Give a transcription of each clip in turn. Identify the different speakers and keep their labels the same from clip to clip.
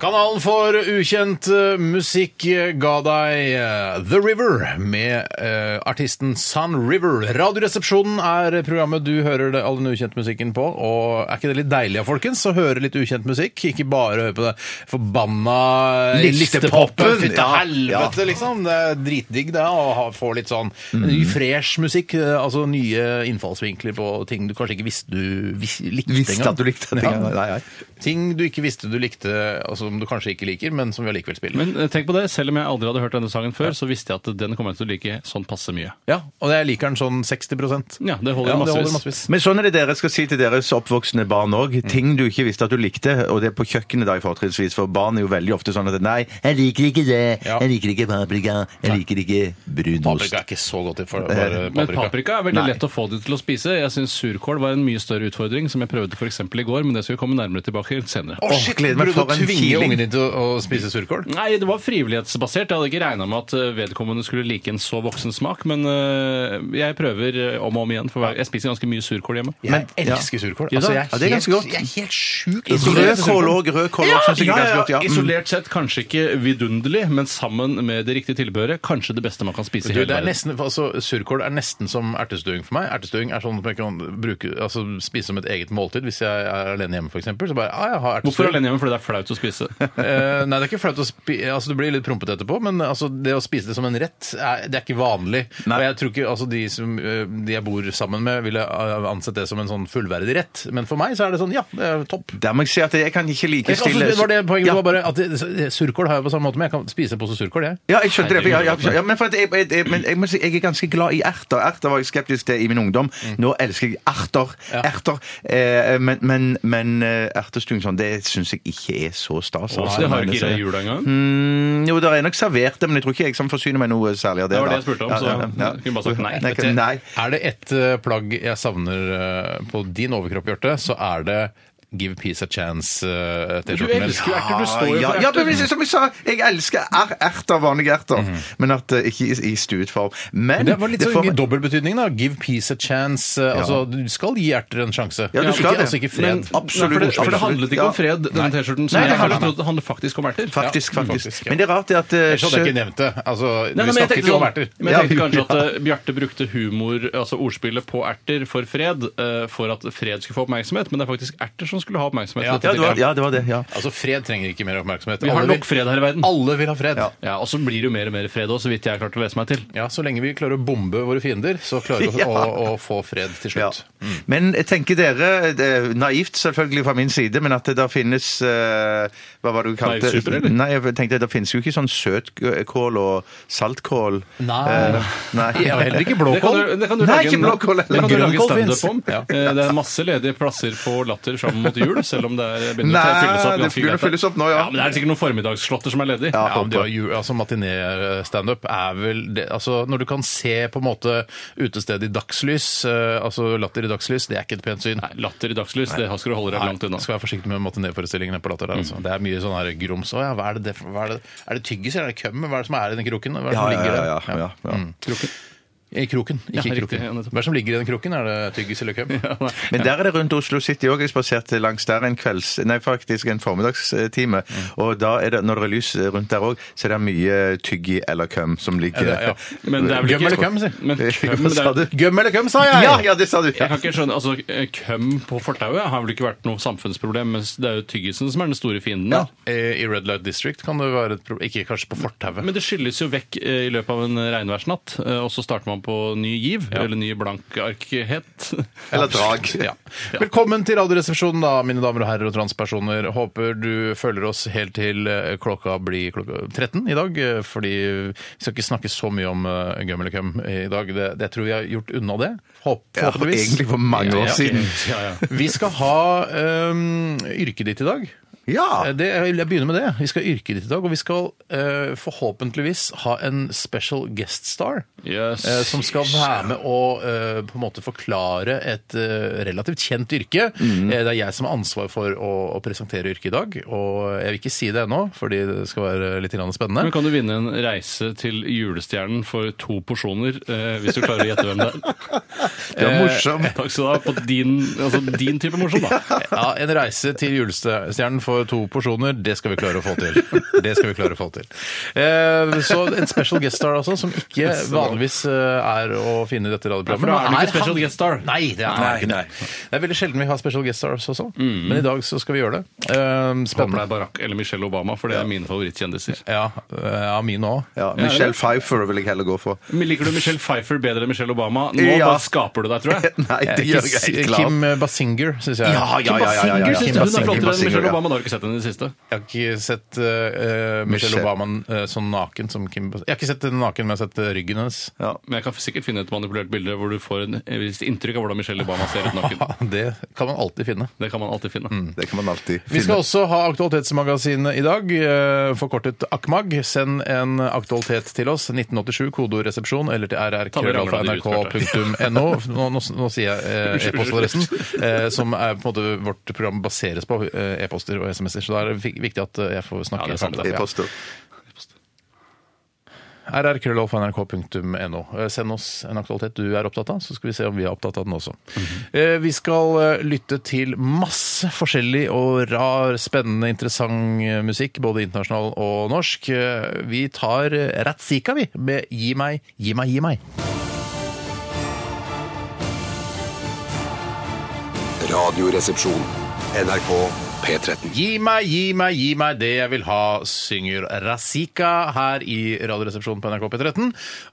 Speaker 1: Kanalen for ukjent eh, musikk eh, ga deg eh, The River med eh, artisten Sun River. Radioresepsjonen er programmet du hører det, all den ukjente musikken på. Og er ikke det litt deilig, ja, folkens? Å høre litt ukjent musikk. Ikke bare høre på det forbanna eh,
Speaker 2: Listepoppen,
Speaker 1: listepopen. Fytte
Speaker 2: ja,
Speaker 1: helvete, liksom. Det er dritdigg det, å ha- få litt sånn
Speaker 2: Mm.
Speaker 1: ny, fresh musikk. eh, Altså nye innfallsvinkler på ting du kanskje ikke visste du vis, likte
Speaker 2: Visste
Speaker 1: engang.
Speaker 2: at du likte det.
Speaker 1: Ja.
Speaker 2: Nei, nei.
Speaker 1: Ting du ikke visste du likte, altså som du kanskje ikke liker, men som vi allikevel spiller.
Speaker 3: Men eh, tenk på det, selv om jeg aldri hadde hørt denne sangen før, så visste jeg at den kommer jeg til å like sånn passe mye.
Speaker 1: ja, og jeg liker den sånn 60
Speaker 3: Ja, det holder
Speaker 1: det
Speaker 3: massevis.
Speaker 1: holder massevis.
Speaker 2: Men sånn er det dere skal si til deres oppvoksende barn òg.
Speaker 1: Mm.
Speaker 2: Ting du ikke visste at du likte, og det er på kjøkkenet da, fortrinnsvis, for barn er jo veldig ofte sånn at nei, jeg liker ikke det,
Speaker 1: Ja.
Speaker 2: jeg liker ikke paprika, jeg liker ikke brunost.
Speaker 1: Paprika er ikke så godt i
Speaker 2: Eh,
Speaker 1: for bare
Speaker 3: Men
Speaker 1: paprika.
Speaker 3: paprika er veldig lett å få det til å spise. Jeg syns surkål var en mye større utfordring, som jeg prøvde f.eks. i går, men det skal vi komme nærmere tilbake senere.
Speaker 1: Å,
Speaker 2: Åh,
Speaker 1: shit,
Speaker 2: gleder meg
Speaker 1: Burde
Speaker 2: for
Speaker 1: du
Speaker 2: en
Speaker 1: tvinge
Speaker 2: feeling.
Speaker 1: ungen din til å, å spise surkål?
Speaker 3: Nei, det var frivillighetsbasert. Jeg hadde ikke regna med at eh, vedkommende skulle like en så voksen smak, men eh, jeg prøver eh, om og om igjen. For hver- jeg spiser ganske mye surkål hjemme.
Speaker 1: Jeg elsker surkål. Altså, jeg
Speaker 2: Ja, det er ganske godt.
Speaker 1: helt, jeg er helt sjuk isolert
Speaker 2: Rødkål
Speaker 1: til surkål.
Speaker 2: òg, rødkål òg syns jeg er ganske godt. Ja. Mm.
Speaker 3: Isolert sett kanskje ikke vidunderlig, men sammen med det riktige tilbehøret kanskje det beste man kan spise i
Speaker 1: Du,
Speaker 3: hele
Speaker 1: det er
Speaker 3: verden.
Speaker 1: nesten, altså, surkål er nesten som ertestuing for meg. Ertestuing er sånn at jeg kan bruke, altså, spise som et eget måltid hvis jeg er alene hjemme, f.eks. Så bare ah, jeg har ertestuing.
Speaker 3: Hvorfor alene hjemme? Fordi det er flaut å spise.
Speaker 1: Eh, nei, det er ikke flaut å spi altså, Du blir litt prompet etterpå, men altså, det å spise det som en rett, er, det er ikke vanlig. Og jeg tror ikke altså, de, som, eh, de jeg bor sammen med, ville eh, ansett det som en sånn fullverdig rett. Men for meg så er det sånn, ja, det er topp.
Speaker 2: Der må jeg si at jeg kan ikke like
Speaker 1: Altså,
Speaker 2: stille
Speaker 1: det var det poenget
Speaker 2: Ja.
Speaker 1: var bare at det- Surkål har jeg på samme måte, men jeg kan spise en pose surkål, jeg.
Speaker 2: Ja, jeg skjønte det. For jeg, jeg,
Speaker 3: altså.
Speaker 2: jeg, ja, men for at jeg, jeg, jeg, men jeg, må si, jeg er ganske glad i erter. Erter var jeg skeptisk til i min ungdom.
Speaker 3: Mm.
Speaker 2: Nå elsker jeg erter. erter. Eh, men men, men eh, ertestuen sånn, det syns jeg ikke er så stas.
Speaker 3: Så
Speaker 2: altså,
Speaker 3: det har
Speaker 2: mener
Speaker 3: ikke jeg
Speaker 2: jeg.
Speaker 3: i jula engang.
Speaker 2: Mm, jo, det er nok servert det, men jeg tror ikke jeg som forsyner meg noe særlig av det.
Speaker 3: Det var
Speaker 2: da.
Speaker 3: det jeg spurte om, så jeg kunne bare sagt nei.
Speaker 2: jeg kan- nei.
Speaker 1: Er det ett eh, plagg jeg savner eh, på din overkropp, Bjarte, så er det Give Peace a
Speaker 3: Du
Speaker 1: eh, Chance-T-skjorten
Speaker 3: elsker jo erter, du står jo for
Speaker 2: ja, ja, men
Speaker 3: erter.
Speaker 2: hvis- som jeg sa, jeg elsker er, erter, vanlige erter,
Speaker 3: Mm.
Speaker 2: men at eh, ikke i, i stuet form. Men
Speaker 1: Det var litt
Speaker 2: får
Speaker 1: sånn
Speaker 2: meg-
Speaker 1: dobbeltbetydning, da. Give peace a chance. Eh, Altså, du skal gi erter en sjanse.
Speaker 2: Ja, du skal
Speaker 1: ikke,
Speaker 2: det.
Speaker 1: altså ikke fred.
Speaker 2: Men- Absolutt,
Speaker 3: Nei, for, det, for
Speaker 2: absolutt.
Speaker 3: det handlet ikke
Speaker 2: Ja.
Speaker 3: om fred, denne T-skjorten.
Speaker 2: Nei,
Speaker 3: Som
Speaker 2: det
Speaker 3: jeg hadde
Speaker 2: handlet-
Speaker 3: trodd det handlet faktisk om erter.
Speaker 2: Faktisk,
Speaker 1: Ja,
Speaker 2: faktisk.
Speaker 1: faktisk, ja.
Speaker 2: Men det er rart det at eh,
Speaker 1: Ellers hadde jeg
Speaker 2: sjø-
Speaker 1: ikke nevnt det. Altså,
Speaker 3: Nei, nei,
Speaker 1: vi
Speaker 3: men jeg
Speaker 1: snakker
Speaker 3: tenkte,
Speaker 1: ikke om
Speaker 3: sånn,
Speaker 1: erter.
Speaker 3: men jeg tenkte
Speaker 2: Ja,
Speaker 3: kanskje at eh, Bjarte brukte humor, altså ordspillet på erter for fred, eh, for at fred skulle få oppmerksomhet, men det er faktisk erter som skulle ha oppmerksomhet.
Speaker 1: Ja,
Speaker 2: ja,
Speaker 3: Dette
Speaker 2: det var, ja, det var det. Ja.
Speaker 1: Altså, fred trenger ikke mer oppmerksomhet.
Speaker 3: Vi har
Speaker 1: Alle
Speaker 3: nok
Speaker 1: vil-
Speaker 3: fred her i verden.
Speaker 1: Alle vil ha fred. Ja.
Speaker 3: Ja, Og så blir det jo mer og mer fred òg, så vidt jeg har klart å lese meg til.
Speaker 1: Så lenge vi klarer å bombe våre fiender, så klarer vi å,
Speaker 2: Ja.
Speaker 1: å, å få fred til
Speaker 2: Ja.
Speaker 1: slutt.
Speaker 2: Men jeg tenker dere, det er naivt selvfølgelig fra min side, men at det da finnes eh, Hva var det du kalte
Speaker 3: Naivt super, eller?
Speaker 2: Nei, jeg tenkte det finnes jo ikke sånn søtkål og saltkål.
Speaker 1: Nei.
Speaker 2: Eh, nei.
Speaker 1: Jeg har heller ikke
Speaker 3: Det kan
Speaker 1: blåkål.
Speaker 3: du, det kan du lage,
Speaker 2: Nei, ikke
Speaker 3: en-
Speaker 2: blåkål,
Speaker 3: det kan du
Speaker 1: grønnkål
Speaker 3: lage standup
Speaker 1: finnes.
Speaker 3: om. Eh, Det er masse ledige plasser på Latter fram mot jul, selv om det er begynner å
Speaker 2: Nei,
Speaker 3: fylles opp.
Speaker 2: det
Speaker 3: ganske
Speaker 2: begynner å
Speaker 3: greit, da.
Speaker 2: fylles opp nå, ja.
Speaker 3: men Det er sikkert noen formiddagsslåtter som er ledig.
Speaker 2: Ja,
Speaker 1: Ja, men det var ju- altså Matiné-standup er vel det, altså Når du kan se på en måte utestedet i dagslys, eh, altså latter i dagslys, det er ikke et pent syn.
Speaker 3: Nei, latter i dagslys, det skal du holde deg langt
Speaker 1: Nei,
Speaker 3: unna. Mm.
Speaker 1: skal være forsiktig med matinéforestillingene på latter. der altså. Det er mye sånn her grums. Å ja, hva er det, det for- hva er det, er det tyggis eller er det køm? Hva er det som er i den kroken? Hva er det
Speaker 2: Ja, ja,
Speaker 1: som ligger
Speaker 2: ja, ja,
Speaker 1: der?
Speaker 2: ja, ja.
Speaker 1: I kroken, ikke
Speaker 3: Ja,
Speaker 1: i
Speaker 3: riktig,
Speaker 1: kroken.
Speaker 3: ja, nettopp.
Speaker 1: hva er det som ligger i den kroken? Er det tyggis eller køm?
Speaker 2: Men der er det rundt Oslo City òg. Jeg spaserte langs der en kvelds... Nei, faktisk en formiddagstime. Og da er det, når det er lys rundt der òg, så er det mye tyggi eller køm som ligger
Speaker 1: Ja, ja.
Speaker 3: Men det er vel
Speaker 1: Gøm
Speaker 3: ikke
Speaker 1: eller køm, si.
Speaker 3: Men køm,
Speaker 2: Hva
Speaker 3: det
Speaker 2: sa
Speaker 3: er,
Speaker 2: du?
Speaker 1: Gøm eller køm, sa jeg!
Speaker 2: Ja, ja, det sa du!
Speaker 3: jeg kan ikke skjønne, altså eh, Køm på fortauet har vel ikke vært noe samfunnsproblem, mens det er jo tyggisen som er den store fienden. da.
Speaker 1: Eh, I Red Light District kan det være et problem. Ikke kanskje på fortauet.
Speaker 3: Men det skylles jo vekk eh, i løpet av en regnværsnatt, eh, og så starter man på ny giv, eller ny blank arkhet.
Speaker 2: Eller drag.
Speaker 1: Ja. Velkommen til Radioresepsjonen, da, mine damer og herrer og transpersoner. Håper du følger oss helt til eh, klokka blir klokka 13 i dag. eh, Fordi vi skal ikke snakke så mye om eh, gum eller cum i dag. Det, det tror vi har gjort unna det. Håp,
Speaker 2: Ja,
Speaker 1: forhåpentligvis.
Speaker 2: egentlig for mange år
Speaker 1: Ja, ja,
Speaker 2: siden.
Speaker 3: Ja, ja.
Speaker 1: Vi skal ha eh, ehm, yrket ditt i dag.
Speaker 2: Ja!
Speaker 1: Eh, Det, jeg begynner med det. Vi skal yrke ditt i dag, og vi skal eh, forhåpentligvis ha en special guest star.
Speaker 3: Yes.
Speaker 1: eh, som skal være med og eh, på en måte forklare et eh, relativt kjent yrke.
Speaker 2: Mhm.
Speaker 1: Eh, det er jeg som har ansvar for å, å presentere yrket i dag. Og jeg vil ikke si det ennå, fordi det skal være litt grann spennende.
Speaker 3: Men kan du vinne en reise til julestjernen for to porsjoner, eh, hvis du klarer å gjette hvem det er?
Speaker 2: Det var morsom.
Speaker 3: Eh, Takk skal du ha. På din, altså din type morsom, da.
Speaker 1: Eh, Ja, En reise til julestjernen for to porsjoner, det skal vi klare å få til. Det skal vi klare å få til. Eh, Så en special guest star altså, som ikke vanligvis eh, er å finne i dette
Speaker 3: Ja, for
Speaker 1: radioprogrammet.
Speaker 3: da er det ikke
Speaker 1: han-
Speaker 3: special guest star.
Speaker 1: Nei, det er
Speaker 2: Nei,
Speaker 1: ikke det.
Speaker 2: nei.
Speaker 1: Det er veldig sjelden vi har special guest stars også,
Speaker 3: Mhm.
Speaker 1: men i dag så skal vi gjøre det. Eh,
Speaker 3: Håper det
Speaker 1: Spennende.
Speaker 3: er Barack eller Michelle Obama, for det er mine favorittkjendiser.
Speaker 1: Ja, eh, ja min òg.
Speaker 2: Ja, Michelle Pfeiffer vil jeg heller gå for.
Speaker 3: Men Liker du Michelle Pfeiffer bedre enn Michelle Obama? Nå
Speaker 2: Ja.
Speaker 3: bare skaper du deg, tror jeg.
Speaker 2: Nei, det gjør jeg helt klart.
Speaker 1: Eh, Kim eh, Basinger, syns jeg.
Speaker 2: Ja, ja, ja, ja, ja,
Speaker 3: Singer synes
Speaker 2: ja. Kim
Speaker 3: du hun
Speaker 2: Basinger,
Speaker 3: er flottere enn
Speaker 2: Basinger,
Speaker 3: Michelle
Speaker 2: ja.
Speaker 3: Obama. Da har du ikke sett henne i det siste.
Speaker 1: Jeg har ikke sett eh, eh, Michelle
Speaker 2: Michelle.
Speaker 1: Obama eh, sånn naken som Kim Basinger. Jeg har ikke sett henne naken, men jeg har sett eh, ryggen hennes.
Speaker 3: Men jeg kan sikkert finne et manipulert bilde hvor du får en- et visst inntrykk av hvordan Michelle Obama ser ut naken.
Speaker 1: Det kan man alltid finne.
Speaker 3: Det kan man alltid finne.
Speaker 2: Det kan man alltid
Speaker 1: Vi
Speaker 2: finne.
Speaker 1: skal også ha Aktualitetsmagasinet i dag, eh, forkortet AKMAG. Send en aktualitet til oss, 1987, kodeord resepsjon, eller til
Speaker 3: Ta med ramla di ut,
Speaker 1: rrkrøllalfa.nrk.no. Nå, nå, nå sier jeg eh, e-postadressen, eh, som er på en måte vårt program baseres på, eh, e-poster og SMS-er. Så da er det vik- viktig at eh, jeg får
Speaker 3: Ja, det
Speaker 1: snakke
Speaker 3: er sant,
Speaker 1: ferdig.
Speaker 2: E-poster.
Speaker 1: rrkrøllalfa.nrk.no. Eh, Send oss en aktualitet du er opptatt av, så skal vi se om vi er opptatt av den også. Eh, Vi skal eh, lytte til masse forskjellig og rar, spennende, interessant eh, musikk, både internasjonal og norsk. Eh, Vi tar eh, Ratzika, vi, med Gi meg, gi meg, gi meg.
Speaker 4: Radioresepsjon. NRK P13.
Speaker 1: Gi meg, gi meg, gi meg det jeg vil ha, synger Razika her i Radioresepsjonen på NRK P13.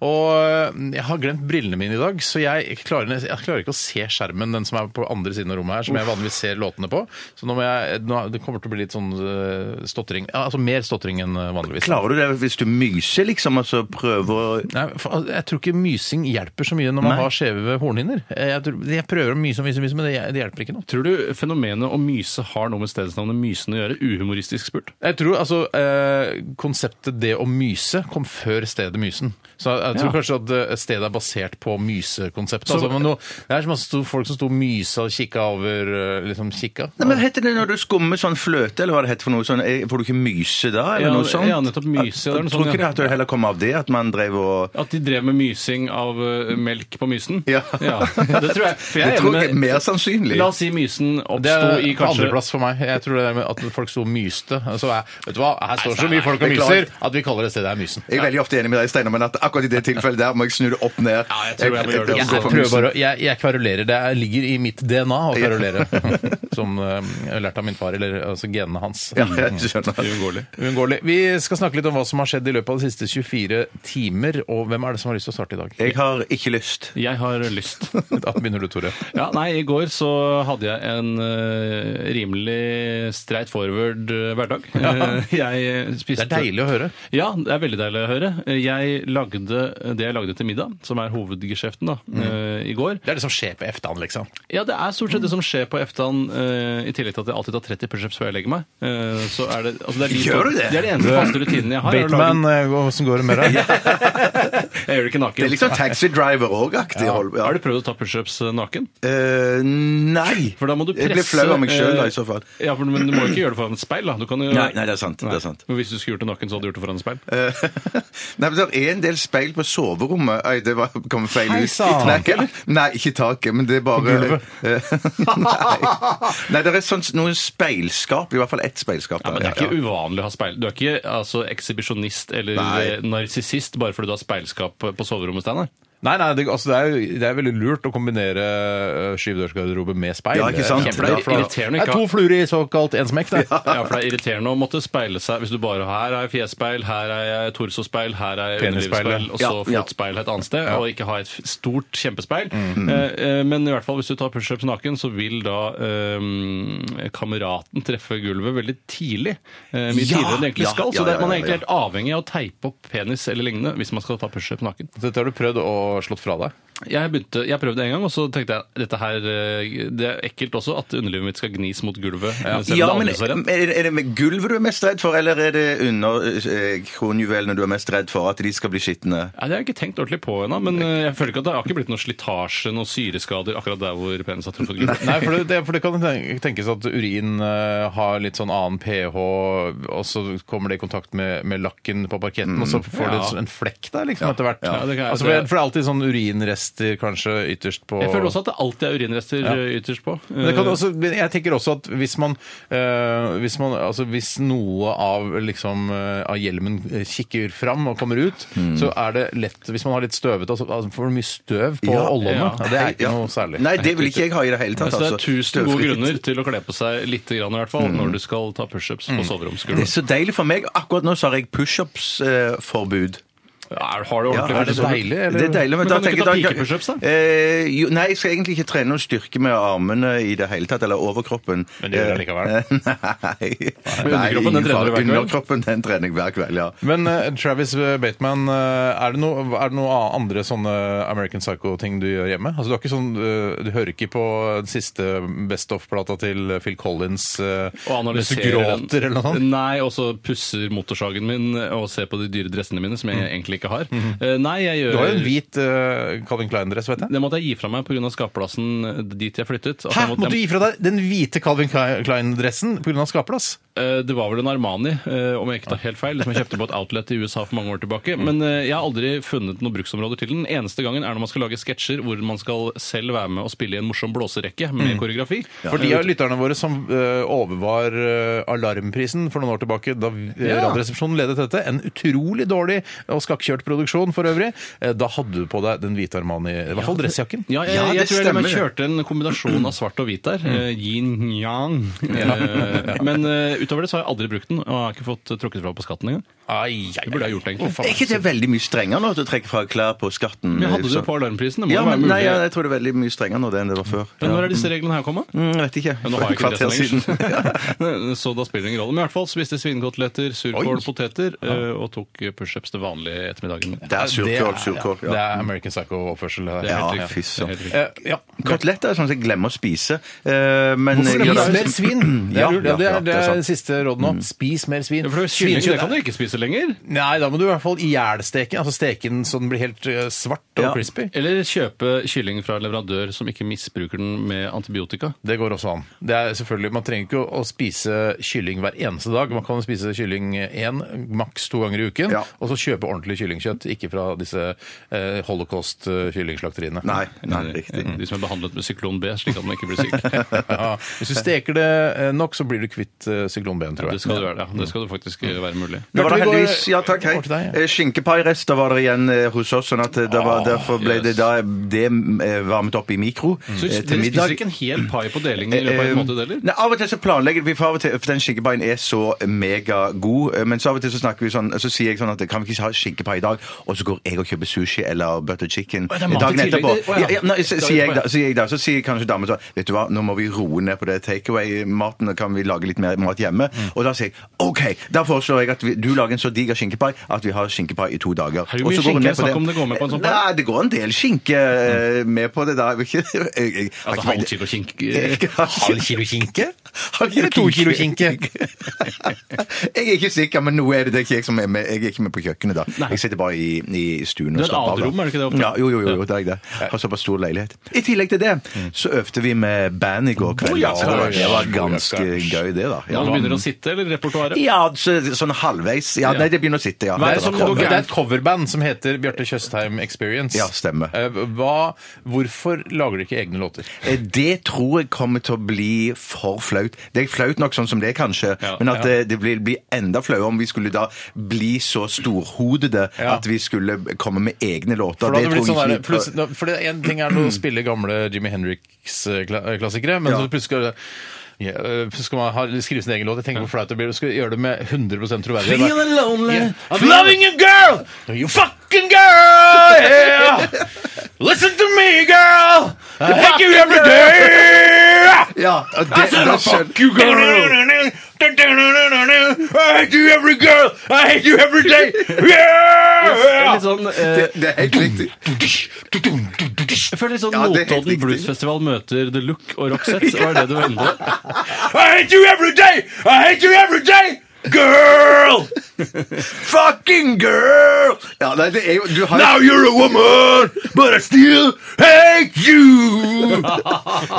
Speaker 1: Og øh, jeg har glemt brillene mine i dag, så jeg klarer, nes- jeg klarer ikke å se skjermen, den som er på andre siden av rommet her, som jeg vanligvis ser låtene på. Så nå må jeg, nå, det kommer til å bli litt sånn øh, stottering. Ja, altså mer stottering enn øh, vanligvis.
Speaker 2: Klarer du det hvis du myser, liksom? Altså prøver å
Speaker 1: Nei, for, al- jeg tror ikke mysing hjelper så mye når man
Speaker 2: Nei.
Speaker 1: har skjeve hornhinner. Jeg, tror, jeg prøver å myse og myse, og myse, men det, hjel- det hjelper ikke noe.
Speaker 3: Tror du fenomenet å myse har noe med stedsnavnet Mysen å gjøre? Uhumoristisk spurt.
Speaker 1: Jeg tror altså eh, konseptet det å myse kom før stedet Mysen. Så jeg, jeg tror
Speaker 3: Ja.
Speaker 1: kanskje at eh, stedet er basert på mysekonseptet.
Speaker 3: Så-
Speaker 1: Altså, men nå- det er så masse sto- folk som sto og mysa og kikka over eh, liksom kikka.
Speaker 2: Nei, men Heter det når du skummer sånn fløte, eller hva det heter for noe sånn, eh, får du ikke myse da? eller
Speaker 3: Ja,
Speaker 2: noe sånt?
Speaker 3: ja, nettopp myse, det er noe
Speaker 2: Tror
Speaker 3: sånt,
Speaker 2: ikke det
Speaker 3: ja.
Speaker 2: at det heller kommer av det, at man drev og
Speaker 3: At de drev med mysing av eh, melk på Mysen?
Speaker 2: Ja.
Speaker 3: Det tror jeg. For jeg er
Speaker 2: Det tror jeg
Speaker 3: enig
Speaker 2: er
Speaker 3: med
Speaker 2: mer sannsynlig.
Speaker 3: La oss si Mysen
Speaker 1: Det
Speaker 3: oppsto
Speaker 1: er
Speaker 3: i kanskje
Speaker 1: andreplass for meg. Jeg tror det er med at folk sto og myste. Så er, vet du hva, her står så
Speaker 2: nei,
Speaker 1: mye folk og
Speaker 2: beklager.
Speaker 1: myser at vi kaller det stedet her Mysen.
Speaker 2: Jeg er veldig ofte enig med deg, Steinar, men at akkurat i det tilfellet der må jeg snu det opp ned.
Speaker 3: Ja, jeg tror jeg må gjøre det
Speaker 1: Jeg,
Speaker 3: også.
Speaker 2: går for
Speaker 1: prøver
Speaker 2: mysen.
Speaker 1: bare, å- jeg, jeg kverulerer. Det er- ligger i mitt DNA å kverulere. Som eh, jeg har lært av min far, eller altså genene hans.
Speaker 2: Ja, jeg skjønner.
Speaker 3: Uunngåelig.
Speaker 1: Uunngåelig. Vi skal snakke litt om hva som har skjedd i løpet av de siste 24 timer. Og hvem er det som har lyst til å starte i dag?
Speaker 2: Jeg har ikke lyst.
Speaker 3: Jeg har lyst.
Speaker 1: Da begynner du, Tore.
Speaker 3: Ja, nei, I går så hadde jeg en eh, rimelig streit forward eh, hverdag. Eh, jeg
Speaker 1: Det
Speaker 3: spiste
Speaker 1: er deilig å høre.
Speaker 3: Ja, det er veldig deilig å høre. Eh, Jeg lagde det jeg lagde til middag, som er hovedgeskjeften, da,
Speaker 1: Mm.
Speaker 3: eh, i går.
Speaker 1: Det er det som skjer på eftan, liksom.
Speaker 3: Ja, det er stort sett det som skjer på eftan, eh, i tillegg til at jeg alltid tar 30 pushups før jeg legger meg. Eh, så er det, altså det er de
Speaker 2: Gjør du det?
Speaker 3: Det er de eneste faste rutinene jeg har. er å lage-
Speaker 1: Bateman, åssen går det med deg?
Speaker 3: Jeg gjør det ikke naken.
Speaker 2: Det er liksom taxi driver òg-aktig. hold- Ja.
Speaker 3: Har du prøvd å ta pushups eh, naken?
Speaker 2: Eh, nei.
Speaker 3: For da må du presse
Speaker 2: Jeg blir flau av meg sjøl da, i
Speaker 3: eh,
Speaker 2: så fall.
Speaker 3: Ja, for, Men du må jo ikke gjøre det foran et speil, da. Du kan jo,
Speaker 2: Nei, nei, det er sant, det er
Speaker 3: Nei.
Speaker 2: sant.
Speaker 3: Men hvis du skulle gjort det naken, så hadde du gjort det foran et speil?
Speaker 2: Eh, Nei, men Det er en del speil på soverommet. Oi, det var, kom feil
Speaker 1: Hei,
Speaker 2: ut.
Speaker 1: sa han.
Speaker 2: Nei, ikke- nei, ikke i taket, men det er bare
Speaker 1: gulvet.
Speaker 2: nei. nei, det er sånn, noen speilskap. I hvert fall ett speilskap.
Speaker 3: Ja,
Speaker 2: der,
Speaker 3: men Det er
Speaker 2: ja.
Speaker 3: ikke uvanlig å ha speil. Du er ikke altså, ekshibisjonist eller eh,
Speaker 2: Nei.
Speaker 3: narsissist bare fordi du har speilskap på soverommet, Steinar?
Speaker 1: Nei, nei, det, altså, det, er jo, det er veldig lurt å kombinere øh, skyvdørsgarderobe med speil.
Speaker 2: Ja, ikke sant?
Speaker 1: Det er kjempelurt, for da-
Speaker 3: Irriterende ikke
Speaker 1: Det er to fluer i såkalt én smekk, det.
Speaker 3: Ja, for det er irriterende å måtte speile seg hvis du bare Her er jeg fjesspeil, her er jeg torsospeil, her er jeg
Speaker 1: Penisspeil, ja.
Speaker 3: underlivsspeil, og så
Speaker 2: Ja, ja.
Speaker 3: fotspeil et annet sted, og ikke ha et f- stort kjempespeil. Eh, eh, Men i hvert fall hvis du tar pushups naken, så vil da eh, kameraten treffe gulvet veldig tidlig. eh, Mye
Speaker 2: Ja,
Speaker 3: tidligere enn det egentlig
Speaker 2: ja,
Speaker 3: skal,
Speaker 2: ja,
Speaker 3: så det,
Speaker 2: ja,
Speaker 3: man er
Speaker 2: ja,
Speaker 3: egentlig helt avhengig av å teipe opp penis eller lignende hvis man skal ta pushups naken.
Speaker 1: Dette har du prøvd å slått fra deg.
Speaker 3: Jeg, begynte, jeg prøvde en gang, og så tenkte jeg dette her, eh, det er ekkelt også at underlivet mitt skal gnis mot gulvet. eh, Selv om
Speaker 2: Ja,
Speaker 3: det
Speaker 2: men
Speaker 3: aldri så
Speaker 2: er
Speaker 3: rent.
Speaker 2: det, er det med gulvet du er mest redd for, eller er det under eh, kronjuvelene du er mest redd for at de skal bli skitne?
Speaker 3: Nei, det har jeg ikke tenkt ordentlig på ennå, men eh, jeg føler ikke at det har ikke blitt noe slitasje, noen syreskader akkurat der hvor penis har truffet gulvet.
Speaker 1: Nei, for det, det, for det kan ten- tenkes at urin eh, har litt sånn annen pH, og så kommer det i kontakt med, med lakken på parketten, og så får
Speaker 3: Mm, Ja.
Speaker 1: det sånn en flekk der liksom etter hvert.
Speaker 3: Ja, det kan jeg-
Speaker 1: altså, for, det, for det er alltid sånn urinrester kanskje ytterst på
Speaker 3: Jeg føler også at det alltid er urinrester eh, ytterst på.
Speaker 1: men det kan også, men jeg tenker også at hvis man, eh, hvis, man altså hvis noe av, liksom, eh, av hjelmen eh, kikker fram og kommer ut,
Speaker 3: Mm.
Speaker 1: så er det lett Hvis man har litt støvete, altså, altså får du mye støv på
Speaker 2: Ja.
Speaker 1: ollene.
Speaker 3: Ja.
Speaker 1: Det er ikke
Speaker 2: Ja.
Speaker 1: noe særlig.
Speaker 2: Nei, det vil ikke jeg ha i det hele tatt.
Speaker 3: Så det er
Speaker 2: altså.
Speaker 3: tusen gode
Speaker 2: Støvfritt.
Speaker 3: grunner til å kle på seg litt grann, i hvert fall,
Speaker 1: Mm.
Speaker 3: når du skal ta pushups på
Speaker 2: Det er
Speaker 3: soveromsgulvet.
Speaker 2: så deilig for meg. Akkurat nå så har jeg pushups-forbud.
Speaker 3: Ja, har du
Speaker 2: Ja,
Speaker 3: ordentlig
Speaker 1: er det
Speaker 3: pushups?
Speaker 1: deilig, eller?
Speaker 2: Det er deilig,
Speaker 3: Men
Speaker 2: da
Speaker 3: kan du ikke
Speaker 2: tenker
Speaker 3: ta
Speaker 2: jeg da-
Speaker 3: pikepushups, da?
Speaker 2: Eh, jo, nei, jeg skal egentlig ikke trene noen styrke med armene i det hele tatt, eller overkroppen.
Speaker 1: Men det gjør jeg likevel.
Speaker 2: Eh,
Speaker 3: Men underkroppen,
Speaker 2: Nei. Nei,
Speaker 3: den trener
Speaker 2: ingen
Speaker 3: du
Speaker 2: fare.
Speaker 3: hver kveld?
Speaker 2: Underkroppen, den trener jeg hver kveld, ja.
Speaker 1: Men eh, Travis Bateman, eh, er det noe, er det noe a- andre sånne American Psycho-ting du gjør hjemme? Altså, du, er ikke sånn, eh, du hører ikke på den siste Best Of-plata til Phil Collins eh,
Speaker 3: Og
Speaker 1: mens du
Speaker 3: analyserer
Speaker 1: gråter eller noe sånt?
Speaker 3: Nei, og så pusser motorsagen min eh, og ser på de dyre dressene mine, som jeg egentlig ikke har. Eh, Nei, jeg gjør
Speaker 1: Mm. Du har jo en hvit eh, Calvin Klein-dress, vet jeg.
Speaker 3: Det måtte jeg gi fra meg pga. skapplassen dit jeg flyttet. Altså,
Speaker 1: Hæ?
Speaker 3: jeg
Speaker 1: Måtte du
Speaker 3: jeg-
Speaker 1: gi fra deg den hvite Calvin Klein-dressen pga. skapplass?
Speaker 3: Eh, Det var vel en Armani, eh, om jeg ikke tar helt feil, som jeg kjøpte på et outlet i USA for mange år tilbake.
Speaker 2: Mm.
Speaker 3: Men eh, jeg har aldri funnet noen bruksområder til den. Eneste gangen er når man skal lage sketsjer hvor man skal selv være med og spille i en morsom blåserekke med
Speaker 2: Mm.
Speaker 3: koreografi.
Speaker 1: For de av lytterne våre som eh, overvar eh, alarmprisen for noen år tilbake, da vi- eh, Radioresepsjonen ledet dette, en utrolig dårlig og skakkjørt produksjon for øvrig, eh, da hadde du på deg den hvite Armani, i hvert fall dressjakken.
Speaker 3: Ja, jeg,
Speaker 2: Ja,
Speaker 3: jeg,
Speaker 2: det Mm.
Speaker 3: tror jeg, jeg
Speaker 2: stemmer.
Speaker 3: kjørte en kombinasjon av svart og hvit der. eh, Yin yang. Eh, Men eh, utover det så har jeg aldri brukt den, og har ikke fått trukket fra på skatten engang.
Speaker 1: Ai, ai,
Speaker 3: Det burde jeg gjort, egentlig.
Speaker 2: Er ikke det veldig mye strengere nå at du trekker fra klær på skatten?
Speaker 3: Men hadde du
Speaker 2: Så-
Speaker 3: på alarmprisen? Det må
Speaker 2: ja,
Speaker 3: jo være
Speaker 2: men,
Speaker 3: mulig.
Speaker 2: nei, ja, jeg tror det er veldig mye strengere nå det enn det var før.
Speaker 3: Men
Speaker 2: Ja.
Speaker 3: når er disse reglene her kommet?
Speaker 2: Mm, vet ikke.
Speaker 3: Ja, nå har jeg ikke
Speaker 2: For et kvarter
Speaker 3: dressen
Speaker 2: siden.
Speaker 3: lenger. så da spiller det ingen rolle. Men i hvert fall spiste svinekoteletter, surkål,
Speaker 1: Oi.
Speaker 3: poteter eh, og tok pushups til vanlig i ettermiddagen.
Speaker 2: Det er surkål, surkål.
Speaker 1: Det er American Psycho-oppførsel. det her.
Speaker 3: Det er
Speaker 2: Ja,
Speaker 3: helt
Speaker 2: fy
Speaker 3: riktig. Det er
Speaker 2: søren.
Speaker 3: helt riktig.
Speaker 1: Eh, ja.
Speaker 2: Koteletter er sånn som jeg glemmer å spise. eh, Men
Speaker 1: Hvorfor
Speaker 2: Ja,
Speaker 1: spis
Speaker 2: da-
Speaker 1: mer svin? Det
Speaker 2: Ja,
Speaker 1: er, lurt. ja, det
Speaker 2: ja,
Speaker 1: er, det er
Speaker 2: sant. Mm.
Speaker 1: siste råd nå. Spis mer svin.
Speaker 3: Ja, for det er jo Kylling det kan du ikke spise lenger.
Speaker 1: Nei, da må du i hvert fall ihjelsteke den. Altså steke den så den blir helt eh, svart og
Speaker 2: Ja.
Speaker 1: crispy.
Speaker 3: Eller kjøpe kylling fra leverandør som ikke misbruker den med antibiotika.
Speaker 1: Det går også an. Det er selvfølgelig, Man trenger ikke å, å spise kylling hver eneste dag. Man kan spise kylling én, maks to ganger i uken,
Speaker 2: Ja.
Speaker 1: og så kjøpe ordentlig kyllingkjøtt. Ikke fra disse eh, holocaust-kyllingslakteriene.
Speaker 2: Nei, nei, riktig.
Speaker 3: Mm.
Speaker 1: Mm.
Speaker 3: De som er behandlet med syklon B, slik at man ikke blir syk.
Speaker 1: Ja, hvis du steker det eh, nok, så blir du kvitt eh, syklon B-en, tror
Speaker 3: Det
Speaker 1: jeg.
Speaker 3: skal du være, ja. Det skal du faktisk eh, være mulig.
Speaker 2: Nå var det
Speaker 1: Bjarte, vi går-
Speaker 2: heldigvis Ja, takk, hei.
Speaker 1: over til deg, ja.
Speaker 2: Eh, Skinkepairester var det igjen eh, hos oss, sånn at eh, det var, derfor ble det da det eh, varmet opp i mikro
Speaker 3: Så
Speaker 2: eh,
Speaker 3: dere spiser ikke en hel pai på delingen i løpet av en måned heller?
Speaker 2: Ehm, Nei, av og til så planlegger vi, for av og til, for den skinkepaien er så megagod, eh, men så av og til så snakker vi sånn, så sier jeg sånn at kan vi ikke ha skinkepai i dag, og så går jeg og kjøper sushi eller butter chicken
Speaker 3: Å, det er mat i
Speaker 2: dagen
Speaker 3: tillegg,
Speaker 2: etterpå.
Speaker 3: det- å, ja.
Speaker 2: Ja, ja, nei, så,
Speaker 3: Dagen
Speaker 2: sier jeg
Speaker 3: etterpå,
Speaker 2: da, sier jeg da, så sier kanskje damen sånn, vet du hva, nå må vi roe ned på det takeaway-maten, og kan vi lage litt mer mat hjemme?
Speaker 3: Mm.
Speaker 2: Og da sier jeg, ok, da foreslår jeg at vi, du lager en så diger skinkepai, at vi har skinkepai i to dager.
Speaker 3: Herregud,
Speaker 2: Og
Speaker 3: mye
Speaker 2: så går hun
Speaker 3: skinke,
Speaker 2: ned på
Speaker 3: snakk om det går med på en sånn pai.
Speaker 2: Nei, det går en del skinke eh, med på det da. Jeg vil ikke- jeg- jeg- jeg har
Speaker 3: Altså
Speaker 2: ikke-
Speaker 3: halv kilo kink. eh,
Speaker 2: Jeg har ikke-
Speaker 1: kilo kinke?
Speaker 2: Halv kilo
Speaker 1: Eller to
Speaker 2: kinke.
Speaker 1: kilo kinke?
Speaker 2: jeg er ikke sikker, men nå er det, det er ikke jeg som er med. Jeg er ikke med på kjøkkenet, da.
Speaker 3: Nei.
Speaker 2: Jeg sitter bare i, i stuen
Speaker 3: Du
Speaker 2: og
Speaker 3: er et
Speaker 2: slapper av. da.
Speaker 3: aderom, er det ikke det, ofte?
Speaker 2: Ja, jo, jo, jo, jo det er jeg det. Har såpass stor leilighet. I tillegg til det
Speaker 3: Mm.
Speaker 2: så øvde vi med band i går kveld.
Speaker 3: Boja,
Speaker 2: da, og Det var
Speaker 1: stakkars.
Speaker 2: ganske
Speaker 1: Boja, stakkars.
Speaker 2: gøy, det, da.
Speaker 3: Nå
Speaker 2: Ja.
Speaker 3: begynner det å sitte, eller repertoaret?
Speaker 2: Ja, så, sånn halvveis. Ja, nei, det begynner å sitte, ja.
Speaker 3: Hva er det
Speaker 2: Dette
Speaker 3: som
Speaker 2: var
Speaker 3: går
Speaker 1: Det
Speaker 2: kommet.
Speaker 1: er et coverband som heter Bjarte Tjøstheim Experience.
Speaker 2: Ja, stemmer.
Speaker 1: Eh, Hva, hvorfor lager de ikke egne låter?
Speaker 2: Eh, Det tror jeg kommer til å bli for flaut. Det er flaut nok sånn som det er, kanskje,
Speaker 3: Ja,
Speaker 2: men at eh, det blir, blir enda flauere om vi skulle da bli så storhodede
Speaker 1: Ja.
Speaker 2: at vi skulle komme med egne låter.
Speaker 1: For, da hadde det blitt sånn
Speaker 2: tror
Speaker 1: der,
Speaker 2: jeg ikke vi-
Speaker 1: plutselig- da- for det en ting er nå å spille gamle Jimmy Henriks-klassikere, men
Speaker 2: Ja.
Speaker 1: så plutselig skal det- ja, øh, skal man ha, skrive sin egen låt. Jeg tenker hvor flaut det blir. Du skal gjøre det med 100 troverdighet. Feeling lonely. Yeah. I'm loving you, girl! You fucking girl! Yeah! Listen to me, girl! I fuck you every day!
Speaker 2: Ja, og det,
Speaker 1: I said,
Speaker 2: da
Speaker 1: I
Speaker 2: skjønner-
Speaker 1: fuck you, girl! I hate you every girl! I hate you every day! Yeah!
Speaker 3: er litt sånn eh,
Speaker 4: Det er helt riktig.
Speaker 3: Jeg føler litt sånn
Speaker 4: Ja, det er helt
Speaker 3: Notodden
Speaker 4: riktig.
Speaker 3: Bluesfestival møter The Look og Roxette. Var det det du var inne på?
Speaker 1: I hate you every day! I hate you every day! Girl!
Speaker 4: Fucking girl! Ja, nei, det er jo Du har
Speaker 1: Now you're a woman, but I still hate you!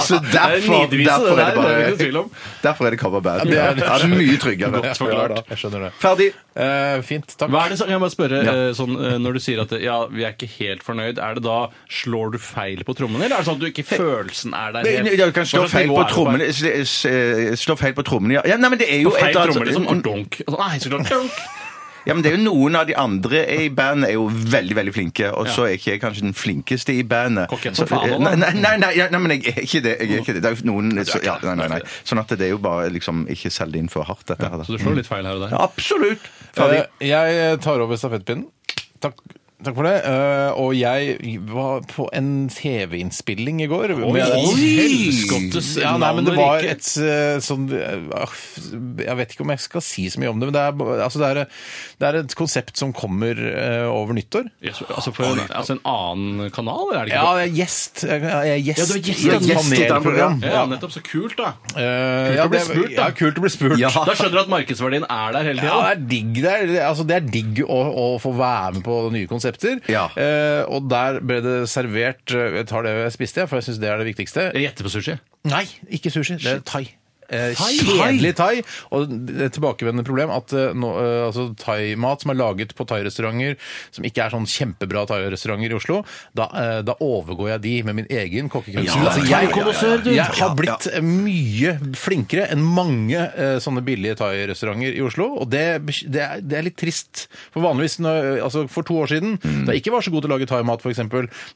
Speaker 4: Så
Speaker 3: Det er en
Speaker 4: derfor,
Speaker 3: nidvise,
Speaker 4: derfor
Speaker 3: det
Speaker 4: er det
Speaker 3: der. Det er det ikke
Speaker 4: bare
Speaker 3: noe tvil om.
Speaker 4: Derfor er det cover band.
Speaker 1: det er det.
Speaker 4: Ja, det er mye tryggere.
Speaker 3: Godt forklart.
Speaker 1: Jeg skjønner det.
Speaker 4: Ferdig.
Speaker 1: Eh, fint, takk.
Speaker 3: Hva er det som, jeg må spørre, eh, sånn, eh, Når du sier at eh, ja, vi er ikke helt fornøyd, er det da slår du feil på trommene? Eller er det sånn at du ikke følelsen er der
Speaker 2: Nei, Jeg kan
Speaker 3: Altså,
Speaker 2: slå
Speaker 3: Hva slags
Speaker 2: feil
Speaker 3: nivå
Speaker 2: på
Speaker 3: er det
Speaker 2: trommene s- s- eh, Slå feil på trommene, ja. ja. Nei, men det er jo
Speaker 3: På feil
Speaker 2: et eller annet-
Speaker 3: trommer, liksom. Og donk. Og sånn, Nei, så klart. Donk.
Speaker 2: Ja, men det er jo Noen av de andre i bandet er jo veldig veldig flinke, og så er ikke jeg kanskje den flinkeste i bandet.
Speaker 3: Kokett
Speaker 2: Så-
Speaker 3: som faen, da.
Speaker 2: Nei, nei, nei, nei, ja, nei, men jeg er ikke det. Jeg er ikke det. det er jo noen, så, ja, nei, nei, nei. Sånn at det er jo bare liksom ikke selg det inn for hardt, dette her. da.
Speaker 3: Så du slår litt feil her og der.
Speaker 2: Ja, Absolutt! Ferdig.
Speaker 1: Eh, jeg tar over stafettpinnen. Takk. Takk for det. Eh, og jeg var på en TV-innspilling i går. Oi,
Speaker 3: helskottes
Speaker 1: ja, nei, men Det
Speaker 3: navn og
Speaker 1: var
Speaker 3: rike.
Speaker 1: et eh, sånn eh, ah, Jeg vet ikke om jeg skal si så mye om det, men det er, ba- altså, det er, det er et konsept som kommer eh, over nyttår.
Speaker 3: Yes, altså, for en, altså en annen kanal, eller er det ikke?
Speaker 1: Ja, jeg er gjest. Jeg jeg er gjest,
Speaker 3: Ja, du er gjest,
Speaker 1: i
Speaker 3: ja, du
Speaker 1: et
Speaker 3: er gjest
Speaker 2: i et
Speaker 1: panelprogram.
Speaker 3: det? Ja, nettopp. Så kult, da.
Speaker 1: Eh, ja,
Speaker 3: å bli
Speaker 1: det-
Speaker 3: spurt, da.
Speaker 1: Ja, kult å bli spurt.
Speaker 2: Ja.
Speaker 3: Da skjønner du at markedsverdien er der hele tida.
Speaker 1: Ja, det er digg. Det er, altså, det er digg å, å få være med på nye konsepter.
Speaker 2: Ja.
Speaker 1: Eh, og der ble det servert eh, Jeg tar det jeg spiste, jeg, for jeg syns det er det viktigste.
Speaker 3: Jeg gjetter på sushi.
Speaker 1: Nei, ikke sushi. Det er thai. Eh,
Speaker 3: Thai?
Speaker 1: Kjedelig thai. Og det er et tilbakevendende problem at eh, nå, eh, altså thaimat som er laget på thairestauranter, som ikke er sånn kjempebra thairestauranter i Oslo, da, eh, da overgår jeg de med min egen kokkekunst.
Speaker 2: Ja,
Speaker 1: altså,
Speaker 2: ja, ja,
Speaker 1: jeg,
Speaker 2: ja, ja, ja.
Speaker 1: jeg har
Speaker 2: Ja,
Speaker 1: blitt eh, mye flinkere enn mange eh, sånne billige thairestauranter i Oslo, og det, bek- det, er, det er litt trist. For vanligvis, når, eh, altså for to år siden,
Speaker 3: Mm.
Speaker 1: da jeg ikke var så god til å lage thaimat, f.eks.,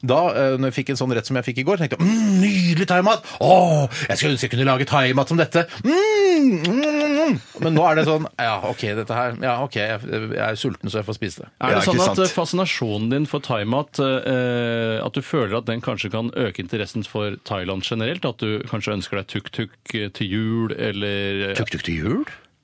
Speaker 1: da eh, når jeg fikk en sånn rett som jeg fikk i går, tenkte jeg mm, nydelig thaimat! Åh, jeg skulle ønske jeg kunne lage thaimat som dette! Mm, mm, mm. Men nå er det sånn Ja, OK, dette her Ja, OK, jeg, jeg er sulten, så jeg får spise det.
Speaker 3: Er det
Speaker 2: Ja,
Speaker 3: sånn
Speaker 2: ikke
Speaker 3: at
Speaker 2: sant.
Speaker 3: eh, fascinasjonen din for thaimat eh, At du føler at den kanskje kan øke interessen for Thailand generelt? At du kanskje ønsker deg tuk-tuk eh, til jul, eller eh,
Speaker 1: Tuk-tuk til jul?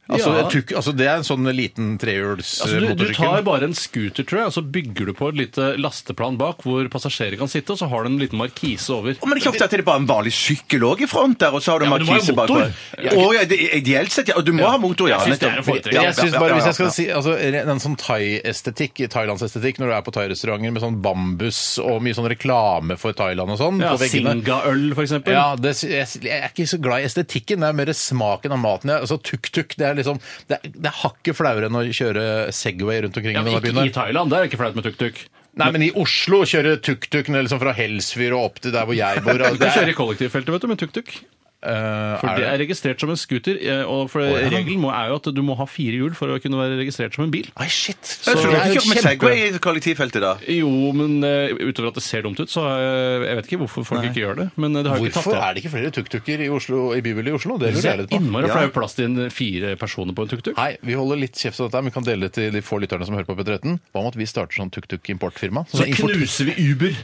Speaker 1: Altså,
Speaker 3: Ja.
Speaker 1: tuk, altså, det er en sånn liten trehjuls
Speaker 3: Altså, du, du
Speaker 1: motorsykkel.
Speaker 3: tar bare en scooter, tror jeg, og så bygger du på et lite lasteplan bak hvor passasjerer kan sitte, og så har du en liten markise over.
Speaker 2: Å, men det er ikke ofte at det er bare en vanlig sykkel òg i front der, og så har du
Speaker 3: Ja, men du må ha
Speaker 2: markise bakpå.
Speaker 3: motor.
Speaker 2: Å, ja, det- ideelt sett, ja. Og du må ha motor, ja.
Speaker 3: Jeg synes det er å foretrekke.
Speaker 2: Ja, ja,
Speaker 1: Jeg synes
Speaker 2: ja,
Speaker 1: bare,
Speaker 2: ja,
Speaker 1: hvis jeg
Speaker 2: ja.
Speaker 1: skal si altså, En sånn thai-estetikk, thailandsestetikk, når du er på thai-restauranter med sånn bambus og mye sånn reklame for Thailand og sånn
Speaker 3: Ja,
Speaker 1: på veggene
Speaker 3: Singa-øl, for eksempel.
Speaker 1: Ja, det, sy- jeg, jeg er ikke så glad i estetikken, det er mer smaken av maten. Jeg- Altså Tuk-tuk det er liksom Det er, det er hakket flauere enn å kjøre Segway rundt omkring
Speaker 3: Ja,
Speaker 1: i
Speaker 3: men
Speaker 1: denne
Speaker 3: ikke i
Speaker 1: byen. her.
Speaker 3: Thailand, der er det ikke flaut med tuk-tuk.
Speaker 1: Nei, men i Oslo kjøre tuk-tuk liksom fra Helsfyr og opp til der hvor jeg bor.
Speaker 3: Du kan kjøre i kollektivfeltet vet du, med tuk-tuk.
Speaker 1: Eh,
Speaker 3: For
Speaker 1: er
Speaker 3: det
Speaker 1: det-
Speaker 3: er registrert som en scooter, eh, og for
Speaker 1: ja.
Speaker 3: regelen må, er jo at du må ha fire hjul for å kunne være registrert som en bil.
Speaker 1: Nei, shit. Så,
Speaker 2: Jeg tror
Speaker 1: det er
Speaker 2: ikke om en
Speaker 1: kjempe-
Speaker 2: Segway i kollektivfeltet, da.
Speaker 3: Jo, men eh, utover at det ser dumt ut, så eh, jeg vet ikke hvorfor folk ikke gjør det. Men eh, det har jo ikke
Speaker 1: Hvorfor
Speaker 3: tatt
Speaker 1: er det ikke flere tuk-tuker i, Oslo- i bybildet i Oslo? Det lurer jeg
Speaker 3: det. Det
Speaker 1: litt
Speaker 3: er
Speaker 1: på.
Speaker 3: innmari
Speaker 2: Ja.
Speaker 3: flau plass til en eh, fire personer på en tuk-tuk.
Speaker 1: Nei, vi holder litt kjeft av dette, her, men vi kan dele det til de få lytterne som hører på P13. Hva om at vi starter sånn tuk-tuk-importfirma?
Speaker 3: Så
Speaker 1: Sånn import-
Speaker 3: knuser vi Uber.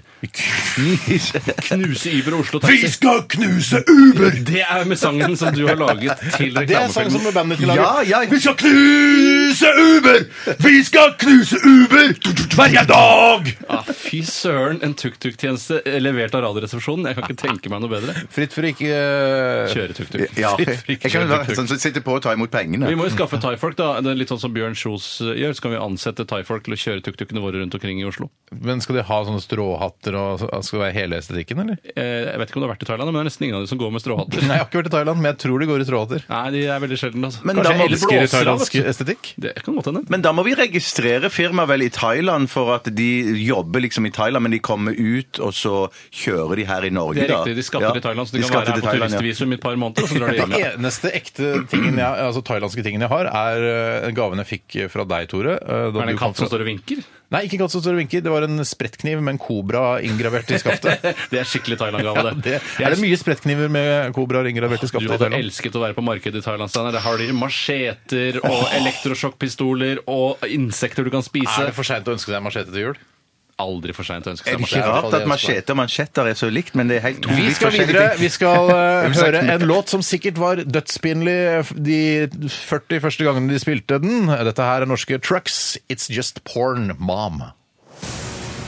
Speaker 3: Knuse Uber og Oslo
Speaker 1: Vi
Speaker 3: Taxi.
Speaker 1: skal knuse Uber!
Speaker 3: Det er med sangen som du har laget til
Speaker 1: Det er sang som
Speaker 3: reklamefilmen.
Speaker 1: bandet skal lage.
Speaker 2: Ja, ja.
Speaker 1: Vi skal knuse Uber! Vi skal knuse Uber hver dag!
Speaker 3: Ah, fy søren, en tuk-tuk-tjeneste eh, levert av Radioresepsjonen. Jeg kan ikke tenke meg noe bedre.
Speaker 1: Fritt for ikke eh,
Speaker 3: Kjøre tuk-tuk.
Speaker 2: Ja.
Speaker 1: Fritt for
Speaker 2: Jeg
Speaker 1: ikke
Speaker 2: kan jo
Speaker 1: kjøre
Speaker 2: være
Speaker 1: tuk-tuk.
Speaker 2: sånn som sitter på og tar imot pengene.
Speaker 3: Vi må jo skaffe thaifolk, da. Det er litt sånn som Bjørn Kjos eh, gjør. Så kan vi ansette thaifolk til å kjøre tuk-tukene våre rundt omkring i Oslo.
Speaker 1: Men skal de ha sånne stråhatter og altså, skal det være hele estetikken, eller?
Speaker 3: Eh, Jeg vet ikke om du har vært i Thailand, men det er nesten ingen av de som går med stråhatter.
Speaker 1: Nei, jeg har ikke vært i Thailand, men jeg tror de går i stråhatter.
Speaker 3: Nei, de er veldig sjelden, altså.
Speaker 2: Men
Speaker 3: Kanskje
Speaker 2: da må
Speaker 3: jeg
Speaker 2: du
Speaker 3: elsker
Speaker 1: Elsker altså.
Speaker 3: thailandsk
Speaker 1: thailandsk estetikk.
Speaker 3: Det kan godt hende.
Speaker 2: Men da må vi registrere firmaet vel i Thailand for at de jobber liksom i Thailand, men de kommer ut, og så kjører de her i Norge,
Speaker 3: Det er
Speaker 2: da.
Speaker 3: riktig, de skatter
Speaker 2: Ja.
Speaker 3: i Thailand, så
Speaker 2: De
Speaker 3: de kan
Speaker 2: skatter
Speaker 3: være her
Speaker 2: til
Speaker 3: på
Speaker 2: Thailand, ja.
Speaker 3: turistvisum i et par måneder, og så drar de hjem
Speaker 1: Den
Speaker 3: igjen.
Speaker 1: eneste ekte tingen jeg, altså thailandske tingen jeg har, er eh, gaven jeg fikk fra deg, Tore. eh, da
Speaker 3: Er det
Speaker 1: du
Speaker 3: en
Speaker 1: kom
Speaker 3: katt som
Speaker 1: fra-
Speaker 3: står og vinker?
Speaker 1: Nei, ikke katt som står og vinker. Det var en sprettkniv med en kobra inngravert i skaftet.
Speaker 3: Det er skikkelig
Speaker 1: Ja,
Speaker 3: Thailand-gave,
Speaker 1: det,
Speaker 3: det.
Speaker 1: er det mye sprettkniver med kobraer inngravert i
Speaker 3: Du
Speaker 1: skapet i
Speaker 3: hadde
Speaker 1: Thailand?
Speaker 3: elsket å være på markedet i Thailand. Steinar. Der har de macheter og elektrosjokkpistoler og insekter du kan spise.
Speaker 1: for seint å ønske seg machete til jul?
Speaker 3: aldri for seint å ønske seg
Speaker 1: det
Speaker 2: Det
Speaker 3: marsjer.
Speaker 2: er
Speaker 1: hvert fall
Speaker 2: rart
Speaker 1: det
Speaker 2: at
Speaker 1: jeg
Speaker 2: machete og mansjetter er så likt, men det er helt to
Speaker 1: Vi
Speaker 2: vidt
Speaker 1: skal
Speaker 2: forskjellige
Speaker 1: videre.
Speaker 2: ting.
Speaker 1: Vi skal eh,
Speaker 2: vil
Speaker 1: høre
Speaker 2: snakke
Speaker 1: en låt som sikkert var dødspinlig de 40 første gangene de spilte den. Dette her er norske Trucks. It's Just Porn Mom.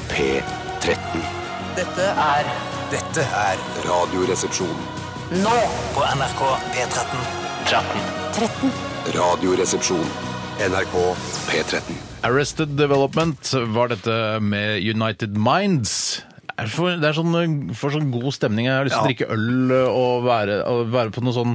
Speaker 5: P13.
Speaker 6: Dette er
Speaker 5: Dette er Radioresepsjon.
Speaker 6: nå på NRK P13.
Speaker 5: Radioresepsjon. NRK P13.
Speaker 1: Arrested Development var dette med United Minds. Det er For, det er sånn, for sånn god stemning. Jeg har lyst til å drikke øl og være, og være på noen sånn,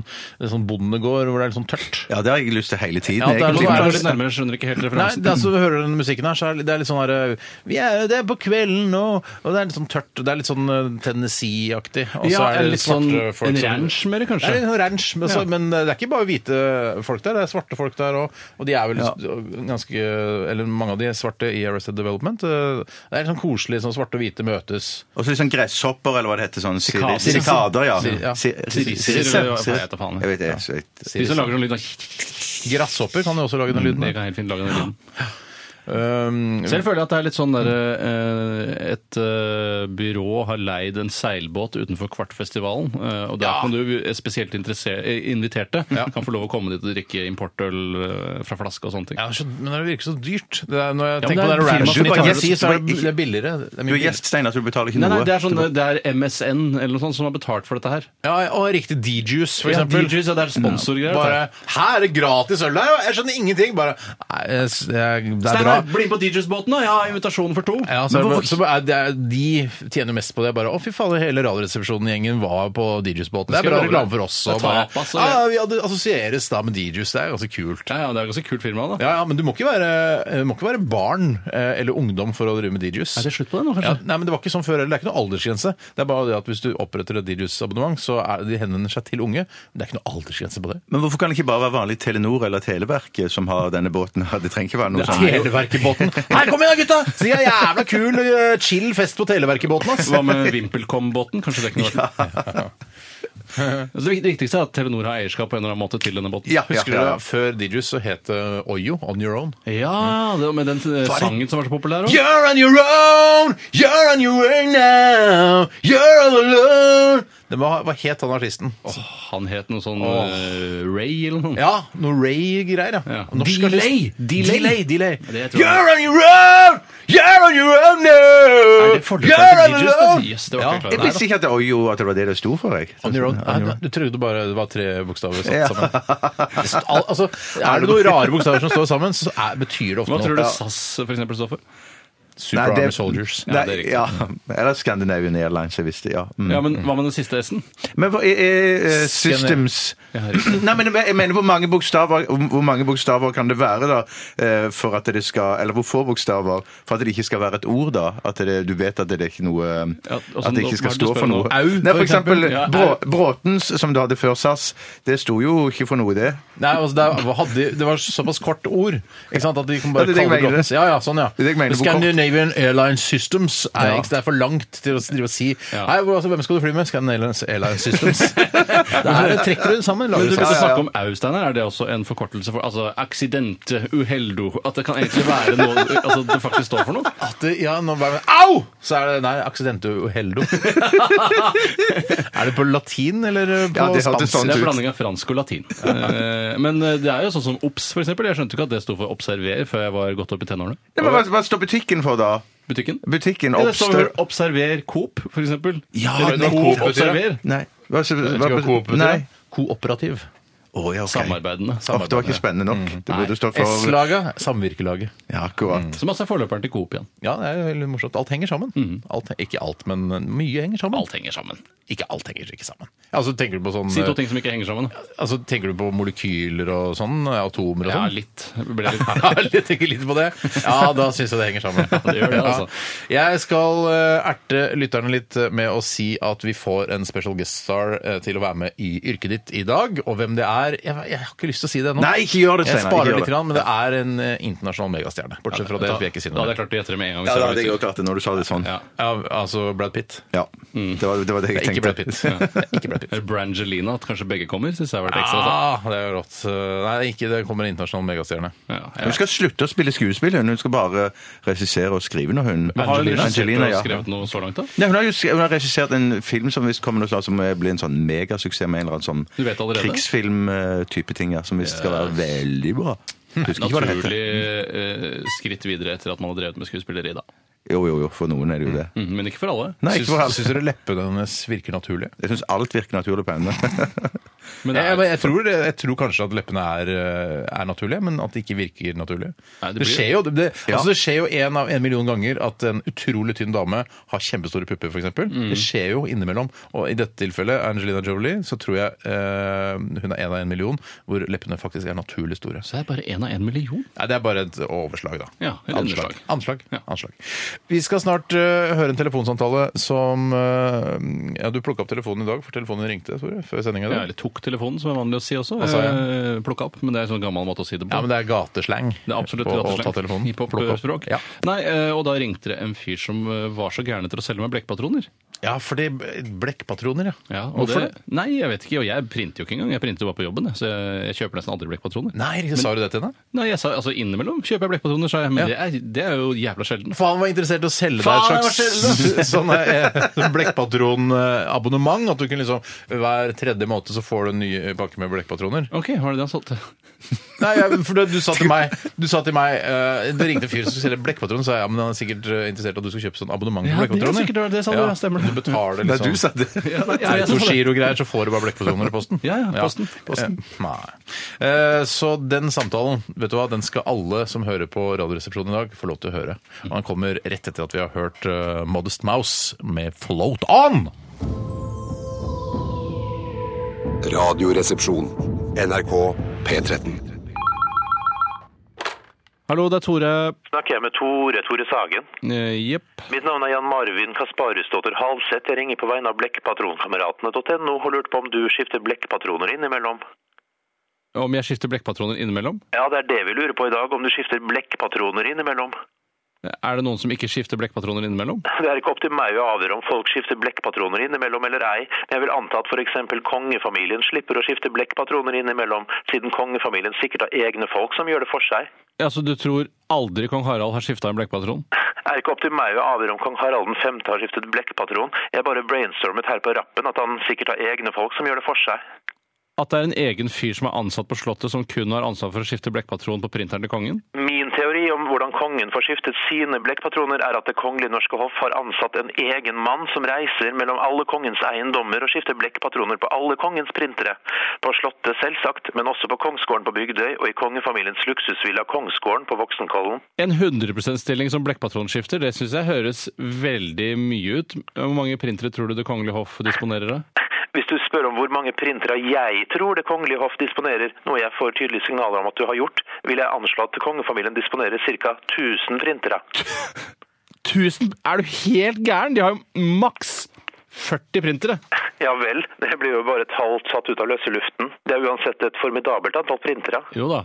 Speaker 1: sånn bondegård hvor det er litt sånn tørt.
Speaker 2: Ja, det har jeg lyst til hele tiden.
Speaker 1: Ja, det er
Speaker 2: egentlig.
Speaker 3: Nå er jeg
Speaker 1: Litt
Speaker 3: litt nærmere, skjønner ikke helt
Speaker 1: Nei,
Speaker 3: referansen.
Speaker 1: det er altså, hører du den musikken her, så er det- det er litt sånn her vi er, Det er på kvelden nå, og det er litt sånn tørt. og Det er litt sånn eh, Tennessee-aktig. Og så
Speaker 3: Ja,
Speaker 1: er det
Speaker 3: en litt sånn
Speaker 1: svarte folk
Speaker 3: en
Speaker 1: som-
Speaker 3: ranch mer,
Speaker 1: Det er
Speaker 3: kanskje?
Speaker 1: en ranch, men, så, men eh, det er ikke bare hvite folk der, det er svarte folk der òg. Og de er vel ganske Eller mange av de er svarte i Arrested Development. eh, Det er litt sånn koselig sånn svarte og hvite møtes.
Speaker 2: Og så litt sånn gresshopper, eller hva det heter. sånn
Speaker 3: Sikader.
Speaker 2: siri- Sikader, ja.
Speaker 1: Siri- ja.
Speaker 2: Si- si-
Speaker 3: Sirisser,
Speaker 2: sirisser.
Speaker 3: eller hva faen heter faen.
Speaker 2: Jeg vet det. så jeg-
Speaker 3: De som lager sånn lyd av
Speaker 1: Gresshopper kan jo også lage den lyden.
Speaker 3: Det kan helt fint lage den lyden. Mm.
Speaker 1: Um,
Speaker 3: Selv føler jeg at det er litt sånn der eh, Et eh, byrå har leid en seilbåt utenfor Kvartfestivalen, eh, og der
Speaker 1: Ja.
Speaker 3: kan du eh, spesielt interesser- eh, inviterte
Speaker 1: Ja.
Speaker 3: kan få lov å komme dit og drikke importøl eh, fra flaske og sånne ting.
Speaker 1: ja, så, men det virker så dyrt. Det er,
Speaker 3: Ja,
Speaker 1: når jeg
Speaker 3: men
Speaker 1: tenker på
Speaker 3: det er
Speaker 1: den
Speaker 3: firma
Speaker 1: ranchen
Speaker 2: som
Speaker 1: i
Speaker 2: betaler-
Speaker 1: Tennessee, så
Speaker 2: du
Speaker 1: er det,
Speaker 2: bare-
Speaker 1: det er billigere. Det er mye
Speaker 2: Du er
Speaker 1: billigere.
Speaker 2: gjest, Steinar, så du betaler ikke
Speaker 3: Nei,
Speaker 2: noe.
Speaker 3: nei, det er, sånn, det er MSN eller noe sånt som har betalt for dette her.
Speaker 1: Ja, og riktig D-juice, for
Speaker 3: Ja,
Speaker 1: eksempel.
Speaker 3: DJs, ja, det er sponsorgreier.
Speaker 1: Bare, her er det gratis øl der, og jeg skjønner ingenting. Bare, nei, jeg s- jeg- det er bra.
Speaker 3: Steinar, bli med på DJs-båten, da! Jeg har invitasjon for to.
Speaker 1: Ja, så, er det
Speaker 2: Men
Speaker 1: bare-
Speaker 2: hvorfor-
Speaker 1: så er det, er- de tjener mest på det. Bare, å fy faen, hele radioresepsjonen-gjengen var på DJs-båten. Det er
Speaker 3: Skal jeg
Speaker 1: bra
Speaker 3: love
Speaker 1: reklame
Speaker 3: deg.
Speaker 1: for oss.
Speaker 3: Det er altså.
Speaker 1: Og bare,
Speaker 3: tapas, og-
Speaker 1: ja, vi hadde- assosieres da med DJs, det er ganske kult.
Speaker 3: Ja, ja, det er et ganske kult firma, da.
Speaker 1: Ja, ja, men du må ikke være, eh, må ikke være barn eh, eller ungdom for å drive med DJs.
Speaker 3: Er det slutt på det nå,
Speaker 1: Ja,
Speaker 3: kanskje?
Speaker 1: nei, men Det var ikke sånn før heller. Det er ikke noe aldersgrense. Det er bare det at Hvis du oppretter et Dirius-abonnement, så er de henvender seg til unge. Men det er ikke noe aldersgrense på det.
Speaker 2: Men hvorfor kan det ikke bare være vanlig Telenor eller Televerket som har denne båten? her? Det trenger ikke være noe sånn.
Speaker 1: Televerkebåten. Her, kom igjen, da, gutta! Så de er jævla kul eh, chill fest på Televerkebåten, ass.
Speaker 3: Hva med VimpelCom-båten? Kanskje det kunne vært Så Altså, Det viktigste er at Telenor har eierskap på en eller annen måte til denne båten.
Speaker 2: Ja, ja,
Speaker 1: Husker
Speaker 2: ja.
Speaker 1: du da, før Dirius så het det Oyo, On Your Own?
Speaker 3: Ja, det var med den eh, sangen som var så populær òg.
Speaker 1: You're on your own, you're on your own now, you're all alone Det var, Hva het han artisten?
Speaker 3: Han het noe sånn eh, Ray eller noe.
Speaker 1: Ja, noe Ray-greier, ja.
Speaker 3: Ja.
Speaker 1: Norsk
Speaker 3: Delay.
Speaker 1: artist. Delay. Delay.
Speaker 3: Det tror jeg.
Speaker 1: You're on your own! You're on your own now!
Speaker 3: Er det forløperen til DJs? da? Yes, det var ikke
Speaker 2: Jeg
Speaker 1: Ja,
Speaker 3: jeg klar over.
Speaker 2: visste ikke at det, oi, jo, at det var det det sto for. Jeg.
Speaker 1: On your own. Nei, du trodde bare det var tre bokstaver satt
Speaker 2: Ja.
Speaker 1: sammen. Al- Altså, er det noen rare bokstaver som står sammen, så er, betyr det ofte
Speaker 3: Hva
Speaker 1: noe.
Speaker 3: tror du SAS for eksempel står for?
Speaker 1: Super
Speaker 2: Nei, det-
Speaker 1: Army Soldiers.
Speaker 2: Nei,
Speaker 3: det er riktig.
Speaker 2: ja. Eller Scandinavian Airlines, jeg visste, ja. Mm.
Speaker 3: Ja, men Hva med den siste S-en?
Speaker 2: Men hva er, er eh, systems Nei, men jeg mener hvor mange bokstaver Hvor mange bokstaver kan det være da eh, for at det skal Eller hvor få bokstaver for at det ikke skal være et ord, da? At det, du vet at det ikke er noe
Speaker 3: Ja, og så
Speaker 1: sånn
Speaker 2: At det
Speaker 3: nå-
Speaker 2: ikke
Speaker 3: hva
Speaker 2: skal
Speaker 3: er det du
Speaker 2: stå
Speaker 3: spør
Speaker 2: for
Speaker 3: nå?
Speaker 2: noe.
Speaker 1: Au,
Speaker 2: Nei,
Speaker 1: for
Speaker 2: for eksempel
Speaker 1: eksempel?
Speaker 3: Ja,
Speaker 2: Brå,
Speaker 3: au.
Speaker 2: Bråtens, som du hadde før SAS, det sto jo ikke for noe, det.
Speaker 1: Nei, altså, det, hadde, det var såpass kort ord ikke sant, at de kan bare
Speaker 2: Ja, det er det jeg
Speaker 1: kalle det
Speaker 2: mener.
Speaker 1: Glockens. Ja, ja, sånn, ja.
Speaker 2: Det er det jeg mener, hvor kort.
Speaker 1: Scandinavian Airlines Systems er,
Speaker 2: Ja.
Speaker 1: ikke- Det er for langt til å drive og si
Speaker 3: Ja.
Speaker 1: Nei, hvor- altså, Hvem skal du fly med? Scandinavian Airlines Systems. Der trekker du det sammen.
Speaker 3: Men
Speaker 1: Lager
Speaker 3: du
Speaker 1: det
Speaker 3: begynte
Speaker 1: sammen.
Speaker 3: å snakke om au, Steinar. Er det også en forkortelse for altså, aksidente, uheldo? At det kan egentlig være noe altså, det faktisk står for noe?
Speaker 1: At det, ja, nå bare, Au! Så er det Nei, accidente uheldo. er det på latin eller eh, på
Speaker 2: Ja, det hørtes
Speaker 1: spansk?
Speaker 2: sånn
Speaker 3: Det er
Speaker 2: ut.
Speaker 3: blanding av fransk og latin. Eh, Men eh, det er jo sånn som obs, for eksempel. Jeg skjønte ikke at det sto for observer før jeg var godt opp i tenårene.
Speaker 2: Nei, men hva, hva står butikken for, da?
Speaker 3: Butikken.
Speaker 2: Butikken
Speaker 3: Ja, det står vel
Speaker 2: oppstår
Speaker 3: observer Coop, for eksempel.
Speaker 2: Ja,
Speaker 3: Eller
Speaker 2: nettopp.
Speaker 3: Coop observer.
Speaker 2: Nei. Hva, hva,
Speaker 1: Vet ikke hva Coop betyr,
Speaker 2: nei.
Speaker 1: da? Kooperativ.
Speaker 2: Å, ja, ok.
Speaker 3: Samarbeidende.
Speaker 2: Åh, det var ikke spennende nok.
Speaker 1: Mm.
Speaker 2: Det burde stå for
Speaker 1: S-laget. Samvirkelaget.
Speaker 2: Ja,
Speaker 1: Mm.
Speaker 2: akkurat.
Speaker 3: Som altså er forløperen til Coop igjen.
Speaker 1: Ja, det er jo veldig morsomt. Alt henger sammen. Alt, ikke alt, men mye henger sammen.
Speaker 3: Alt henger sammen.
Speaker 1: Ikke alt henger ikke sammen. Altså, tenker du på sånn
Speaker 3: Si to ting som ikke henger sammen. da.
Speaker 1: Altså, tenker du på molekyler og sånn? Atomer og
Speaker 3: Ja,
Speaker 1: sånn?
Speaker 3: litt. Jeg Ble litt
Speaker 1: Ja, jeg tenker litt på det. Ja, da syns jeg det henger sammen.
Speaker 3: det gjør det, altså.
Speaker 1: Ja. Jeg skal eh, erte lytterne litt med å si at vi får en special guest star eh, til å være med i yrket ditt i dag. Og hvem det er Jeg, jeg har ikke lyst til å si det ennå.
Speaker 2: Nei, ikke gjør det,
Speaker 1: Jeg
Speaker 2: Steinar, ikke
Speaker 1: sparer
Speaker 2: gjør
Speaker 1: litt,
Speaker 2: det.
Speaker 1: grann, men det er en eh, internasjonal megastjerne. Bortsett fra det
Speaker 3: Da
Speaker 1: vil jeg ikke si
Speaker 3: da
Speaker 1: noe
Speaker 3: hadde
Speaker 1: mer.
Speaker 3: jeg klart å gjette det med en gang.
Speaker 2: Ja,
Speaker 3: hvis jeg
Speaker 2: da hadde jeg
Speaker 3: var
Speaker 2: også klart det når du sa det sånn.
Speaker 3: Ja. Mm.
Speaker 1: Ja, altså Brad Pitt.
Speaker 2: Ja. Det, var, det var det jeg
Speaker 1: Det
Speaker 2: tenkte.
Speaker 1: er ikke Brad Pitt.
Speaker 3: Ja.
Speaker 1: Det er Ikke Brad Pitt.
Speaker 3: Eller Brangelina, at kanskje begge kommer, syns jeg har vært ekstra.
Speaker 1: Ah, det er jo rått. Nei, ikke det kommer en internasjonal megastjerne.
Speaker 3: Ja, ja.
Speaker 2: Hun skal slutte å spille skuespill. Hun Hun skal bare regissere og skrive når hun
Speaker 3: Har du regissert
Speaker 2: Angelina,
Speaker 3: og
Speaker 2: ja.
Speaker 3: skrevet noe så langt, da?
Speaker 2: Nei, hun, har jo skrevet, hun har regissert en film som visst kommer noe som eh, blir en sånn megasuksess med en eller annen sånn
Speaker 3: Du vet allerede?
Speaker 2: krigsfilm-type ting, ja, som visst skal være veldig bra. Husker ikke hva det heter.
Speaker 3: Naturlig eh, skritt videre etter at man har drevet med skuespilleri, da.
Speaker 2: Jo, jo, jo, for noen er det jo det.
Speaker 3: Mm, men ikke for alle.
Speaker 2: Nei,
Speaker 1: Syns
Speaker 2: ikke for
Speaker 1: syns
Speaker 2: alt.
Speaker 1: dere leppene hennes virker naturlig?
Speaker 2: Jeg syns alt virker naturlig på henne.
Speaker 3: Men det
Speaker 1: Jeg,
Speaker 3: er,
Speaker 1: jeg, jeg, tror, det- jeg tror kanskje at leppene er, eh, er naturlige, men at det ikke virker naturlig.
Speaker 3: Nei, det
Speaker 1: det,
Speaker 3: blir-
Speaker 1: skjer jo, det, det,
Speaker 2: Ja.
Speaker 1: altså, det skjer jo en av en million ganger at en utrolig tynn dame har kjempestore pupper, f.eks. eksempel
Speaker 3: Mm.
Speaker 1: Det skjer jo innimellom. Og i dette tilfellet, Angelina Jolie, så tror jeg eh, hun er en av en million hvor leppene faktisk er naturlig store.
Speaker 3: så er det bare én av en million.
Speaker 1: Nei, det er bare et overslag, da.
Speaker 3: Ja, et
Speaker 1: Anslag.
Speaker 3: underslag.
Speaker 1: Anslag.
Speaker 3: Ja.
Speaker 1: Anslag. Vi skal snart eh, høre en telefonsamtale som eh, Ja, du plukka opp telefonen i dag, for telefonen ringte Tore, før sendinga.
Speaker 3: Ja, eller tok telefonen, som er vanlig å si også.
Speaker 1: sa jeg?
Speaker 3: Eh, Plukka opp, men det er en sånn gammel måte å si det på.
Speaker 1: Ja, men det er gatesleng.
Speaker 3: Det er absolutt
Speaker 1: Å-
Speaker 3: gateslang.
Speaker 1: Å ta telefonen. Plukke opp.
Speaker 3: Hiphop-språk.
Speaker 1: Ja.
Speaker 3: Nei, eh, og da ringte det en fyr som eh, var så gæren etter å selge meg blekkpatroner.
Speaker 1: ja, fordi blekkpatroner, ja.
Speaker 3: og
Speaker 1: Hvorfor det?
Speaker 3: Nei, jeg vet ikke. Og jeg printer jo ikke engang. Jeg printer jo bare på jobben, jeg, så jeg, jeg kjøper nesten aldri blekkpatroner.
Speaker 1: Nei, sa du det til henne?
Speaker 3: Nei, jeg sa, altså Innimellom kjøper jeg blekkpatroner, sa jeg, men
Speaker 1: Ja.
Speaker 3: det, er, det er jo jævla sjelden.
Speaker 1: Faen var interessert i å selge
Speaker 3: Faen,
Speaker 1: deg et slags sånn eh, blekkpatronabonnement. At du kunne liksom hver tredje måned så får du en ny pakke med blekkpatroner.
Speaker 3: OK, var det det han solgte?
Speaker 1: Nei, jeg- for du, du sa til meg, du sa til meg eh, Det ringte en fyr som selger blekkpatroner, sa jeg, ja, men han er sikkert eh, interessert i at du skal kjøpe sånn abonnement på
Speaker 3: Ja, det er
Speaker 1: blekkpatroner.
Speaker 3: sikkert det var det, sa du, ja, stemmer det.
Speaker 1: Du betaler
Speaker 2: Nei,
Speaker 1: liksom
Speaker 2: du sa det.
Speaker 3: sånn. Ja, jeg sa det.
Speaker 1: Giro-greier, så får du bare blekkpatroner i posten.
Speaker 3: Ja, ja, posten.
Speaker 1: Posten. Eh, nei. Eh, så den samtalen, vet du hva, den skal alle som hører på Radioresepsjonen i dag, få lov til å høre. Og den kommer rett etter at vi har hørt eh, Modest Mouse med Float On!
Speaker 5: Radioresepsjon. NRK P13.
Speaker 3: Hallo, det er Tore.
Speaker 7: Snakker jeg med Tore Tore Sagen.
Speaker 3: Eh, Jepp.
Speaker 7: Mitt navn er Jan Marvin Kasparusdotter Halseth. Jeg ringer på vegne av blekkpatronkameratene.no og lurte på om du skifter blekkpatroner innimellom.
Speaker 3: Om jeg skifter blekkpatroner innimellom?
Speaker 7: Ja, det er det vi lurer på i dag, om du skifter blekkpatroner innimellom.
Speaker 3: Er det noen som ikke skifter blekkpatroner innimellom?
Speaker 7: Det er ikke opp til meg å avgjøre om folk skifter blekkpatroner innimellom eller ei, men jeg vil anta at f.eks. kongefamilien slipper å skifte blekkpatroner innimellom, siden kongefamilien sikkert har egne folk som gjør det for seg.
Speaker 3: Ja, så du tror aldri kong Harald har skifta en blekkpatron?
Speaker 7: er ikke opp til meg å avgjøre om kong Harald 5. har skiftet blekkpatron. Jeg bare brainstormet her på rappen at han sikkert har egne folk som gjør det for seg.
Speaker 3: At det er en egen fyr som er ansatt på Slottet som kun har ansvar for å skifte blekkpatron på printeren til kongen?
Speaker 7: Min teori om hvordan kongen får skiftet sine blekkpatroner, er at Det kongelige norske hoff har ansatt en egen mann som reiser mellom alle kongens eiendommer og skifter blekkpatroner på alle kongens printere. På Slottet, selvsagt, men også på Kongsgården på Bygdøy og i kongefamiliens luksusvilla Kongsgården på Voksenkollen.
Speaker 3: En 100 %-stilling som blekkpatronskifter, det syns jeg høres veldig mye ut. Hvor mange printere tror du Det kongelige hoff disponerer av?
Speaker 7: Hvis du spør om hvor mange printere jeg tror Det kongelige hoff disponerer, noe jeg får tydelige signaler om at du har gjort, vil jeg anslå at kongefamilien disponerer ca. 1000 printere.
Speaker 3: 1000? Er du helt gæren? De har jo maks 40 printere.
Speaker 7: Ja vel, det blir jo bare et halvt satt ut av løse luften. Det er uansett et formidabelt antall printere.
Speaker 3: Jo da.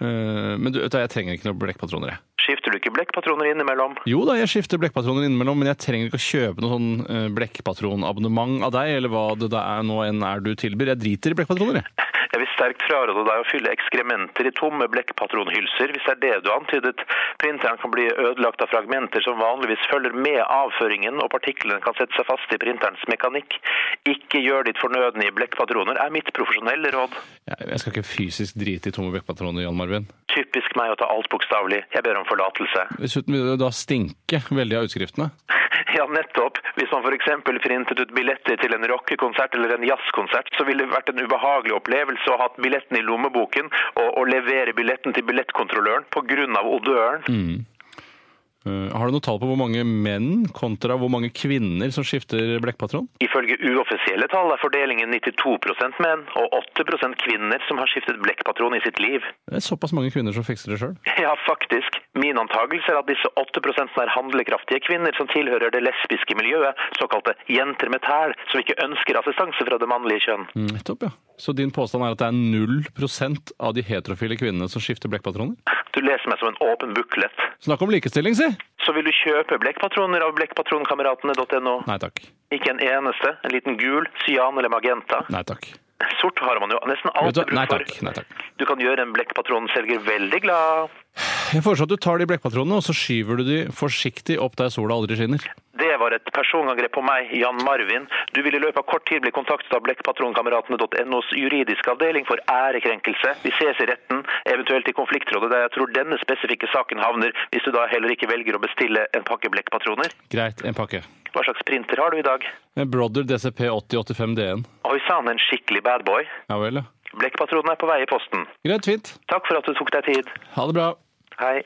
Speaker 3: Eh, Men du, vet du, jeg trenger ikke noen blekkpatroner, jeg.
Speaker 7: Skifter du ikke blekkpatroner innimellom?
Speaker 3: Jo da, jeg skifter blekkpatroner innimellom, men jeg trenger ikke å kjøpe noe sånn eh, blekkpatronabonnement av deg, eller hva det da er nå enn er du tilbyr. Jeg driter i blekkpatroner, jeg.
Speaker 7: Jeg vil sterkt fraråde deg å fylle ekskrementer i tomme blekkpatronhylser, hvis det er det du antydet. Printeren kan bli ødelagt av fragmenter som vanligvis følger med avføringen, og partiklene kan sette seg fast i printerens mekanikk. Ikke gjør ditt fornødne i blekkpatroner, er mitt profesjonelle råd.
Speaker 3: Jeg jeg skal ikke fysisk drite i tomme blekkpatroner, Jan Marvin.
Speaker 7: Typisk meg å ta alt bokstavelig. Jeg ber om forlatelse.
Speaker 3: Dessuten vil det da stinke veldig av utskriftene.
Speaker 7: Ja, nettopp. Hvis man f.eks. printet ut billetter til en rockekonsert eller en jazzkonsert, så ville det vært en ubehagelig opplevelse å ha hatt billetten i lommeboken og, og levere billetten til billettkontrolløren pga. odøren.
Speaker 3: Eh, har du noe tall på hvor mange menn kontra hvor mange kvinner som skifter blekkpatron?
Speaker 7: Ifølge uoffisielle tall er fordelingen 92 menn og 8 kvinner som har skiftet blekkpatron i sitt liv.
Speaker 3: Det er såpass mange kvinner som fikser det sjøl.
Speaker 7: Ja, faktisk. Min antagelse er at disse 8 er handlekraftige kvinner som tilhører det lesbiske miljøet, såkalte jenter med tæl, som ikke ønsker assistanse fra det mannlige kjønn.
Speaker 3: Mm, Nettopp, ja. Så din påstand er at det er 0 av de heterofile kvinnene som skifter blekkpatroner?
Speaker 7: Du leser meg som en åpen buklet.
Speaker 3: Snakk om likestilling, si!
Speaker 7: Så vil du kjøpe blekkpatroner av blekkpatronkameratene.no?
Speaker 3: Nei takk.
Speaker 7: Ikke en eneste. En liten gul, cyan eller magenta.
Speaker 3: Nei takk.
Speaker 7: Sort har man jo nesten
Speaker 3: Vet du
Speaker 7: alltid
Speaker 3: hva? Nei
Speaker 7: bruk
Speaker 3: takk.
Speaker 7: for.
Speaker 3: Nei takk.
Speaker 7: Du kan gjøre en blekkpatronselger veldig glad.
Speaker 3: Jeg foreslår at du tar de blekkpatronene og så skyver du de forsiktig opp der sola aldri skinner.
Speaker 7: Det var et personangrep på meg, Jan Marvin. Du vil i løpet av kort tid bli kontaktet av blekkpatronkameratene.nos juridiske avdeling for ærekrenkelse. Vi ses i retten, eventuelt i konfliktrådet, der jeg tror denne spesifikke saken havner, hvis du da heller ikke velger å bestille en pakke blekkpatroner.
Speaker 3: Greit, en pakke.
Speaker 7: Hva slags printer har du i dag?
Speaker 3: En Brother DCP 8085 DN.
Speaker 7: Oi sann, en skikkelig badboy.
Speaker 3: Ja vel, ja.
Speaker 7: Blekkpatronen er på vei i posten.
Speaker 3: Greit, fint.
Speaker 7: Takk for at du tok deg tid.
Speaker 3: Ha det bra.
Speaker 7: Hei.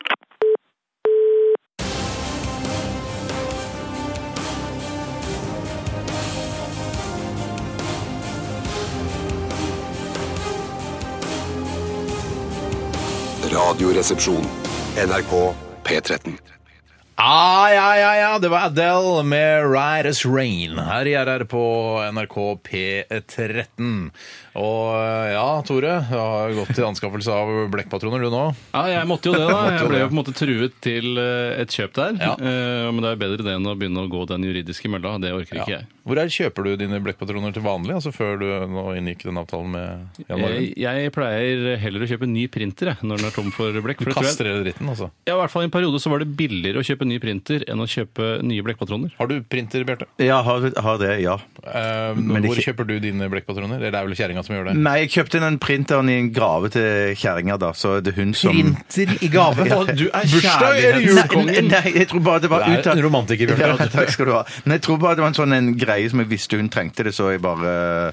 Speaker 5: Radioresepsjon. NRK P13.
Speaker 1: Ah, ja, ja, ja, det var Adele med Ride As Rain her i RR på NRK P13. Og eh, ja, Tore, du har gått til anskaffelse av blekkpatroner du nå.
Speaker 3: Ja, jeg måtte jo det, da.
Speaker 1: Måtte jo
Speaker 3: Jeg ble jo
Speaker 1: det.
Speaker 3: på en måte truet til eh, et kjøp der.
Speaker 1: Ja.
Speaker 3: Eh, Men det er jo bedre det enn å begynne å gå den juridiske mølla. Det orker ikke jeg.
Speaker 1: Hvor er, kjøper du dine blekkpatroner til vanlig, altså før du nå inngikk den avtalen med Jan Marvin?
Speaker 3: Jeg, jeg pleier heller å kjøpe ny printer jeg, når den er tom for blekk. for
Speaker 1: Du
Speaker 3: det tror jeg-
Speaker 1: kaster hele dritten, altså.
Speaker 3: Ja, i hvert fall I en periode så var det billigere å kjøpe ny printer enn å kjøpe nye blekkpatroner.
Speaker 1: Har du printer, Bjarte?
Speaker 2: Ja, har, har det, ja.
Speaker 1: Eh,
Speaker 2: Men
Speaker 1: hvor
Speaker 2: ikke-
Speaker 1: kjøper du dine blekkpatroner? Eller det er vel kjerringa som gjør det?
Speaker 2: Nei, jeg kjøpte den printeren i en grave til kjerringa, da, så det er hun som
Speaker 1: i gave? Du er
Speaker 3: Bursdag eller
Speaker 1: kjærlighets-
Speaker 2: Nei, nei, nei, jeg tror bare det var
Speaker 1: Du er
Speaker 2: uttalt-
Speaker 1: en romantiker, Bjørn.
Speaker 2: Ja, takk skal du ha. Men jeg tror bare det var en sånn en greie som jeg visste hun trengte det, så jeg bare eh,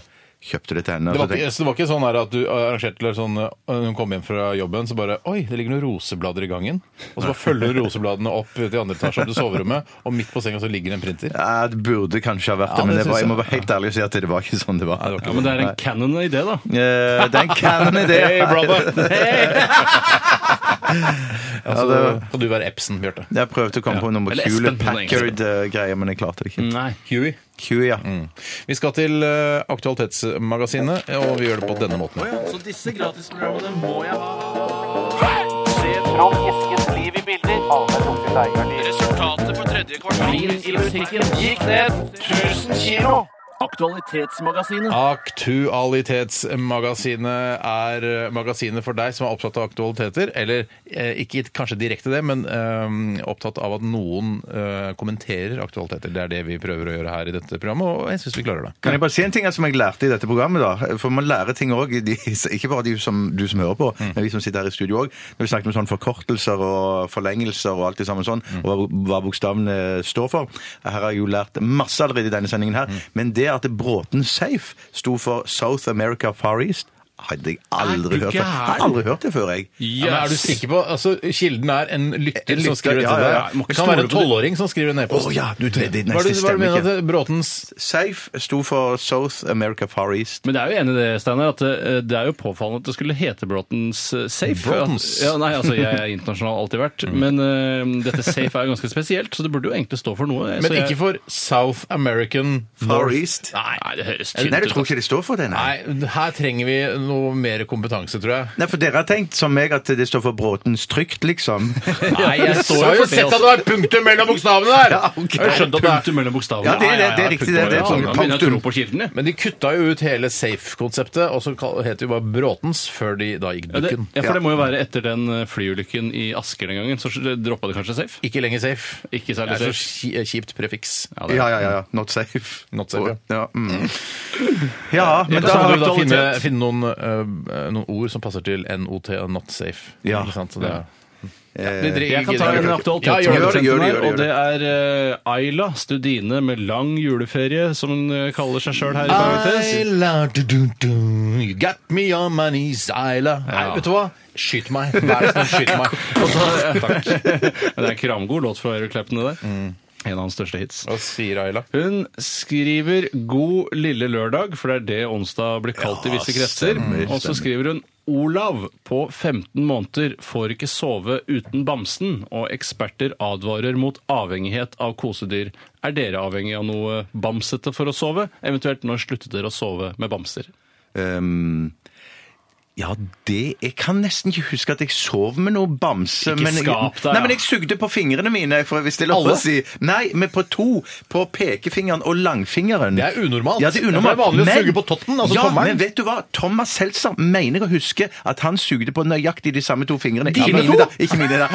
Speaker 2: kjøpte det til henne.
Speaker 1: Det
Speaker 2: og
Speaker 1: var,
Speaker 2: så tenkte
Speaker 1: ikke, så det var ikke sånn her at du arrangerte eller sånn, øh, Hun kom hjem fra jobben, så bare Oi, det ligger noen roseblader i gangen. Og så bare følger hun rosebladene opp til andre etasje opp til soverommet, og midt på senga så ligger det en printer.
Speaker 2: ja, det burde kanskje ha vært det,
Speaker 1: Ja,
Speaker 2: men
Speaker 1: det
Speaker 2: det var,
Speaker 1: synes
Speaker 2: jeg må
Speaker 1: jeg.
Speaker 2: være helt ærlig og si at det var ikke sånn det var.
Speaker 1: Nei, det var
Speaker 3: Ja,
Speaker 1: ikke
Speaker 3: Men
Speaker 1: det.
Speaker 3: det er en canon idé, da.
Speaker 2: Eh, det er en canon idé.
Speaker 1: Hey, brother!
Speaker 2: Ja,
Speaker 1: Altså,
Speaker 2: det-
Speaker 1: kan du være Epsen, Bjarte?
Speaker 2: Jeg prøvde å komme
Speaker 3: Ja.
Speaker 2: på noe med
Speaker 3: Eller
Speaker 2: Hewlett
Speaker 3: Espen, på den engelske. Mm.
Speaker 2: Packard-greier, eh, men jeg klarte det ikke.
Speaker 3: Nei.
Speaker 1: Huey.
Speaker 2: Q, ja.
Speaker 1: Mm. Vi skal til øh, Aktualitetsmagasinet, og vi gjør det på denne måten.
Speaker 3: Så disse gratisprogrammene må jeg ha. Resultatet på tredje kvartal gikk ned 1000 kilo. Aktualitetsmagasinet.
Speaker 1: Aktualitetsmagasinet er eh, magasinet for deg som er opptatt av aktualiteter, eller eh, ikke kanskje direkte det, men eh, opptatt av at noen eh, kommenterer aktualiteter. Det er det vi prøver å gjøre her i dette programmet, og jeg syns vi klarer det.
Speaker 2: Kan jeg bare si en ting altså, som jeg lærte i dette programmet? da? For man lærer ting òg, ikke bare de som, du som hører på, men vi som sitter her i studio òg. Når vi snakker om sånne forkortelser og forlengelser og alt det samme sånn, og hva, hva bokstavene står for. Her har jeg jo lært masse allerede i denne sendingen her. Men det at Bråten Safe sto for South America Far East, hadde jeg aldri
Speaker 3: du
Speaker 2: hørt før. Jeg har aldri hørt det før, jeg.
Speaker 1: Ja, men er du sikker på altså, Kilden er en
Speaker 2: En
Speaker 1: lytter,
Speaker 2: lytter,
Speaker 1: som skriver
Speaker 2: ja,
Speaker 1: dette.
Speaker 2: ja,
Speaker 1: der.
Speaker 2: ja. Må
Speaker 1: Det
Speaker 2: ikke
Speaker 1: kan
Speaker 2: stole
Speaker 1: være en
Speaker 2: på det.
Speaker 1: tolvåring som skriver en
Speaker 2: Å
Speaker 1: e-post.
Speaker 2: ja, du, det, det neste
Speaker 1: hva er det hva er det du
Speaker 2: stemmer
Speaker 1: mener
Speaker 2: ikke.
Speaker 1: at Bråtens
Speaker 2: Safe sto for South America Far East.
Speaker 3: Men det er jo enig i det, Steinar, at eh, det er jo påfallende at det skulle hete Bråtens eh, Safe.
Speaker 1: Bråtens?
Speaker 3: At- Ja, nei, altså, jeg er internasjonal alltid vært, men eh, dette Safe er jo ganske spesielt, så det burde jo egentlig stå for noe.
Speaker 1: Men
Speaker 3: så jeg-
Speaker 1: ikke for South American
Speaker 2: Far
Speaker 1: North-
Speaker 2: East?
Speaker 3: Nei, det høres
Speaker 2: Nei,
Speaker 3: tynt
Speaker 2: du
Speaker 3: ut.
Speaker 2: tror ikke det står for det? Nei.
Speaker 1: Nei, her trenger vi noe mer kompetanse, tror jeg.
Speaker 2: Nei, for dere har tenkt som meg at det står for Bråtens trygt, liksom.
Speaker 1: Nei, jeg
Speaker 3: altså. står jo for det altså. også.
Speaker 1: var punktum mellom bokstavene der!
Speaker 2: Ja, ok.
Speaker 1: Jeg skjønte at det er-
Speaker 3: Punktum mellom bokstavene.
Speaker 2: Ja, det er det, det er riktig, det er sånn det.
Speaker 3: punktum.
Speaker 1: sånn
Speaker 3: Ja, da begynner jeg å tro på kilden, jeg.
Speaker 1: Men de kutta jo ut hele Safe-konseptet, og så kal- het det jo bare Bråtens før de da gikk
Speaker 3: Ja, det,
Speaker 1: dukken.
Speaker 3: ja, for det må jo være etter den eh, flyulykken i Asker den gangen, så droppa det kanskje Safe?
Speaker 1: Ikke lenger Safe.
Speaker 3: Ikke
Speaker 1: Det
Speaker 3: særlig
Speaker 1: er så
Speaker 3: Safe.
Speaker 1: ki- kjipt prefiks.
Speaker 3: Ja, det er-
Speaker 2: Ja, ja, ja. Not safe.
Speaker 1: Not safe, ja.
Speaker 2: ja. Mm. ja men
Speaker 1: Men
Speaker 2: da
Speaker 1: så må
Speaker 2: har
Speaker 1: du da
Speaker 2: vi
Speaker 1: eh, finne, finne noen, øh, noen ord som passer til NOT og Not Safe.
Speaker 2: Ja.
Speaker 1: Ikke sant? Så det, er-
Speaker 2: Eh,
Speaker 3: Jeg kan ta en aktuell
Speaker 1: Ja, gjør
Speaker 2: gjør det,
Speaker 1: det.
Speaker 2: gjør
Speaker 3: her,
Speaker 2: det, gjør det.
Speaker 3: og det er eh, Ayla, studine med lang juleferie, som hun eh, kaller seg sjøl her i Bergetes.
Speaker 1: Ayla, du, du, du, you got me on my knees, Ayla. Nei, vet du hva? Skyt meg. Vær så snill, skyt meg.
Speaker 3: Og så- Takk. Det er en kramgod låt fra Eric Clapton, det der.
Speaker 2: Mm.
Speaker 3: En av hans største hits.
Speaker 1: Hva sier Ayla?
Speaker 3: Hun skriver 'God lille lørdag', for det er det onsdag blir kalt i visse kretser. og så skriver hun 'Olav på 15 måneder får ikke sove uten bamsen', og eksperter advarer mot avhengighet av kosedyr. Er dere avhengig av noe bamsete for å sove? Eventuelt når sluttet dere å sove med bamser?
Speaker 2: Ehm, ja, det Jeg kan nesten ikke huske at jeg sov med noe bamse.
Speaker 3: Ikke
Speaker 2: men jeg,
Speaker 3: skap deg,
Speaker 2: Nei, men
Speaker 3: ja.
Speaker 2: jeg sugde på fingrene mine, for hvis det er lov å
Speaker 1: Alle?
Speaker 2: si. Nei, men på to. På pekefingeren og langfingeren.
Speaker 1: Det er unormalt.
Speaker 2: Ja, det er
Speaker 1: Det
Speaker 2: unormalt.
Speaker 1: er vanlig å
Speaker 2: Men-
Speaker 1: suge på totten, altså
Speaker 2: ja,
Speaker 1: tommelen.
Speaker 2: Men vet du hva? Thomas Seltzer mener jeg å huske at han sugde på nøyaktig de samme to fingrene. Ikke
Speaker 1: Dine
Speaker 2: mine,
Speaker 1: to?
Speaker 2: da. Ikke mine, da.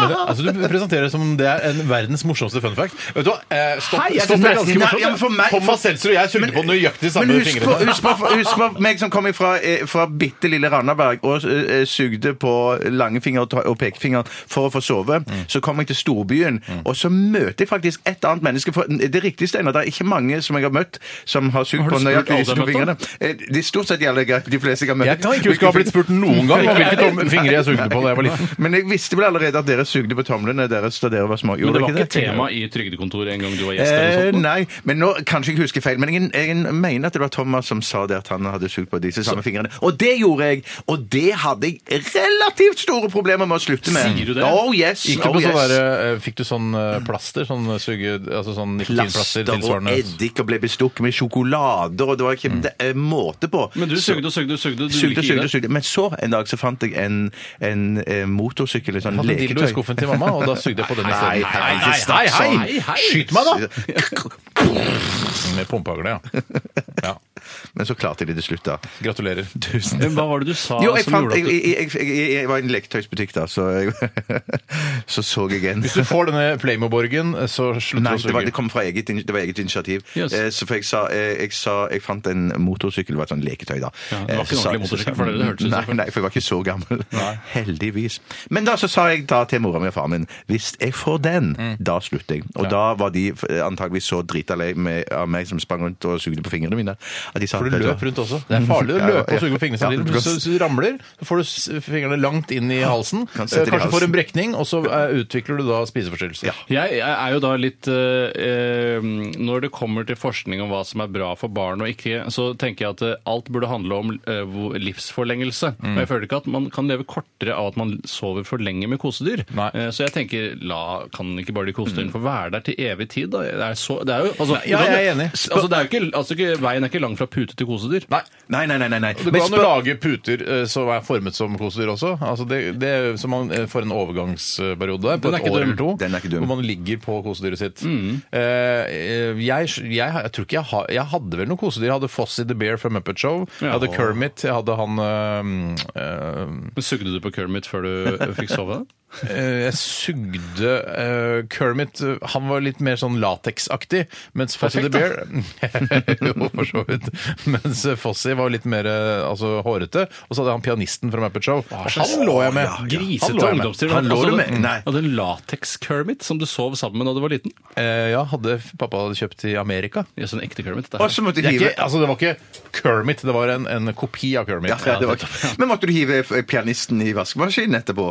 Speaker 1: Men det, altså, du presenterer det som om det er en verdens morsomste fun fact. Vet du hva? Eh, stopp,
Speaker 2: Hei, jeg synes
Speaker 1: stopp, det
Speaker 2: det
Speaker 1: er
Speaker 2: er
Speaker 1: ganske
Speaker 2: nesten- Nei, ja, men for
Speaker 1: morsomt.
Speaker 2: meg-
Speaker 1: Thomas Seltzer og jeg sugde
Speaker 2: Men-
Speaker 1: på nøyaktig de
Speaker 2: Men
Speaker 1: samme
Speaker 2: husk på,
Speaker 1: fingrene.
Speaker 2: husk, på, husk på meg som kommer fra, eh, fra bitte lille Randaberg og eh, sugde på langefinger og ta- og pekefinger for å få sove.
Speaker 1: Mm.
Speaker 2: Så kom jeg til storbyen, og så møter jeg faktisk et annet menneske. For det riktigste er at det er ikke mange som jeg har møtt, som har sugd
Speaker 3: Har du
Speaker 2: på
Speaker 3: spurt
Speaker 2: nøyaktig disse
Speaker 3: alle du
Speaker 2: to
Speaker 3: har
Speaker 2: fingrene.
Speaker 3: møtt,
Speaker 2: Eh, Det er stort sett de, alle, jeg- de fleste jeg har møtt.
Speaker 1: Jeg kan ikke huske å ha blitt spurt noen gang om hvilke tom- fingre jeg sugde på da jeg var liten.
Speaker 2: Men jeg visste vel allerede at dere sugde på tomlene deres da dere var små.
Speaker 3: Men
Speaker 2: Gjorde
Speaker 3: det var
Speaker 2: dere
Speaker 3: ikke tema i Trygdekontoret en gang du var gjest?
Speaker 2: Eh,
Speaker 3: eller noe sånt.
Speaker 2: nei, men nå kanskje jeg husker feil. Men jeg, jeg mener at det var Thomas som sa det at han hadde sugd på disse samme fingrene. Og det gjorde jeg! Og det hadde jeg relativt store problemer med å slutte med.
Speaker 3: Sier du det?
Speaker 2: Oh yes!
Speaker 1: Gikk du
Speaker 2: oh,
Speaker 1: på sånn
Speaker 2: yes.
Speaker 1: der, eh, Fikk du sånn eh, plaster? Sånn suge... Altså sånn nikotinplaster
Speaker 2: Plaster og
Speaker 1: tilsvarende
Speaker 2: eddik og ble bestukket med sjokolader, og det var ikke eh, måte på.
Speaker 3: Mm. Men du
Speaker 2: Så-
Speaker 3: sugde og sugde og sugde. Du ville
Speaker 2: Sugde,
Speaker 3: ikke gi
Speaker 2: sugde,
Speaker 3: deg.
Speaker 2: sugde. Men så en dag så fant jeg en, en eh, motorsykkel, en sånn
Speaker 1: Jeg hadde en dildo i
Speaker 2: leketøy.
Speaker 1: skuffen til mamma, og da sugde jeg på den
Speaker 2: Nei,
Speaker 1: isteden.
Speaker 2: nei, ikke snakk
Speaker 1: hei, hei! Skyt meg, da!
Speaker 2: da!
Speaker 1: Med pumpehagle, ja. ja.
Speaker 2: Men så klarte jeg det til slutt, da.
Speaker 1: Gratulerer.
Speaker 3: Eh, Hva var det du sa
Speaker 2: Jo, jeg,
Speaker 3: som
Speaker 2: fant,
Speaker 3: gjorde at
Speaker 2: jeg,
Speaker 3: du
Speaker 2: jeg, jeg, jeg, jeg var i en leketøysbutikk da, så jeg, så, så jeg en.
Speaker 1: Hvis du får denne Playmo-borgen, så
Speaker 2: Nei,
Speaker 1: slutter du å
Speaker 2: det, var, det
Speaker 1: suge.
Speaker 2: kom fra eget, in- det var eget initiativ.
Speaker 3: Yes.
Speaker 2: Eh, så for jeg sa, eh, jeg sa Jeg fant en motorsykkel, det var et sånt leketøy, da.
Speaker 3: Ja, det var ikke en
Speaker 2: Eh, så sa-
Speaker 3: ordentlig motorsykkel
Speaker 2: så sa-
Speaker 3: for dere, det hørtes ut
Speaker 2: nei,
Speaker 3: som.
Speaker 2: nei, for jeg var ikke så gammel. Heldigvis. Men da så sa jeg da til mora mi og faren min hvis jeg får den, da slutter jeg. Og da var de eh, antageligvis så drita lei med- av meg som sprang rundt og sugde på fingrene mine, at de sa
Speaker 1: For du
Speaker 2: "Vet du hva?"
Speaker 1: løp rundt også. Det er farlig å
Speaker 2: Ja, ja,
Speaker 1: løpe og suge på fingrene
Speaker 2: ja,
Speaker 1: sine.
Speaker 2: du kan-
Speaker 1: Så så du ramler, så får du s- fingrene langt inn i halsen.
Speaker 2: Kan
Speaker 1: Eh,
Speaker 2: sette det i
Speaker 1: Kanskje får
Speaker 2: halsen.
Speaker 1: en brekning, og så eh, utvikler du da spiseforstyrrelser.
Speaker 3: Jeg, jeg er jo da litt eh, eh, Når det kommer til forskning om hva som er bra for barn og ikke, så tenker jeg at eh, alt burde handle om eh, hvor- livsforlengelse.
Speaker 1: Mm.
Speaker 3: Og jeg føler ikke at man kan leve kortere av at man sover for lenge med kosedyr.
Speaker 1: Nei. Mm.
Speaker 3: Eh, så jeg tenker la, kan ikke bare de kosedyrene få være der til evig tid, da? Det er, så, det er jo altså,
Speaker 1: ja, jeg er enig.
Speaker 3: Altså, det er jo ikke, altså, ikke, veien er ikke lang fra pute til kosedyr.
Speaker 1: Nei.
Speaker 2: Nei, nei, nei. nei, nei.
Speaker 1: Det
Speaker 2: Men
Speaker 1: går an å
Speaker 2: spør-
Speaker 1: lage puter eh, som er formet som kosedyr også. Altså det, det, så man eh, får en overgangsperiode der på
Speaker 3: Den er
Speaker 1: et
Speaker 3: ikke
Speaker 1: år
Speaker 3: dum.
Speaker 1: eller to
Speaker 2: Den er ikke dum. Mm.
Speaker 1: hvor man ligger på kosedyret sitt. Eh, eh, jeg, jeg, jeg tror ikke jeg, har- jeg hadde vel noe kosedyr. Jeg hadde Fossy the Bear fra Muppet Show. Jeg
Speaker 3: Ja.
Speaker 1: hadde Kermit. Jeg hadde han eh, eh,
Speaker 3: Men Sugde du på Kermit før du fikk sove?
Speaker 1: Eh, Jeg sugde eh, Kermit eh, Han var litt mer sånn lateksaktig, mens Fossy the Bear Jo, for så vidt. Mens eh, Fossy var litt mer eh, altså, hårete. Og så hadde han pianisten fra Muppet Show. Og han lå jeg med. Han
Speaker 3: Grisete
Speaker 1: lå jeg med.
Speaker 3: ungdomstid.
Speaker 2: Han lå
Speaker 3: Altså,
Speaker 2: du med? Nei.
Speaker 3: Hadde en lateks-Kermit som du sov sammen med da du var liten?
Speaker 1: Eh, ja, hadde pappa kjøpt i Amerika.
Speaker 3: Ja, sånn ekte Kermit. Det
Speaker 2: Og så måtte
Speaker 1: Det,
Speaker 2: jeg
Speaker 1: er
Speaker 2: hive
Speaker 1: ikke, altså, det var ikke Kermit, det var en, en kopi av Kermit.
Speaker 2: Ja, ja, det var... Men måtte du hive f- pianisten i vaskemaskinen etterpå?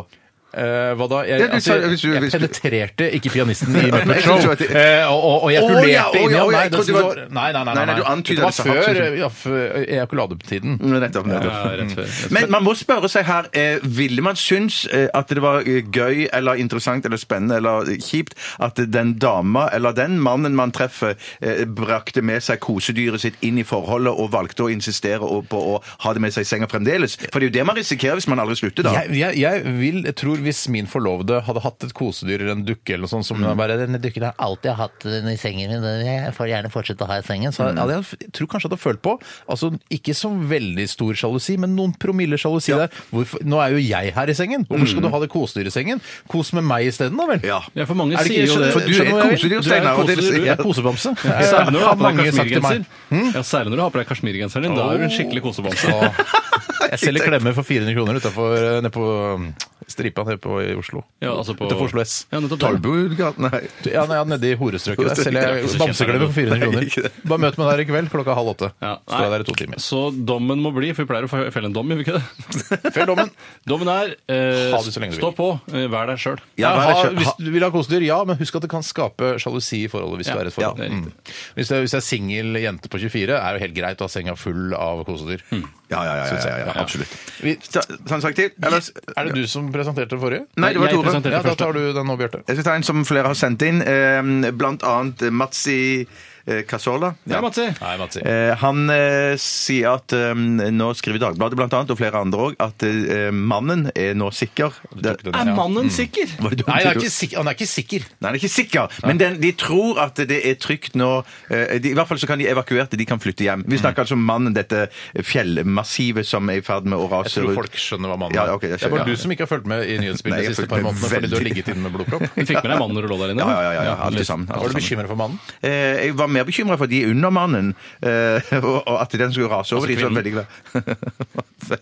Speaker 1: Eh, hva da? Jeg,
Speaker 2: Ja, du
Speaker 1: altså,
Speaker 2: sa- hvis du-
Speaker 1: jeg
Speaker 2: hvis du-
Speaker 1: penetrerte ikke pianisten i Muppet
Speaker 2: jeg
Speaker 1: Show.
Speaker 2: trodde at-
Speaker 1: eh, og, og, og
Speaker 2: Å,
Speaker 1: ejakulerte
Speaker 2: ja, å, ja,
Speaker 1: inni ham.
Speaker 2: å, ja,
Speaker 1: Nei,
Speaker 2: jeg
Speaker 1: det
Speaker 2: trodde det
Speaker 1: som var-
Speaker 2: var-
Speaker 1: nei, nei, nei,
Speaker 2: Nei, nei, du
Speaker 1: nei.
Speaker 2: antydet
Speaker 1: Det var
Speaker 2: det så hardt,
Speaker 1: før eh,
Speaker 2: synes
Speaker 1: ja, f- ejakuladetiden.
Speaker 2: Mm, Nettopp, nettopp.
Speaker 3: Ja, rett før. Rett
Speaker 2: Men man må spørre seg her eh, Ville man synes eh, at det var eh, gøy eller interessant eller spennende eller eh, kjipt at den dama eller den mannen man treffer, eh, brakte med seg kosedyret sitt inn i forholdet og valgte å insistere og- på å ha det med seg i senga fremdeles? For det er jo det man risikerer hvis man aldri slutter, da.
Speaker 1: Jeg, jeg, jeg vil, jeg tror hvis min forlovede hadde hatt et kosedyr eller en dukke eller noe sånt som
Speaker 2: Mm.
Speaker 1: bare, denne dukken har alltid jeg hatt den i sengen min, den- jeg får gjerne fortsette å ha i sengen, så Altså,
Speaker 2: Mm.
Speaker 1: hadde jeg, jeg tror kanskje jeg hadde følt på, altså ikke så veldig stor sjalusi, men noen promille sjalusi der. Hvorfor, nå er jo jeg her i sengen, hvorfor skal du ha det kosedyret i sengen? Kos med meg i stedet da vel?
Speaker 2: Mm. Ja.
Speaker 3: Ja, for mange
Speaker 1: Er det
Speaker 3: sier
Speaker 1: ikke-
Speaker 3: jo det.
Speaker 2: For du er et
Speaker 1: skjønner hva jeg vil?
Speaker 2: kosedyr,
Speaker 1: Du er
Speaker 2: Steinar, og det-
Speaker 1: kosedyr, Jeg er
Speaker 2: ja.
Speaker 1: kosebamse.
Speaker 3: Særlig når du har
Speaker 1: Har
Speaker 3: på deg
Speaker 1: mange sagt til meg. Mm.
Speaker 3: kasjmirgenser. Ja, særlig når du har på deg kasjmirgenseren din. Da er du en skikkelig kosebamse.
Speaker 1: Åh. Jeg selger klemmer for 400 kroner utafor eh, nede på um, stripa nede på i Oslo.
Speaker 3: Ja, altså på-
Speaker 1: Utenfor Oslo S.
Speaker 3: Ja, nettopp det.
Speaker 2: Tolvbudgaten, nei.
Speaker 1: Ja, nei, ja, nede i horestrøket der selger
Speaker 3: Det er ikke
Speaker 1: jeg
Speaker 3: så
Speaker 1: bamseklemmer for 400
Speaker 2: Nei, ikke
Speaker 1: kroner.
Speaker 2: det.
Speaker 1: Bare møt meg der i kveld klokka halv åtte.
Speaker 3: Ja,
Speaker 1: Står
Speaker 3: nei.
Speaker 1: jeg der i to timer.
Speaker 3: Så dommen må bli, for vi pleier å fe- felle en dom, gjør vi ikke det?
Speaker 1: Fell dommen.
Speaker 3: Dommen er eh,
Speaker 1: Ha det så lenge du
Speaker 3: stå
Speaker 1: vil.
Speaker 3: på, eh, vær deg sjøl.
Speaker 1: Ja,
Speaker 2: Ja, vær
Speaker 1: ha,
Speaker 2: deg selv.
Speaker 1: hvis du vil ha kosedyr, ja, men husk at det kan skape sjalusi i forholdet hvis
Speaker 3: Ja,
Speaker 1: du er i et forhold.
Speaker 3: ja, det er
Speaker 1: mm. Hvis du er, hvis du er singel jente på 24, er jo helt greit å ha senga full av kosedyr.
Speaker 3: Mm.
Speaker 2: Ja, ja, ja, ja,
Speaker 1: Synes jeg.
Speaker 2: ja, ja, absolutt.
Speaker 1: Vi-
Speaker 2: Ta- Ta en sak til. Ellers
Speaker 1: Er det du som presenterte den forrige?
Speaker 2: Nei, det var
Speaker 3: Jeg
Speaker 2: Tore.
Speaker 3: presenterte
Speaker 1: Ja, da
Speaker 3: først, da.
Speaker 1: tar du den nå, Bjarte.
Speaker 2: Jeg skal ta en som flere har sendt inn, eh, blant annet eh, Matsi eh, Casola.
Speaker 3: Ja, Matsi.
Speaker 1: Nei, Matsi.
Speaker 2: Eh, Han eh, sier at eh, nå skriver Dagbladet blant annet, og flere andre òg, at eh, mannen er nå sikker. Det,
Speaker 1: den, ja. Mm.
Speaker 3: mannen sikker?
Speaker 2: Var det dumt?
Speaker 1: Nei, han er ikke sikker. Han er ikke sikker.
Speaker 2: Nei, han er ikke sikker, men den, de tror at det er trygt nå. eh, De, I hvert fall så kan de evakuerte, de kan flytte hjem. Vi snakker altså om mannen, dette fjellmassivet som er i ferd med å
Speaker 1: Jeg
Speaker 2: rase
Speaker 1: tror folk skjønner hva mannen
Speaker 2: Ja, ok, jeg
Speaker 1: det er bare
Speaker 2: skjønner.
Speaker 1: du som ikke har fulgt med i
Speaker 2: Nei,
Speaker 1: nyhetsbildet
Speaker 2: jeg
Speaker 1: de siste
Speaker 2: har
Speaker 1: par
Speaker 2: fulgt med
Speaker 1: månedene fordi du har
Speaker 2: veldig.
Speaker 1: ligget inne med blodpropp.
Speaker 3: Du fikk med deg mannen når du lå der inne?
Speaker 2: Ja, ja, ja, ja, ja, alle
Speaker 3: litt.
Speaker 2: sammen, alle
Speaker 1: Var du
Speaker 2: sammen.
Speaker 1: bekymret for mannen?
Speaker 2: Eh, Jeg var mer bekymra for de under mannen, eh, og, og at den skulle rase
Speaker 3: Altså
Speaker 2: over de. Så var
Speaker 3: kvinnen.
Speaker 2: jeg veldig glad.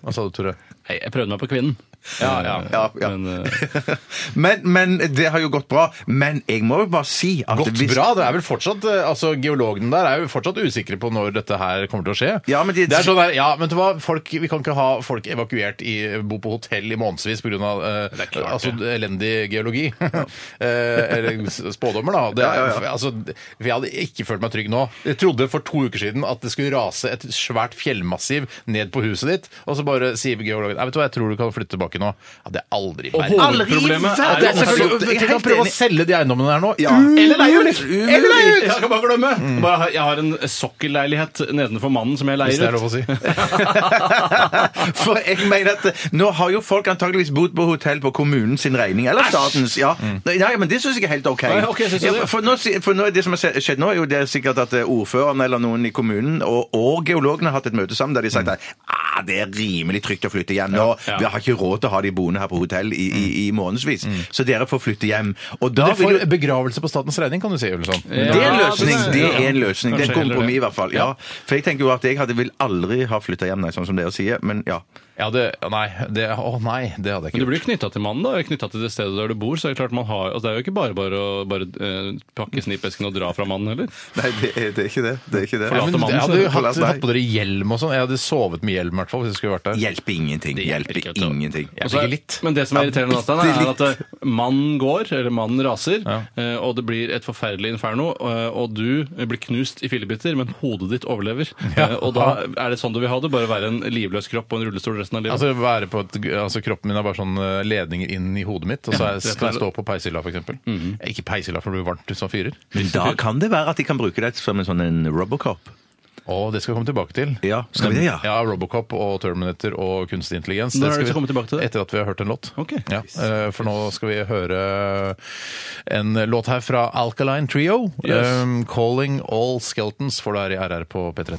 Speaker 1: Hva sa du, Tore?
Speaker 3: Nei, Jeg prøvde meg på kvinnen. Eh,
Speaker 2: ja, ja.
Speaker 3: Men, eh,
Speaker 2: men, men det har jo gått bra. Men jeg må jo bare si at
Speaker 1: Godt
Speaker 2: hvis-
Speaker 1: bra. Det er vel fortsatt, eh, altså Geologene der er jo fortsatt usikre på når dette her kommer til å skje.
Speaker 2: Ja, men de-
Speaker 1: det er sånn der, ja, men vet du hva, folk, Vi kan ikke ha folk evakuert i bo på hotell i månedsvis pga. Uh,
Speaker 3: klart,
Speaker 1: altså, elendig geologi. Eh, Eller s- spådommer, da. Det, er-
Speaker 2: Ja, ja, ja.
Speaker 1: Altså, for jeg hadde ikke følt meg trygg nå. Jeg trodde for to uker siden at det skulle rase et svært fjellmassiv ned på huset ditt, og så bare sier geologen Nei, vet du hva, jeg tror du kan flytte tilbake nå. Ja, Det er aldri
Speaker 3: Og
Speaker 1: verdt
Speaker 2: Aldri i
Speaker 3: hovedproblemet er
Speaker 2: verden!
Speaker 1: det
Speaker 3: jo
Speaker 1: er
Speaker 2: også-
Speaker 1: selvfølgelig,
Speaker 2: Jeg er
Speaker 1: Vi kan
Speaker 2: helt
Speaker 1: prøve å
Speaker 2: enig.
Speaker 1: selge de eiendommene der nå.
Speaker 2: Ja.
Speaker 1: Eller deg ut!
Speaker 2: Umulig!
Speaker 1: Eller deg ut!
Speaker 3: Jeg kan bare glemme! Bare, ha- jeg har en sokkelleilighet nedenfor mannen som jeg
Speaker 1: Mm. Hvis
Speaker 3: leier
Speaker 1: det er
Speaker 3: ut.
Speaker 1: lov å si.
Speaker 2: For jeg mener at eh, nå har jo folk antakeligvis bodd på hotell på kommunen sin regning, eller statens. Ja. Nei, nei, men det syns jeg er helt OK.
Speaker 3: Nei, Mm. ok, synes du
Speaker 2: ja,
Speaker 3: det?
Speaker 2: for- for, nå, si- for nå, er det som har skje- skjedd nå, er jo det er sikkert at eh, ordføreren eller noen i kommunen og, og geologene har hatt et møte sammen der de har sagt at ah, det er rimelig trygt å flytte hjem nå.
Speaker 3: Mm. Ja. Mm.
Speaker 2: Vi har ikke råd til å ha de boende her på hotell i, i, i månedsvis, så dere får flytte hjem. Og da
Speaker 1: Dere
Speaker 2: vil
Speaker 1: får
Speaker 2: jo
Speaker 1: begravelse på statens regning, kan du si. Ulesson.
Speaker 2: det er en løsning.
Speaker 3: Ja, det-
Speaker 2: Det er en løsning. Det er
Speaker 3: Kanskje
Speaker 2: et
Speaker 3: heller
Speaker 2: kompromiss,
Speaker 3: det.
Speaker 2: i hvert fall. Ja. For jeg tenker jo at jeg hadde vil aldri ha flytta hjem, nei, sånn som dere sier. Men ja.
Speaker 1: Ja, det, nei, det, å nei, det hadde jeg
Speaker 3: Men du
Speaker 1: ikke
Speaker 3: blir knytta til mannen, da. Knytta til det stedet der du bor. Så er det klart man har altså Det er jo ikke bare bare å bare, eh, pakke
Speaker 1: Mm.
Speaker 3: snipesken og dra fra mannen heller.
Speaker 2: Nei, det er, det er ikke det. Det er ikke det.
Speaker 3: Forlate
Speaker 1: men
Speaker 3: mannen,
Speaker 1: jeg
Speaker 3: så
Speaker 1: hadde
Speaker 3: det
Speaker 1: jo hatt,
Speaker 2: forlate deg.
Speaker 1: hatt på dere hjelm og sånn. Jeg hadde sovet med hjelm i hvert fall hvis jeg skulle vært der.
Speaker 2: Hjelper ingenting. Hjelper
Speaker 3: ikke, altså.
Speaker 2: ingenting.
Speaker 1: Jeg
Speaker 3: Og så er-
Speaker 1: fikk litt.
Speaker 3: Men det som er irriterende, da, Stein, er at eh, mannen går, eller mannen raser,
Speaker 1: Ja.
Speaker 3: eh, og det blir et forferdelig inferno, eh, og du blir knust i fillebiter, men hodet ditt overlever.
Speaker 1: Ja.
Speaker 3: Eh, Og da er det sånn du vil ha det? Bare være en livløs kropp og en rullestol resten av livet?
Speaker 1: Altså, være på et, altså Kroppen min har bare sånn eh, ledninger inn i hodet mitt, og så er, skal jeg stå på peishylla f.eks. Ikke peishylla, for det blir varmt som fyrer.
Speaker 2: Men da kan det være at de kan bruke deg som en sånn en Robocop.
Speaker 1: Å, det skal jeg komme tilbake til.
Speaker 2: Ja, skal vi det, ja?
Speaker 1: Ja, Robocop og Terminator og kunstig intelligens.
Speaker 3: Når er det vi
Speaker 1: vi-
Speaker 3: skal komme tilbake til det?
Speaker 1: Etter at vi har hørt en låt.
Speaker 3: Ok.
Speaker 1: Ja, eh, for nå skal vi høre en låt her fra Alkaline Trio.
Speaker 3: Yes.
Speaker 1: Um, 'Calling All Skeletons', for det er i RR på P13.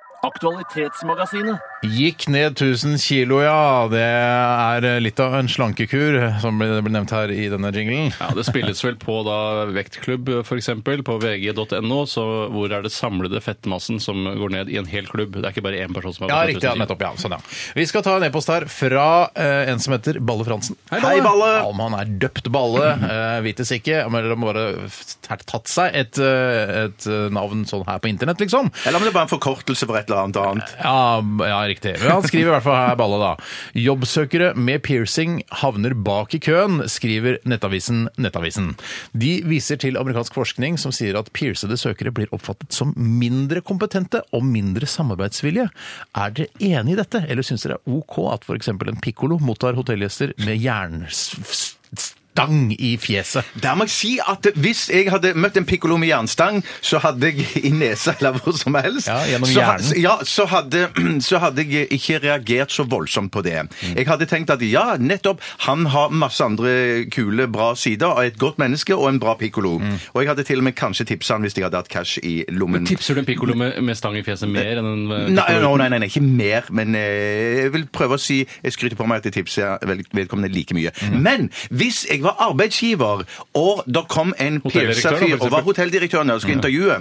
Speaker 1: Gikk ned 1000 kilo, ja. Det er litt av en slankekur, som ble ble nevnt her i denne jinglen.
Speaker 3: Ja, Det spilles vel på da vektklubb, f.eks. På vg.no, så hvor er det samlede fettmassen som går ned i en hel klubb? Det er ikke bare én person som har
Speaker 1: Ja,
Speaker 3: gått ned
Speaker 1: riktig.
Speaker 3: 1000
Speaker 1: ja,
Speaker 3: kilo.
Speaker 1: Nettopp. ja, sånn, ja. Vi skal ta en e-post her fra eh, en som heter Balle Fransen.
Speaker 2: Balle! Hei, Balle!
Speaker 1: Ja, Om han er døpt Balle, eh, vites ikke. Om han bare har tatt seg et, eh, et eh, navn sånn her på internett, liksom.
Speaker 2: Eller om det er bare en forkortelse for et eller annet annet.
Speaker 1: Ja, ja, riktig. Men han skriver i hvert fall her, Balle, da. Jobbsøkere med piercing havner bak i køen, skriver Nettavisen Nettavisen. De viser til amerikansk forskning som sier at piercede søkere blir oppfattet som mindre kompetente og mindre samarbeidsvilje. Er dere enig i dette, eller syns dere det er OK at f.eks. en pikkolo mottar hotellgjester med jerns... stang i fjeset.
Speaker 2: Der må jeg si at hvis jeg hadde møtt en pikkolo med jernstang, så hadde jeg i nesa eller hvor som helst
Speaker 1: Ja, gjennom
Speaker 2: så, ha-
Speaker 1: hjernen.
Speaker 2: Ja, så hadde, så hadde jeg ikke reagert så voldsomt på det.
Speaker 1: Mm.
Speaker 2: Jeg hadde tenkt at ja, nettopp, han har masse andre kule, bra sider, er et godt menneske og en bra pikkolo.
Speaker 1: Mm.
Speaker 2: Og jeg hadde til og med kanskje tipsa han hvis jeg hadde hatt cash i lommen.
Speaker 3: Tipser du en pikkolo med, med stang i fjeset mer enn en eh,
Speaker 2: Nei,
Speaker 3: piccolo
Speaker 2: no, nei, nei, nei, ikke mer, men eh, jeg vil prøve å si Jeg skryter på meg at jeg tipser vel- vedkommende like mye.
Speaker 1: Mhm.
Speaker 2: Men hvis jeg var arbeidsgiver, og det kom en
Speaker 3: Hotelldirektør, da,
Speaker 2: psa
Speaker 3: for
Speaker 2: fyr
Speaker 3: eksempel.
Speaker 2: og var hotelldirektøren og skulle
Speaker 1: Mhm.
Speaker 2: intervjue,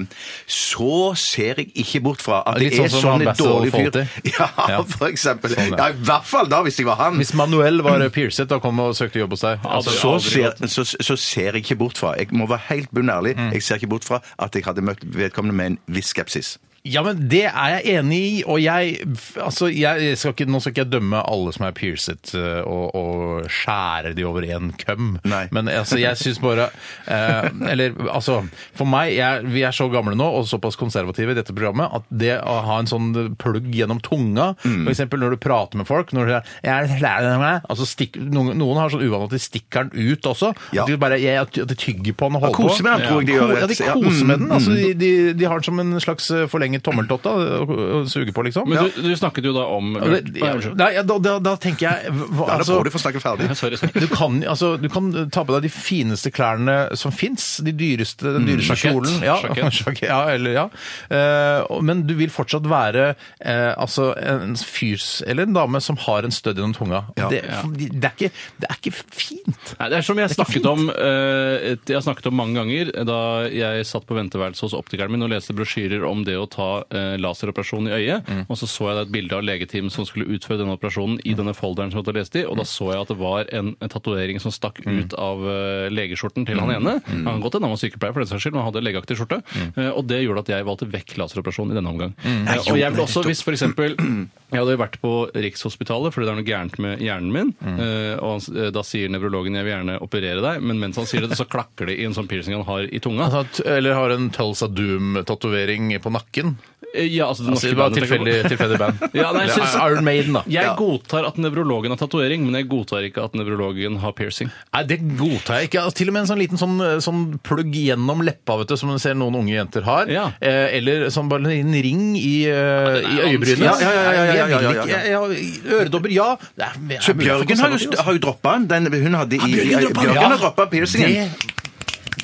Speaker 2: så ser jeg ikke bort fra at
Speaker 1: Litt
Speaker 2: det er
Speaker 1: sånn som
Speaker 2: sånn en
Speaker 1: Basil
Speaker 2: dårlig fyr.
Speaker 1: Fawlty.
Speaker 2: Ja,
Speaker 1: Ja.
Speaker 2: for eksempel.
Speaker 1: Sånn,
Speaker 2: Ja,
Speaker 1: ja.
Speaker 2: I hvert fall da, hvis jeg var han.
Speaker 1: Hvis Manuel var piercet og kom og søkte jobb hos deg
Speaker 3: Altså,
Speaker 2: Så
Speaker 3: aldri
Speaker 2: ser,
Speaker 3: gått.
Speaker 2: så, så ser jeg ikke bort fra Jeg må være helt bunnærlig.
Speaker 1: Mhm.
Speaker 2: Jeg ser ikke bort fra at jeg hadde møtt vedkommende med en viss skepsis.
Speaker 1: Ja, men det er jeg enig i, og jeg, altså, jeg skal ikke, Nå skal ikke jeg dømme alle som er piercet eh, og, og skjære de over en køm,
Speaker 2: Nei.
Speaker 1: men altså, jeg syns bare eh, Eller altså, for meg jeg, Vi er så gamle nå og såpass konservative i dette programmet at det å ha en sånn plugg gjennom tunga,
Speaker 2: Mm.
Speaker 1: for f.eks. når du prater med folk når du er, jeg er lei meg», altså, stikk, noen, noen har sånn uvane at de stikker den ut også.
Speaker 2: Ja.
Speaker 1: At de bare jeg, at de tygger på den og holder på.
Speaker 2: Kose med han, tror jeg de gjør.
Speaker 1: Ja, de
Speaker 2: Ja,
Speaker 1: koser med
Speaker 2: mm,
Speaker 1: den. Altså, de, de, de har den som en slags eh, forlenget tommeltott da, å å suge på, liksom.
Speaker 3: Men du, du snakket jo da om
Speaker 1: Ja.
Speaker 3: Nei,
Speaker 1: Ja,
Speaker 3: unnskyld.
Speaker 1: Nei, ja, da, da, da tenker jeg hva,
Speaker 2: Ja, da
Speaker 1: altså,
Speaker 2: får du få snakke ferdig.
Speaker 3: Ja, sorry, sorry.
Speaker 1: du, kan, altså, du kan ta på deg de fineste klærne som fins. De dyreste, den dyreste
Speaker 3: Sjakett.
Speaker 1: kjolen. Ja,
Speaker 3: Sjakett.
Speaker 1: sjakett, ja, eller, ja. Eh, og- men du vil fortsatt være eh, altså, en fyr eller en dame som har en stødd gjennom tunga.
Speaker 2: Ja.
Speaker 1: Det, det, er ikke, det er ikke fint.
Speaker 3: Nei, det er som jeg snakket om eh, et- Jeg har snakket om mange ganger eh, da jeg satt på venteværelset hos optikeren min og leste brosjyrer om det å ta eh, laseroperasjon i øyet. Og så så jeg da et bilde av legeteamet som skulle utføre denne operasjonen i denne folderen som jeg hadde lest i, og da så jeg at det var en, en tatovering som stakk ut av eh, legeskjorten til han ene. Han kan godt hende han var sykepleier, for den saks skyld, men han hadde legeaktig skjorte. Eh, og det gjorde at jeg valgte vekk laseroperasjon i denne omgang. Eh, og jeg ble også, hvis for eksempel jeg hadde vært på Rikshospitalet fordi det er noe gærent med hjernen min.
Speaker 1: Mm.
Speaker 3: eh, Og han, s- eh, da sier nevrologen 'jeg vil gjerne operere deg', men mens han sier det, så klakker det i en sånn piercing han har i tunga.
Speaker 1: Altså, at- eller har en Tulsa Doom-tatovering på nakken.
Speaker 3: Eh, Ja, altså det
Speaker 1: Altså,
Speaker 3: norske
Speaker 1: det var
Speaker 3: bandet, tenker jeg
Speaker 1: tilfeldig,
Speaker 3: på.
Speaker 1: tilfeldig band.
Speaker 3: Ja, nei, jeg
Speaker 1: Eller
Speaker 3: synes-
Speaker 1: Iron Maiden, da.
Speaker 3: Jeg godtar at nevrologen har tatovering, men jeg godtar ikke at nevrologen har piercing.
Speaker 1: Nei, det godtar jeg ikke. Altså, til og med en sånn liten sånn, sånn plugg gjennom leppa, vet du, som man ser noen unge jenter har.
Speaker 3: Ja.
Speaker 1: Eh, eller sånn bare en liten ring i, eh, i
Speaker 3: er
Speaker 1: øyebrynet.
Speaker 3: vanskelig, ass.
Speaker 2: Ja, ja, ja, ja, ja, ja, ja.
Speaker 1: Jeg vil ikke- jeg- jeg- Øredobber, ja. Det er- jeg
Speaker 2: Så
Speaker 1: er mulig for
Speaker 2: Bjørgen har jo,
Speaker 1: konservativ, altså.
Speaker 2: har jo droppa den. den. Hun hadde i,
Speaker 1: Bjørgen droppet den,
Speaker 2: Bjørgen
Speaker 1: ja.
Speaker 2: har droppa piercingen.
Speaker 1: Det-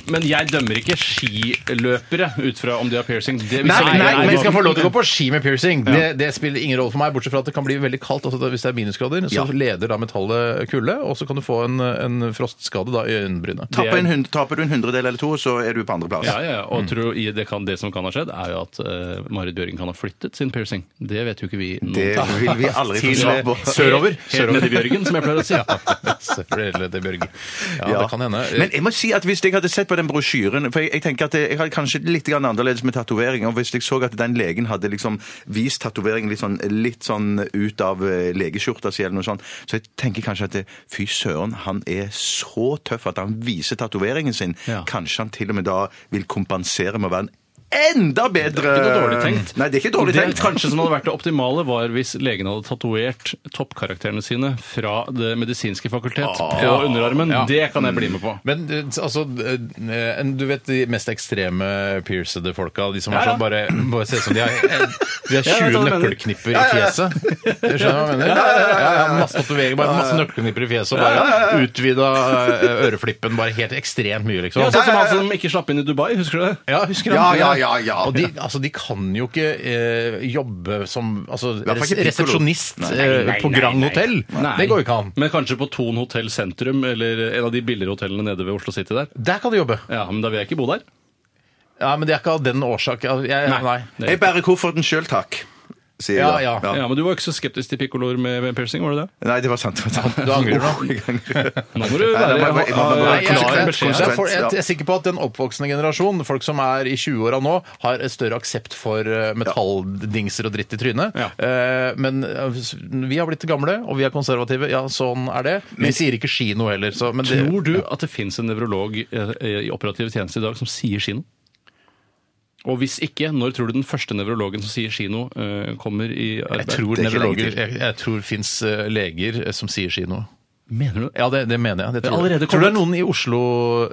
Speaker 3: Men jeg dømmer ikke skiløpere ut fra om de har piercing. Det
Speaker 1: Nei,
Speaker 3: viser-
Speaker 1: nei, men vi skal få lov til å
Speaker 3: Nei,
Speaker 1: gå på ski med piercing. Det, det spiller ingen rolle for meg, bortsett fra at det kan bli veldig kaldt. Altså, da- hvis det er minusgrader, så
Speaker 2: Ja.
Speaker 1: leder da metallet kulde, og så kan du få en, en frostskade da, i øyenbrynet.
Speaker 2: Taper,
Speaker 3: Det er-
Speaker 2: en hund, taper du en hundredel eller to, så er du på andreplass.
Speaker 3: Ja, ja, ja.
Speaker 1: Mm.
Speaker 3: og tror, i- det, kan, det som kan ha skjedd, er jo at eh, Marit Bjørgen kan ha flyttet sin piercing. Det vet jo ikke vi noe
Speaker 2: Det vil vi aldri få
Speaker 3: Til-
Speaker 2: svar på.
Speaker 1: Sørover.
Speaker 3: Helt nede i Bjørgen, som jeg pleier å si.
Speaker 1: Selvfølgelig, det, Bjørgen. Ja,
Speaker 2: Ja.
Speaker 1: det kan hende. Eh,
Speaker 2: Men jeg må si at hvis jeg hadde sett på den brosjyren For jeg, jeg tenker at jeg, jeg har kanskje litt grann annerledes med tatovering. Og hvis jeg så at den legen hadde liksom vist tatoveringen litt, sånn, litt sånn ut av eh, legeskjorta si, eller noe sånt, så jeg tenker kanskje at det, fy søren, han er så tøff at han viser tatoveringen sin.
Speaker 3: Ja.
Speaker 2: Kanskje han til og med da vil kompensere med å være en enda
Speaker 3: Det
Speaker 2: bedre
Speaker 3: var dårlig tenkt.
Speaker 2: Eh, Nei, det er ikke dårlig
Speaker 3: det
Speaker 2: tenkt. sånn,
Speaker 3: kanskje som hadde vært det optimale, var hvis legen hadde tatovert toppkarakterene sine fra Det medisinske fakultet
Speaker 2: Ah.
Speaker 3: på underarmen.
Speaker 1: Ja.
Speaker 3: Det kan jeg bli med på.
Speaker 1: Men eh, altså, eh, en- du vet de mest ekstreme piercede folka? De som
Speaker 3: Ja,
Speaker 1: har
Speaker 3: ja.
Speaker 1: sånn bare, bare ser ut som de har, de har
Speaker 3: Ja, jeg
Speaker 1: 20
Speaker 3: vet hva du mener.
Speaker 1: nøkkelknipper i fjeset. Du skjønner hva jeg mener? Ja, ja, masse tatoveringer, bare masse nøkkelknipper i fjeset. Og bare utvida eh, øreflippen bare helt ekstremt mye, liksom.
Speaker 3: Ja, sånn som han som ikke slapp inn i Dubai, husker du det?
Speaker 1: Ja, husker du
Speaker 2: Ja,
Speaker 1: det?
Speaker 2: ja, ja, ja.
Speaker 1: Og de, altså, de kan jo ikke eh, jobbe som altså,
Speaker 2: hvert fall
Speaker 1: res
Speaker 2: ikke piccolo.
Speaker 1: resepsjonist eh, på Grand Hotell. Det går jo ikke an.
Speaker 3: Men kanskje på Thon hotell sentrum, eller en av de billigere hotellene nede ved Oslo City der.
Speaker 1: Der kan du jobbe.
Speaker 3: Ja, men da vil jeg ikke bo der.
Speaker 1: Ja, Men det er ikke av den årsak. Jeg, nei. nei.
Speaker 3: Det-
Speaker 2: Jeg bærer kofferten sjøl, takk. Sier
Speaker 1: Ja,
Speaker 2: jeg da.
Speaker 1: ja.
Speaker 3: sånn- Ja, men Du var jo ikke så skeptisk til pikkoloer med med piercing, var du det?
Speaker 2: Nei, det var sant. det var sant.
Speaker 1: Du angrer nå?
Speaker 2: Jeg angrer.
Speaker 3: Nå må du
Speaker 2: Nei,
Speaker 3: være
Speaker 2: det var- jeg må- jeg må-
Speaker 3: ha-
Speaker 1: Nei, jeg,
Speaker 3: klar
Speaker 1: jeg,
Speaker 3: beskjed.
Speaker 1: jeg, jeg,
Speaker 2: Ja.
Speaker 1: jeg er sikker på at den oppvoksende generasjon, folk som er i 20-åra nå, har et større aksept for eh, metalldingser og dritt i trynet.
Speaker 3: Ja.
Speaker 1: Eh, Men eh, vi har blitt gamle, og vi er konservative. Ja, sånn er det. Vi sier ikke kino heller, så men det,
Speaker 3: Tror du at det fins en nevrolog eh, i operativ tjeneste i dag som sier kino? Og hvis ikke, når tror du den første nevrologen som sier kino, eh, kommer i
Speaker 1: Jeg
Speaker 3: arbeid?
Speaker 1: tror
Speaker 2: Det er ikke lenge
Speaker 1: nevrologer Jeg, jeg tror fins leger eh, som sier kino.
Speaker 3: Mener du det?
Speaker 1: Ja, det, det mener jeg. Det
Speaker 3: Det er
Speaker 1: tror, jeg.
Speaker 3: allerede
Speaker 1: tror du det er
Speaker 3: kommet.
Speaker 1: noen i Oslo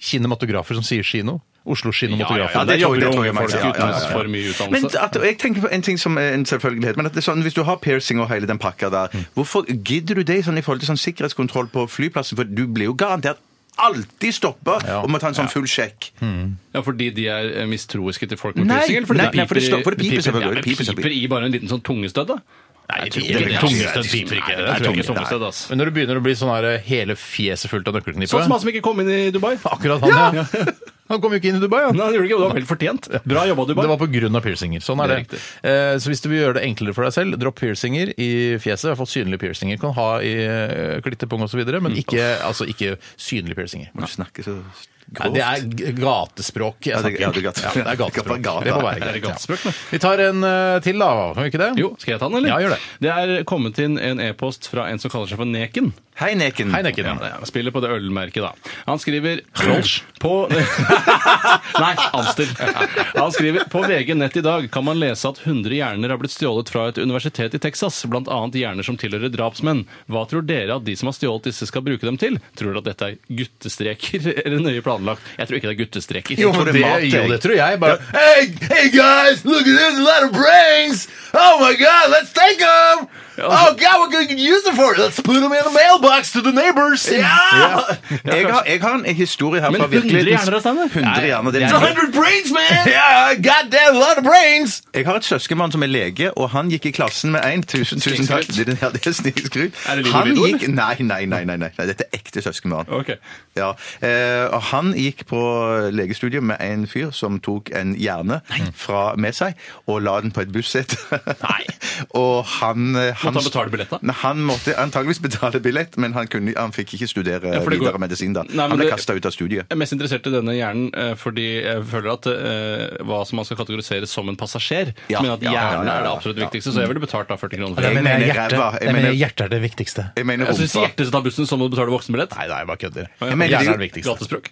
Speaker 1: kinematografer som sier kino? Oslo kinematografer.
Speaker 2: ja, det tror jeg- det tror jeg
Speaker 3: folk
Speaker 2: faktisk, ja, ja, ja, ja.
Speaker 3: uten for mye
Speaker 2: Men
Speaker 3: utdannelse.
Speaker 2: at, og jeg tenker på en ting som er en selvfølgelighet. men at det er sånn, Hvis du har piercing og hele den pakka der, hvorfor gidder du det sånn i forhold til sånn sikkerhetskontroll på flyplassen? For du blir jo garantert alltid stoppa og må ta en sånn full sjekk.
Speaker 3: Ja, fordi de er eh, mistroiske til folk med
Speaker 2: Nei,
Speaker 3: piercing? Eller fordi
Speaker 2: nei,
Speaker 3: det
Speaker 2: nei, for det
Speaker 3: piper i-
Speaker 2: slår- for det piper selvfølgelig,
Speaker 3: Ja, men
Speaker 2: det piper
Speaker 3: piper i bare en liten sånn tungestød, da? Nei,
Speaker 1: jeg tror
Speaker 2: ikke det.
Speaker 3: Tungestød
Speaker 2: Nei,
Speaker 3: piper ikke.
Speaker 2: nei,
Speaker 3: Jeg tror
Speaker 2: nei,
Speaker 3: ikke tungestød, ass.
Speaker 1: Men når det begynner å bli sånn her hele fjeset fullt av nøkkelknippe
Speaker 3: Sånn som han som ikke kom inn i Dubai.
Speaker 1: Akkurat han, ja. Han kom jo ikke inn i Dubai, han.
Speaker 3: Nei, det gjorde ikke, det var helt fortjent. Bra jobba, Dubai.
Speaker 1: Det var pga. piercinger. Sånn er det.
Speaker 3: Det er
Speaker 1: Eh, så hvis du vil gjøre det enklere for deg selv, dropp piercinger i fjeset. I hvert fall synlige piercinger. Kan ha i eh, klittepung osv., men ikke, altså, ikke synlige piercinger.
Speaker 2: Du snakker så
Speaker 1: Nei,
Speaker 2: grovt.
Speaker 1: det er g- gatespråk. Jeg
Speaker 2: Ja, det-
Speaker 1: snakker.
Speaker 2: ja, det er gate-
Speaker 1: Ja, det
Speaker 2: Det
Speaker 1: er
Speaker 2: er
Speaker 1: gatespråk.
Speaker 2: gate-
Speaker 1: Det må være
Speaker 3: Det er
Speaker 1: greit.
Speaker 3: gatespråk,
Speaker 1: ja.
Speaker 3: det.
Speaker 1: Vi tar en eh, til, da. Kan vi ikke det?
Speaker 3: Jo, skal jeg ta den, eller?
Speaker 1: Ja, gjør det.
Speaker 3: Det er kommet inn en e-post fra en som kaller seg for Neken.
Speaker 2: Hei, Neken.
Speaker 1: Hei, Nekken.
Speaker 3: Ja, det er- spiller på det ølmerket, da. Han skriver på Nei, Amster. Han skriver på VG nett i dag kan man lese at 100 hjerner har blitt stjålet fra et universitet i Texas, blant annet hjerner som tilhører drapsmenn. Hva tror dere at de som har stjålet disse skal bruke dem til? Tror dere at dette er guttestreker eller nøye planlagt? Jeg tror ikke det er guttestreker.
Speaker 1: Jo,
Speaker 3: Jeg tror
Speaker 1: men
Speaker 3: det
Speaker 1: det,
Speaker 3: er mat,
Speaker 1: jo,
Speaker 3: jeg.
Speaker 1: det tror jeg. Bare hey, hey guys, look at this, a lot of brains! Oh my god, let's take them! Oh god, what can we use them for? Let's put them in the mailbox to the neighbors!
Speaker 2: Ja! Jeg har, jeg har en historie her
Speaker 3: Men
Speaker 2: fra
Speaker 3: 100
Speaker 2: virkeligheten.
Speaker 3: hjerner, Steinar?
Speaker 2: 100 hjerner, det er liksom-
Speaker 3: Nei,
Speaker 2: mye.
Speaker 1: 100 brains, man! yeah, goddamn, a lot of brains!
Speaker 2: Jeg har et søskenbarn som er lege, og han gikk i klassen med en. Tusen, tusen takk.
Speaker 3: Snikskryt.
Speaker 2: Det er- Ja, det er snikskryt.
Speaker 3: Er det Lilo
Speaker 2: Han
Speaker 3: Lilo,
Speaker 2: gikk Nei, nei, nei. nei, nei. Dette er ekte søskenbarn.
Speaker 3: Ok.
Speaker 2: Ja, eh, og Han gikk på legestudiet med en fyr som tok en hjerne fra med seg og la den på et bussete.
Speaker 3: Nei.
Speaker 2: og han, eh, han
Speaker 3: han betale billett, da?
Speaker 2: Nei, Han måtte antageligvis betale billett, men han, kunne, han fikk ikke studere
Speaker 3: Ja, for det går-
Speaker 2: videre medisin da.
Speaker 3: Nei, men
Speaker 2: han ble
Speaker 3: det-
Speaker 2: kasta ut av studiet.
Speaker 3: Jeg er mest interessert i denne hjernen eh, fordi jeg føler at eh, hva som man skal kategorisere som en passasjer,
Speaker 2: Ja.
Speaker 3: men at
Speaker 2: Ja,
Speaker 3: hjernen
Speaker 2: ja, ja, ja,
Speaker 3: er det
Speaker 2: ja. Mm.
Speaker 3: absolutt viktigste, så jeg ville betalt da 40 kroner for
Speaker 2: Jeg
Speaker 3: det.
Speaker 2: mener hjertet. Jeg mener-
Speaker 1: hjertet er det viktigste.
Speaker 2: Jeg mener
Speaker 3: Jeg syns
Speaker 2: rumpa.
Speaker 3: hjertet skal ta bussen, så må du betale voksenbillett.
Speaker 1: Nei, nei, jeg bare kødder.
Speaker 3: Jeg
Speaker 2: mener-
Speaker 1: Hjernen er det viktigste.
Speaker 3: Gatespråk.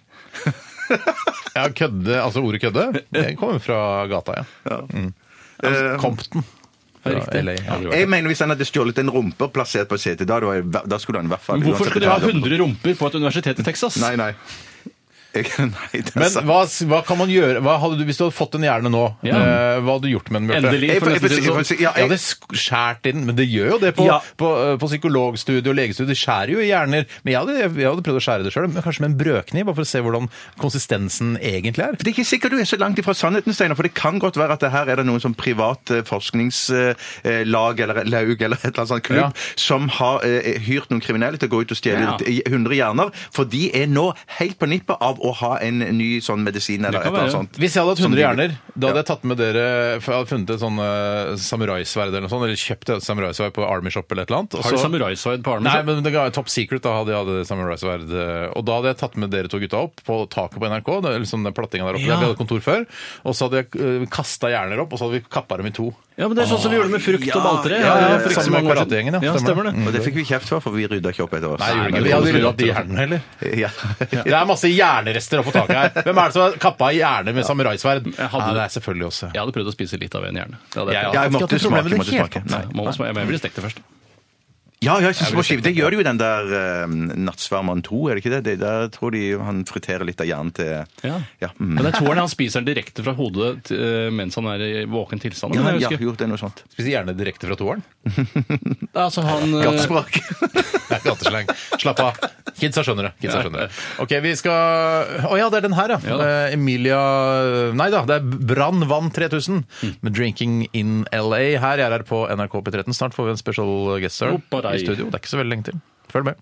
Speaker 1: Ja, kødde, altså ordet kødde, det kommer fra gata, ja.
Speaker 2: Eh,
Speaker 1: Compton.
Speaker 3: Ja,
Speaker 1: Riktig.
Speaker 3: LA. Aldri vært
Speaker 2: jeg mener Hvis han hadde stjålet en rumpe og plassert på setet, da, det var- da skulle han i hvert fall
Speaker 3: der. Hvorfor
Speaker 2: uansett
Speaker 3: skulle de ha
Speaker 2: betale.
Speaker 3: 100 rumper på et universitet i Texas?
Speaker 2: Nei, altså- nei. Jeg, nei det er
Speaker 1: Men
Speaker 2: sant.
Speaker 1: hva, hva kan man gjøre hva hadde du, Hvis du hadde fått en hjerne nå,
Speaker 3: Ja.
Speaker 1: eh, hva hadde du gjort med den? Bjarte?
Speaker 3: Endelig,
Speaker 2: Jeg-
Speaker 3: for
Speaker 2: jeg-
Speaker 3: nesten å
Speaker 2: jeg-
Speaker 3: si det sånn.
Speaker 2: jeg- ja,
Speaker 1: Ja, det sk- skjært i den, men det gjør jo det på,
Speaker 3: Ja.
Speaker 1: på, eh, på psykologstudiet og legestudiet. Det skjærer jo i hjerner. Men jeg hadde, jeg hadde prøvd å skjære det sjøl, men kanskje med en brødkniv, bare for å se hvordan konsistensen egentlig er.
Speaker 2: Det er ikke sikkert du er så langt ifra sannheten, Steinar. For det kan godt være at det her er det noen sånn privat eh, forskningslag eller laug eller et eller annet sånt klubb
Speaker 1: Ja.
Speaker 2: som har eh, hyrt noen kriminelle til å gå ut og stjele
Speaker 3: Ja.
Speaker 2: t- 100 hjerner. For de er nå helt på nippet av å ha en ny sånn medisin eller
Speaker 3: Det
Speaker 2: et
Speaker 3: kan
Speaker 2: eller annet
Speaker 3: være.
Speaker 2: sånt.
Speaker 1: Hvis jeg hadde hatt
Speaker 2: Som
Speaker 1: 100
Speaker 2: de-
Speaker 1: hjerner, da hadde jeg tatt med dere for Jeg hadde funnet et sånn eh, samuraisverd eller noe sånt, eller kjøpt et samuraisverd på Army Shop eller et eller annet. og
Speaker 3: Har du
Speaker 1: så-
Speaker 3: samuraisverd på armen?
Speaker 1: Nei, men det ga Top Secret da hadde jeg hadde samuraisverd. eh, Og da hadde jeg tatt med dere to gutta opp på taket på NRK, det, eller sånn den plattinga der oppe
Speaker 3: Ja.
Speaker 1: der vi hadde kontor før, og så hadde jeg kasta hjerner opp, og så hadde vi kappa dem i to.
Speaker 3: Ja, men Det er sånn som vi gjorde med frukt og baltre.
Speaker 1: ja, ja,
Speaker 3: for ikke så
Speaker 1: sammen med
Speaker 3: mange år siden.
Speaker 1: karategjengen, ja,
Speaker 3: Ja,
Speaker 1: stemmer
Speaker 3: stemmer det.
Speaker 2: Og det Mm. fikk vi kjeft for, for vi rydda ikke opp etter oss.
Speaker 1: Nei,
Speaker 3: gjorde ikke
Speaker 1: vi
Speaker 3: Mhm. det.
Speaker 1: hadde rullet de hjernene heller.
Speaker 2: Ja.
Speaker 1: Det er masse hjernerester oppå taket her. Hvem er det som har kappa hjerne med samuraisverd?
Speaker 3: Jeg hadde-
Speaker 1: Ja, det er selvfølgelig oss.
Speaker 3: Jeg hadde prøvd å spise litt av en hjerne. Det hadde
Speaker 1: Ja,
Speaker 3: jeg
Speaker 1: ja.
Speaker 3: prøvd.
Speaker 2: Jeg måtte
Speaker 1: Ikke hatt noe problem
Speaker 2: smake,
Speaker 1: med det
Speaker 2: måtte
Speaker 1: helt.
Speaker 2: smake. Nei.
Speaker 3: Må- må- Jeg ville stekt det først.
Speaker 2: Ja, ja, jeg synes det var skift. Det gjør jo den der eh, Nattsvermeren 2, er det ikke det? det? Der tror de han friterer litt av hjernen til
Speaker 3: Ja.
Speaker 2: mm.
Speaker 3: Men det er toeren han spiser den direkte fra hodet til- eh, mens han er i våken tilstand.
Speaker 2: ja,
Speaker 3: kan jeg
Speaker 2: ja,
Speaker 3: huske.
Speaker 2: jo, det er noe sånt.
Speaker 1: Spiser hjerne direkte fra toeren.
Speaker 3: Altså, han, eh,
Speaker 2: Gattspråk.
Speaker 1: Det er gatesleng. Slapp av. Kidsa skjønner det. Kidsa skjønner det. Ok, vi skal Å ja, det er den her, ja.
Speaker 3: Ja da.
Speaker 1: Eh, Emilia Nei da, det er Brann vann 3000
Speaker 3: Mm.
Speaker 1: med 'Drinking in LA'. Her jeg er her på NRK P13. Snart får vi en special guest sir
Speaker 3: Oppa deg.
Speaker 1: i studio. Det er ikke så veldig lenge til. Følg med.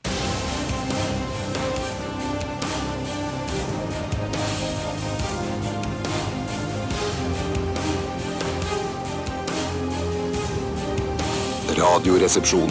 Speaker 5: Radioresepsjon.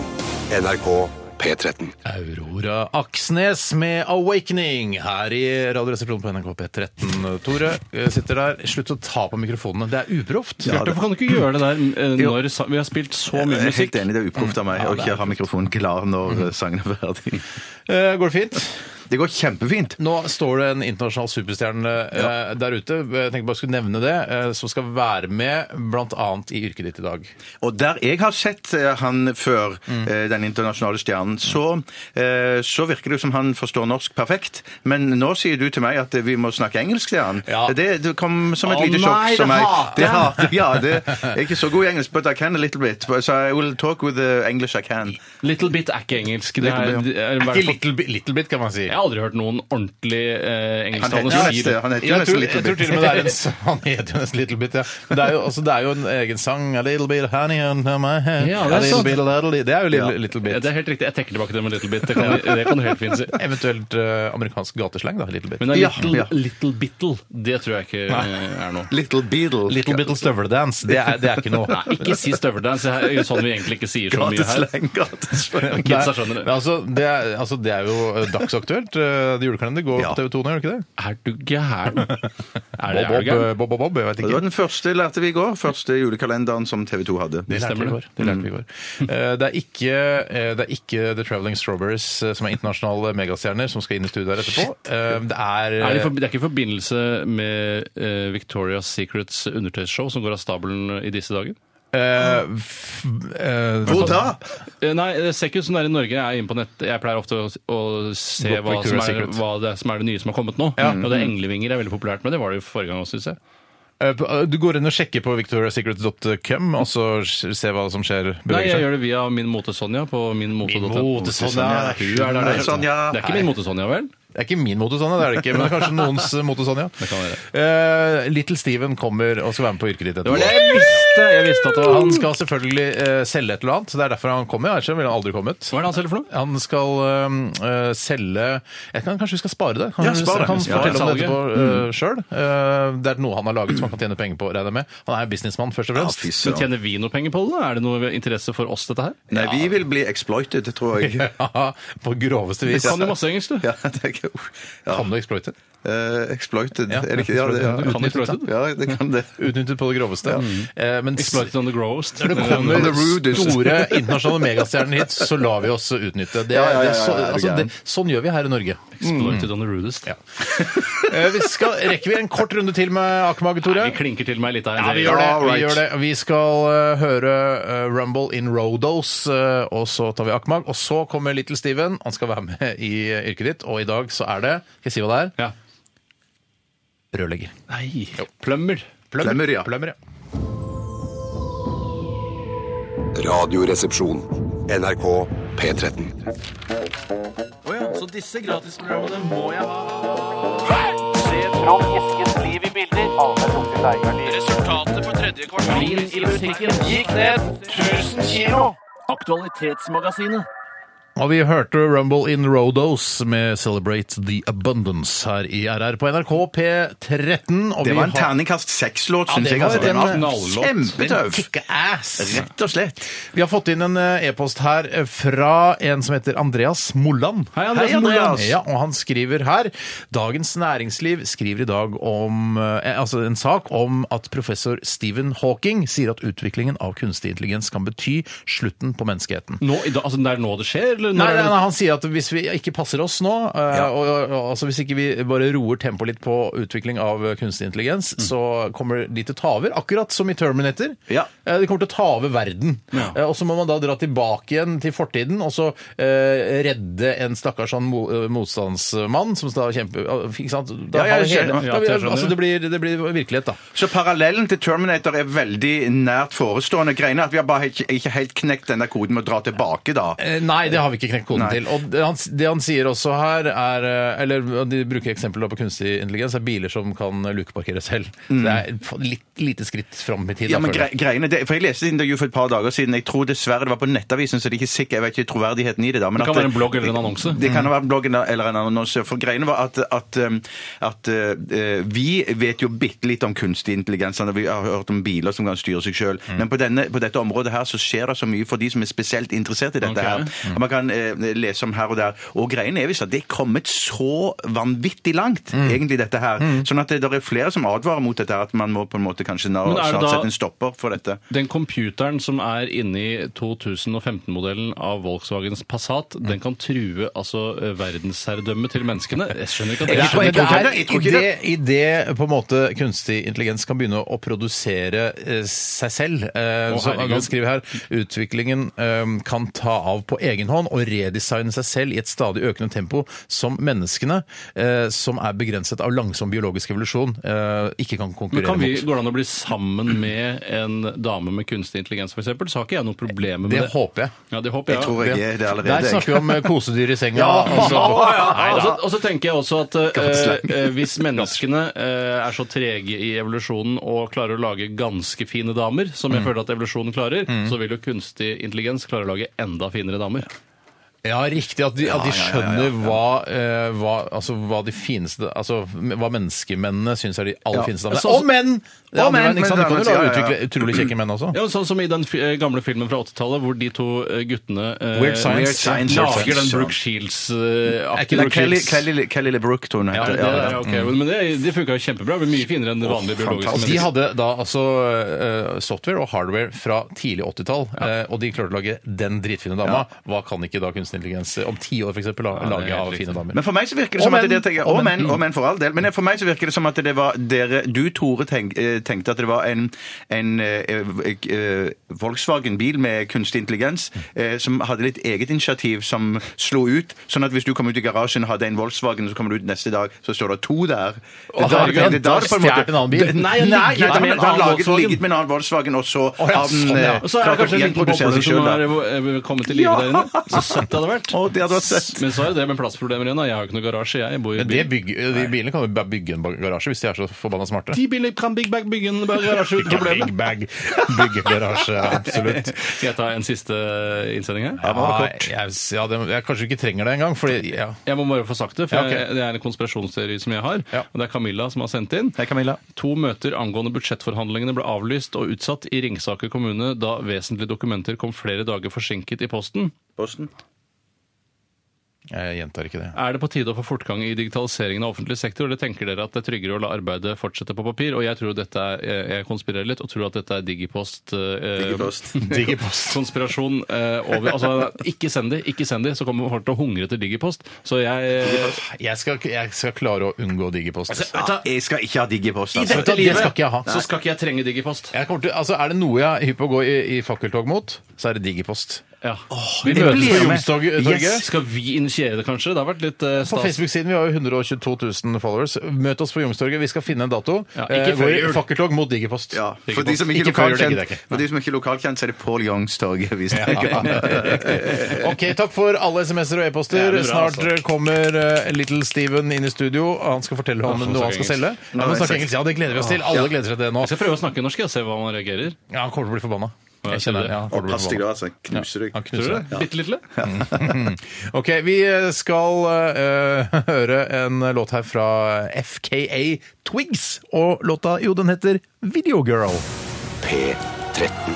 Speaker 5: NRK P13.
Speaker 1: Aurora Aksnes med 'Awakening' her i Radioresepsjonen på NRK P13. Tore eh, sitter der. Slutt å ta på mikrofonene. Det er uproft.
Speaker 3: Bjarte, hvorfor kan du ikke gjøre det der eh,
Speaker 2: Jo.
Speaker 3: når sa- vi har spilt så
Speaker 2: Jeg
Speaker 3: mye
Speaker 2: er
Speaker 3: musikk? Mhm.
Speaker 2: helt enig, det er uproft av meg å ikke ha mikrofonen klar når eh, sangen er ferdig.
Speaker 1: Eh, Går det fint?
Speaker 2: Det går kjempefint.
Speaker 1: Nå står det en internasjonal superstjerne eh, der ute, jeg tenkte bare jeg skulle nevne det, eh, som skal være med bl.a. i yrket ditt i dag.
Speaker 2: Og der jeg har sett eh, han før,
Speaker 1: Mm.
Speaker 2: eh, den internasjonale stjernen, så, eh, så virker det jo som han forstår norsk perfekt. Men nå sier du til meg at eh, vi må snakke engelsk til han.
Speaker 1: Ja.
Speaker 2: Det, det kom som et
Speaker 1: Å
Speaker 2: lite
Speaker 1: nei,
Speaker 2: sjokk.
Speaker 1: det
Speaker 2: som jeg-
Speaker 1: hater
Speaker 2: det hater ja, det, jeg er ikke så god i engelsk, but I can a little bit. So I will talk with the English I can.
Speaker 3: Little bit er ikke engelsk. Det er,
Speaker 2: Little bit,
Speaker 3: det er, i hvert
Speaker 1: Ikke
Speaker 3: fall-
Speaker 1: little, bit- little bit, kan man si.
Speaker 3: jeg har aldri hørt noen ordentlig eh,
Speaker 2: Han heter jo
Speaker 3: engelsktalende si
Speaker 2: nesten,
Speaker 3: det.
Speaker 2: han heter jo
Speaker 1: Jeg tror,
Speaker 2: nesten
Speaker 1: jeg
Speaker 2: Little
Speaker 1: tror
Speaker 2: Bit.
Speaker 1: til og med det er en s- Han heter jo nesten Little Bit, ja. Men det er jo, altså, det er jo en egen sang A little bit of honey on my hand
Speaker 3: Ja, det er
Speaker 1: a little
Speaker 3: sant.
Speaker 1: bit, a little, bit. Det er jo Little,
Speaker 2: Ja.
Speaker 1: little
Speaker 3: Ja,
Speaker 1: Bit.
Speaker 3: det er helt riktig. Jeg trekker tilbake det med little bit. Det kan, det kan du helt fint si.
Speaker 1: Eventuelt eh, amerikansk gatesleng, da. Little Bit.
Speaker 3: Men det er
Speaker 2: Ja,
Speaker 3: little,
Speaker 2: ja.
Speaker 3: little bittle, det tror jeg ikke eh, er noe.
Speaker 2: Little Beetle.
Speaker 1: Little Bittle Støveldance, det er, det er ikke noe.
Speaker 3: Nei, ikke si støveldans. Det er sånn vi egentlig ikke sier så mye her.
Speaker 2: Gatesleng, gatesleng.
Speaker 3: Kidsa skjønner
Speaker 1: Men
Speaker 3: det.
Speaker 1: altså, det er, altså, det er jo eh, dagsaktuelt. Eh, Julekalender går
Speaker 2: Ja.
Speaker 1: på TV 2 nå, gjør det ikke det?
Speaker 3: Er du gæren? Er det, er
Speaker 1: Bob,
Speaker 3: du
Speaker 1: Bob,
Speaker 3: gæren?
Speaker 1: eh, Bob, Bob, Bob, jeg vet
Speaker 2: Det var
Speaker 1: ikke.
Speaker 2: den første lærte vi i går. Første julekalenderen som TV 2 hadde.
Speaker 1: Det lærte vi i
Speaker 3: stemmer Mm.
Speaker 1: går. Det, lærte vi i går. Eh, det, er ikke, eh, det er ikke The Traveling Strawberries, eh, som er internasjonale megastjerner, som skal inn i studio her etterpå. Eh, Det er,
Speaker 3: Er det, i forbi- det er ikke i forbindelse med eh, Victoria's Secrets undertøysshow som går av stabelen i disse dager?
Speaker 1: eh, f- eh,
Speaker 2: Hvor da?
Speaker 3: Eh, Nei, det ser ikke ut som det er i Norge. Jeg er inne på nett. Jeg pleier ofte å, å se
Speaker 1: Gå på
Speaker 3: hva som,
Speaker 1: Victoria's
Speaker 3: er,
Speaker 1: Secret.
Speaker 3: hva det er som er det nye som har kommet nå.
Speaker 1: Ja.
Speaker 3: Og det er Englevinger er veldig populært, men det var det jo forrige gang også, syns jeg.
Speaker 1: Eh, på- eh, Du går inn og sjekker på victoriasecrets.com, og så s- se hva som skjer.
Speaker 3: Nei, jeg
Speaker 1: beveger seg.
Speaker 3: gjør det via min mote Sonja på minmote.no.
Speaker 1: mote-Sonja.
Speaker 3: Hun er der,
Speaker 2: Nei,
Speaker 3: der.
Speaker 2: Sonja.
Speaker 3: Det er ikke min mote Sonja, vel?
Speaker 1: Det er ikke min mote, Sonja, det er det ikke, men det er kanskje noens eh, mote, Sonja. Eh, Little Steven kommer og skal være med på yrket ditt
Speaker 3: Det var det
Speaker 1: etterpå.
Speaker 3: jeg visste! Jeg visste at det var
Speaker 1: Han
Speaker 3: han.
Speaker 1: skal selvfølgelig eh, selge et eller annet, så det er derfor han kommer. Ellers ville han aldri kommet.
Speaker 3: Hva er det han selger for noe?
Speaker 1: Han skal øhm, øh, selge jeg kan, Kanskje vi skal spare det? Kan,
Speaker 2: Ja, spar det.
Speaker 1: Kan
Speaker 2: Ja,
Speaker 1: fortelle om det
Speaker 3: salget.
Speaker 1: etterpå
Speaker 3: Mm.
Speaker 1: øh, selv. Øh, det er noe han har laget som han kan tjene penger på, regner jeg med. Han er jo businessmann, først og fremst.
Speaker 2: Fy
Speaker 3: Men
Speaker 2: søren.
Speaker 3: tjener vi noe penger på det? da? Er det noe interesse for oss, dette her?
Speaker 2: Nei, vi vil bli exploited, tror jeg.
Speaker 1: Ja, på groveste
Speaker 3: Du
Speaker 1: vis.
Speaker 3: kan jo masse engelsk, du.
Speaker 2: Ja, det er ikke ja.
Speaker 1: Kan du exploite?
Speaker 2: Eh, Exploited,
Speaker 1: Ja,
Speaker 2: er det ikke? Ja, det, ja.
Speaker 3: Du kan exploited.
Speaker 2: Ja, det kan det.
Speaker 1: Utnyttet på det groveste. Eh, men s-
Speaker 3: Exploited on the growest.
Speaker 1: når det
Speaker 2: On the
Speaker 1: kommer
Speaker 2: rudest.
Speaker 1: store internasjonale megastjerner hit, så lar vi oss utnytte. Det, er-
Speaker 2: Ja, ja, ja,
Speaker 1: det er så,
Speaker 2: ja, ja, er du
Speaker 1: altså, det,
Speaker 2: gæren.
Speaker 1: sånn gjør vi her i Norge.
Speaker 3: Exploited on the rudest.
Speaker 1: Eh, vi skal, rekker vi en kort runde til med Akemage, Tore?
Speaker 3: Vi klinker til meg litt her.
Speaker 1: Ja, vi gjør det. Vi,
Speaker 2: Alright.
Speaker 1: gjør det. vi skal eh, høre eh, Rumble in Rodos, eh, og så tar vi Akmag. Og så kommer Little Steven. Han skal være med i eh, yrket ditt, og i dag så er det Skal jeg si hva det er?
Speaker 3: Ja.
Speaker 1: Rørlegger.
Speaker 3: Nei. Plømmer.
Speaker 2: Plemmer, ja.
Speaker 1: Plømmer, ja.
Speaker 5: Radioresepsjon. NRK P13.
Speaker 8: Resultatet på tredje kvartal i butikken gikk ned 1000 kilo. Aktualitetsmagasinet.
Speaker 1: Og vi hørte Rumble in Rodos med Celebrate the Abundance her i RR på NRK P13. Og
Speaker 2: Det
Speaker 1: vi
Speaker 2: var en
Speaker 1: har-
Speaker 2: terningkast seks-låt, syns
Speaker 1: det
Speaker 2: jeg.
Speaker 1: var
Speaker 2: Altså. Den
Speaker 1: en-
Speaker 2: var
Speaker 3: knallåt.
Speaker 2: kjempetøff!
Speaker 1: Kickass!
Speaker 2: Rett og slett.
Speaker 1: Vi har fått inn en eh, e-post her eh, fra en som heter Andreas Molland.
Speaker 3: Hei, Andreas Molland.
Speaker 1: Ja, og han skriver her Dagens Næringsliv skriver i dag om eh, altså en sak om at professor Stephen Hawking sier at utviklingen av kunstig intelligens kan bety slutten på menneskeheten.
Speaker 3: Nå, i dag- altså, det er nå det skjer? Eller
Speaker 1: Nei,
Speaker 3: når
Speaker 1: nei,
Speaker 3: er det-
Speaker 1: nei, han sier at hvis vi ikke passer oss nå, eh,
Speaker 2: Ja.
Speaker 1: og, og, og, altså hvis ikke vi bare roer tempoet litt på utvikling av eh, kunstig intelligens, så kommer de til å ta over, akkurat som i Terminator.
Speaker 2: Ja.
Speaker 1: Eh, De kommer til å ta over verden. Eh, Og så må man da dra tilbake igjen til fortiden, og så eh, redde en stakkars sånn mo eh, motstandsmann som da kjemper eh, Ikke sant? Da
Speaker 2: Ja, jeg
Speaker 1: har vi hele,
Speaker 2: skjønner.
Speaker 3: Ja,
Speaker 1: da, vi-
Speaker 3: jeg skjønner.
Speaker 1: altså, det, blir, det blir virkelighet, da.
Speaker 2: Så parallellen til Terminator er veldig nært forestående. Greiene er at vi har bare ikke, ikke helt knekt den der koden med å dra tilbake, da.
Speaker 1: Eh, Nei, det har vi ikke knekt koden
Speaker 2: Nei.
Speaker 1: til. Og det han, det han sier også her, er eh, Eller de bruker eksempler på kunstig intelligens, er biler som kan lukeparkere selv. Så det er f- litt, lite skritt fram i tid.
Speaker 2: Mm. Ja,
Speaker 1: da,
Speaker 2: men
Speaker 1: føler jeg.
Speaker 2: gre greiene, det, for Jeg leste et intervju for et par dager siden. Jeg tror dessverre det var på Nettavisen, så det er ikke sikkert, jeg vet ikke troverdigheten i det. da. Men
Speaker 3: Det kan
Speaker 2: at-
Speaker 3: være en blogg eller en annonse.
Speaker 2: Det kan være en blogg eller en annonse. For greiene var at, at, um, at uh, vi vet jo bitte litt om kunstig intelligens. og Vi har hørt om biler som kan
Speaker 3: Mm.
Speaker 2: styre seg sjøl. Men på, denne, på dette området her så skjer det så mye for de som er spesielt interessert i dette
Speaker 3: Ok. Mm.
Speaker 2: her. Og Man kan kan eh, lese om her og der. Og greien er visst at det er kommet så vanvittig langt,
Speaker 3: Mm.
Speaker 2: egentlig, dette her. Sånn at det, der er flere som advarer mot dette, her, at man må på en måte kanskje nå
Speaker 3: Men er det
Speaker 2: snart
Speaker 3: da-
Speaker 2: sette en stopper for dette.
Speaker 3: Den computeren som er inni 2015-modellen av Volkswagens Passat, den kan true altså eh, verdensherredømmet til menneskene. Jeg skjønner ikke at
Speaker 2: Jeg
Speaker 3: det
Speaker 2: tror-
Speaker 3: er
Speaker 2: jeg tror ikke det. Jeg tror ikke
Speaker 1: Idet idet på en måte kunstig intelligens kan begynne å produsere eh, seg selv eh,
Speaker 3: Å,
Speaker 1: så
Speaker 3: herregud.
Speaker 1: Han skriver her utviklingen eh, kan ta av på egen hånd og redesigne seg selv i et stadig økende tempo som menneskene, eh, som er begrenset av langsom biologisk evolusjon, eh, ikke kan
Speaker 3: Men
Speaker 1: konkurrere
Speaker 3: kan vi,
Speaker 1: mot.
Speaker 3: Går det an å bli sammen med en dame med kunstig intelligens, f.eks.? Så har ikke jeg noe problem med det.
Speaker 1: Det håper jeg.
Speaker 3: Ja, det håper jeg.
Speaker 2: Jeg tror jeg er det allerede.
Speaker 1: Der
Speaker 2: jeg.
Speaker 1: snakker vi om eh, kosedyr i senga.
Speaker 3: Å,
Speaker 1: altså.
Speaker 3: ja. Og så- Og så tenker jeg også at eh,
Speaker 2: Gatteslang.
Speaker 3: eh, hvis menneskene eh, er så trege i evolusjonen og klarer å lage ganske fine damer, som
Speaker 2: Mm.
Speaker 3: jeg føler at evolusjonen klarer, så vil jo kunstig intelligens klare å lage enda finere damer.
Speaker 1: Ja, riktig. At de, at de skjønner Hva, eh, hva, altså, hva de fineste Altså hva menneskemennene syns er de aller fineste damene.
Speaker 3: Sånn-
Speaker 1: Og menn! Det er
Speaker 2: Og
Speaker 1: andre
Speaker 2: menn,
Speaker 1: veien, ikke sant?
Speaker 2: men
Speaker 1: Du kan
Speaker 2: det
Speaker 1: jo
Speaker 2: er-
Speaker 1: lage
Speaker 2: ja, ja,
Speaker 1: utvikle
Speaker 2: ja.
Speaker 1: utrolig kjekke menn også.
Speaker 3: Ja, sånn som i den fi- eh, gamle filmen fra 80-tallet, hvor de to eh, guttene eh,
Speaker 1: Weird Science.
Speaker 2: Weird Science.
Speaker 3: lager den
Speaker 2: Ja.
Speaker 3: Brooke Shields eh, aktige
Speaker 2: Nei,
Speaker 3: Brooke
Speaker 2: Kelly,
Speaker 3: Shields.
Speaker 2: Kelly, Kelly LeBrook, tror jeg hun
Speaker 3: Ja, det,
Speaker 2: heter.
Speaker 3: er- ja, ok. Men det, det funka jo kjempebra. Det ble Mye finere enn det vanlige biologiske
Speaker 1: Og de
Speaker 3: mennesket.
Speaker 1: hadde da altså eh, software og hardware fra tidlig 80-tall, eh, og de klarte å lage den dritfine dama. Hva kan ikke da kunstig intelligens eh, om ti år, f.eks., la,
Speaker 3: det er
Speaker 1: lage
Speaker 3: helt
Speaker 1: av fine
Speaker 3: riktig.
Speaker 1: damer?
Speaker 2: Men for meg så virker det
Speaker 1: Og
Speaker 2: som at
Speaker 1: menn.
Speaker 2: det, tenker,
Speaker 1: Og
Speaker 2: og
Speaker 1: menn.
Speaker 2: menn, og menn for all del. Men for meg så virker det som at det var dere Du, Tore, tenk, eh, tenkte at det var en, en eh, eh, eh, Volkswagen-bil med kunstig intelligens eh, som hadde litt eget initiativ, som slo ut. Sånn at hvis du kom ut i garasjen og hadde en Volkswagen, så kommer du ut neste dag, så står det to der.
Speaker 1: herregud, da stjal en annen bil.
Speaker 2: Nei, nei, nei,
Speaker 3: Ligget med
Speaker 2: men
Speaker 3: en
Speaker 2: han
Speaker 3: annen
Speaker 2: laget,
Speaker 3: Volkswagen.
Speaker 2: ligget med en annen Volkswagen, og så
Speaker 1: Å, ja,
Speaker 2: har den
Speaker 1: sånn, ja.
Speaker 2: eh,
Speaker 3: Og så er det
Speaker 2: klart å
Speaker 3: kanskje en liten
Speaker 2: gjenprodusere
Speaker 3: boble
Speaker 2: seg
Speaker 3: som
Speaker 2: selv,
Speaker 3: har
Speaker 2: da.
Speaker 3: eh, kommet til live der inne. Så søtt det hadde vært.
Speaker 2: Å, det hadde vært søtt.
Speaker 3: Men så er det det med plassproblemer igjen. da. Jeg har jo ikke noe garasje. jeg. jeg bor jo i
Speaker 1: Men det
Speaker 3: bil.
Speaker 1: bygger, de bilene kan jo bare bygge en garasje hvis de er så forbanna smarte.
Speaker 3: Ti biler kan Big Bag bygge en garasje uten
Speaker 1: Ikke
Speaker 3: problemer.
Speaker 1: Big bag, bygge garasje, absolutt.
Speaker 3: Skal jeg ta en siste eh, innsending her?
Speaker 1: Ja,
Speaker 2: var det kort.
Speaker 1: jeg, ja, det, jeg kanskje ikke trenger det engang, fordi ja.
Speaker 3: Jeg må bare få sagt det, for
Speaker 1: Ja, ok.
Speaker 3: jeg, det er en konspirasjonsteori som jeg har.
Speaker 1: Ja.
Speaker 3: Og det er Camilla som har sendt inn.
Speaker 2: Hei, Camilla.
Speaker 3: To møter angående budsjettforhandlingene ble avlyst og utsatt i Ringsaker kommune da vesentlige dokumenter kom flere dager forsinket i posten.
Speaker 2: Posten.
Speaker 1: Jeg gjentar ikke det.
Speaker 3: Er det på tide å få fortgang i digitaliseringen av offentlig sektor? Eller tenker dere at det er tryggere å la arbeidet fortsette på papir? Og jeg tror dette er, jeg- jeg konspirerer litt og tror at dette er digipost. eh,
Speaker 2: Digipost.
Speaker 1: Digipost.
Speaker 3: Konspirasjon eh, over Altså, ikke send det, ikke send det, så kommer folk til å hungre etter digipost. Så jeg
Speaker 1: Jeg skal, jeg skal klare å unngå digipost.
Speaker 3: Vet du hva?
Speaker 2: Jeg skal ikke ha digipost,
Speaker 3: I
Speaker 2: altså.
Speaker 1: vet du
Speaker 3: dette
Speaker 1: hva, det
Speaker 3: livet
Speaker 1: skal ikke jeg ha.
Speaker 3: så skal ikke jeg trenge digipost.
Speaker 1: Jeg kommer til, altså, er det noe jeg er hypp på å gå i, i fakkeltog mot, så er det digipost.
Speaker 3: Ja. vi
Speaker 1: det
Speaker 3: møtes på
Speaker 1: blir jeg med.
Speaker 3: Youngstorget.
Speaker 1: Yes.
Speaker 3: Skal vi initiere det, kanskje? Det har vært litt eh,
Speaker 1: På
Speaker 3: stas.
Speaker 1: Facebook-siden, Vi har jo 122 000 followers. Møt oss på Youngstorget. Vi skal finne en dato.
Speaker 3: Ja, ikke
Speaker 1: Eh,
Speaker 3: før
Speaker 1: Gå i
Speaker 3: jul.
Speaker 1: fakkeltog mot digipost.
Speaker 2: Ja, for de som ikke,
Speaker 1: Ikke
Speaker 2: er
Speaker 1: før jul, det gidder jeg
Speaker 2: lokalkjent,
Speaker 1: ikke.
Speaker 2: for de som ikke er lokalkjent, så er det Pål Youngs torg. Hvis det er
Speaker 1: ok, takk for alle SMS-er og
Speaker 3: Ja,
Speaker 1: e-poster.
Speaker 3: det er bra,
Speaker 1: Snart eh, kommer eh, Little Steven inn i studio. Han skal fortelle om
Speaker 3: han
Speaker 1: noe han
Speaker 3: snakker
Speaker 1: skal selge.
Speaker 3: engelsk.
Speaker 1: Ja, men snakke engelsk. ja, det gleder vi oss til. Alle gleder seg til det nå.
Speaker 3: Jeg skal prøve å snakke norsk og se hva man reagerer.
Speaker 1: Ja, han kommer til å bli forbanna.
Speaker 3: sier
Speaker 1: Jeg kjenner
Speaker 3: det.
Speaker 1: det. Ja, han kommer til å
Speaker 2: Pass
Speaker 1: bli
Speaker 2: deg,
Speaker 1: forbanna.
Speaker 2: da. altså. Knuser deg.
Speaker 1: Han
Speaker 3: Tror
Speaker 1: knuser
Speaker 3: du
Speaker 1: deg.
Speaker 3: det? Bitte lille?
Speaker 1: Ok, vi eh, skal eh, høre en låt her fra FKA Twigs. Og låta, jo, den heter Videogirl.
Speaker 5: P13.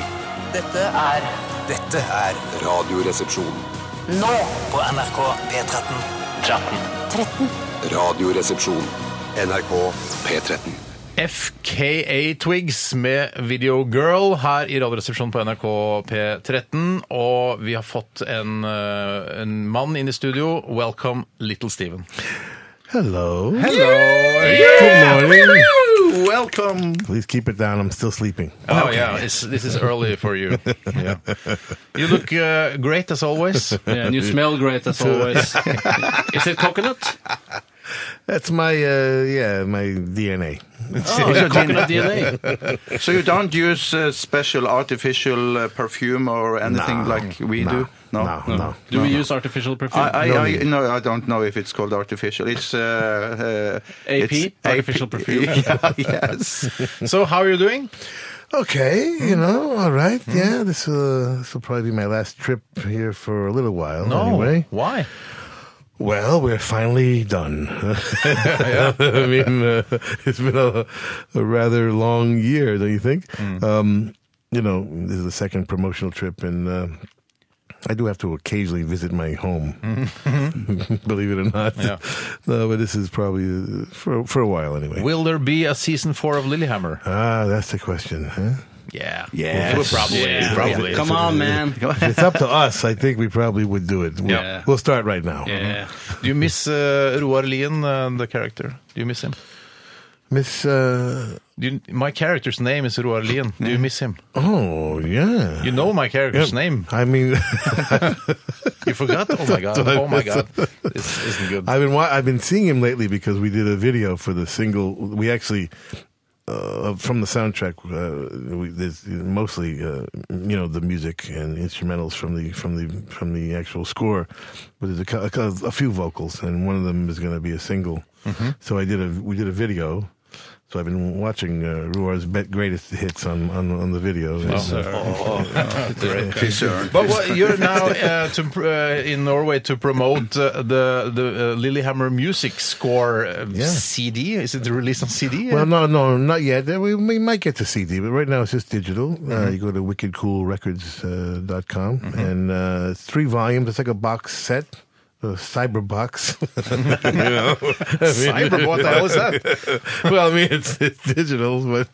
Speaker 6: Dette er Dette er
Speaker 5: Radioresepsjon.
Speaker 6: nå på NRK P13. 13.
Speaker 5: Radioresepsjon. NRK P13.
Speaker 1: FKA Twigs med Video Girl her i Radioresepsjonen på NRK P13. Og vi har fått en, eh, en mann inn i studio. Welcome, Little Steven.
Speaker 9: Hello.
Speaker 1: Hello!
Speaker 9: Good morning.
Speaker 2: Welcome!
Speaker 9: Please keep it down. I'm still sleeping.
Speaker 1: Oh, yeah, it's, this is early for you. Yeah. You look uh, great as always.
Speaker 3: Yeah, and you smell great as always. Is it coconut?
Speaker 9: That's my uh, yeah, my DNA.
Speaker 3: Oh, yeah, coconut DNA.
Speaker 2: So you don't use uh, special artificial uh, perfume or anything
Speaker 9: Nah,
Speaker 2: like we
Speaker 9: nah,
Speaker 2: do? No.
Speaker 9: No. No. no.
Speaker 3: Do we use artificial perfume?
Speaker 2: I, I, I, no, I don't know if it's called artificial. It's uh, uh,
Speaker 3: AP,
Speaker 2: it's
Speaker 3: artificial perfume.
Speaker 2: Yeah, yes.
Speaker 1: So how are you doing?
Speaker 9: Okay, you know, all right.
Speaker 2: Hmm?
Speaker 9: Yeah, this, uh, this will probably be my last trip here for a little while. Anyway,
Speaker 1: Why?
Speaker 9: well, we're finally done. I mean, uh, it's been a, a rather long
Speaker 1: Hmm.
Speaker 9: year, don't you think? Um, you know, this is the second promotional trip, and uh, I do have to occasionally visit my home, believe it or not.
Speaker 1: Mm-hmm. Yeah.
Speaker 9: no, but this is probably uh, for for a while anyway.
Speaker 1: Will there be a season four of Lilyhammer?
Speaker 9: ah, that's the question. Huh?
Speaker 1: Yeah.
Speaker 2: Yes.
Speaker 1: Well, Probably.
Speaker 3: Yeah.
Speaker 1: Probably.
Speaker 3: Come on, man.
Speaker 9: If it's up to us, I think we probably would do it. We'll,
Speaker 3: Yeah.
Speaker 9: we'll start right now.
Speaker 3: Yeah.
Speaker 1: Do you miss uh, Roar Lien, uh, the character? Do you miss him?
Speaker 9: Miss. Uh,
Speaker 1: Do you, my character's name is Roar Lien. Do you miss him?
Speaker 9: oh yeah.
Speaker 1: You know my character's name.
Speaker 9: I mean,
Speaker 1: You forgot? Oh my god. Oh my god. This isn't good.
Speaker 9: I've been wa- I've been seeing him lately because we did a video for the single. We actually uh, from the soundtrack. Uh, we, there's mostly uh, you know the music and instrumentals from the from the from the actual score, but there's a, cou- a, cou- a few vocals, and one of them is going to be a single. So I did a we did a video. So I've been watching uh, Ruar's be- greatest hits on, on on the video.
Speaker 1: Oh. uh,
Speaker 2: Fy søren.
Speaker 1: But what, you're now uh, to, pr- uh, in Norway to promote uh, the the uh, Lilyhammer Music Score uh,
Speaker 9: Yeah.
Speaker 1: CD. Is it released on Uh, CD?
Speaker 9: Well, no, no, not yet. We, we might get to CD, but right now it's just digital.
Speaker 1: Mm-hmm.
Speaker 9: Uh, you go to wickedcoolrecords.com, uh, dot com, and uh, it's three volumes. It's like a box set, a cyber box. you know?
Speaker 1: Cyber, what the hell is that?
Speaker 9: well, I mean, it's, it's digital, but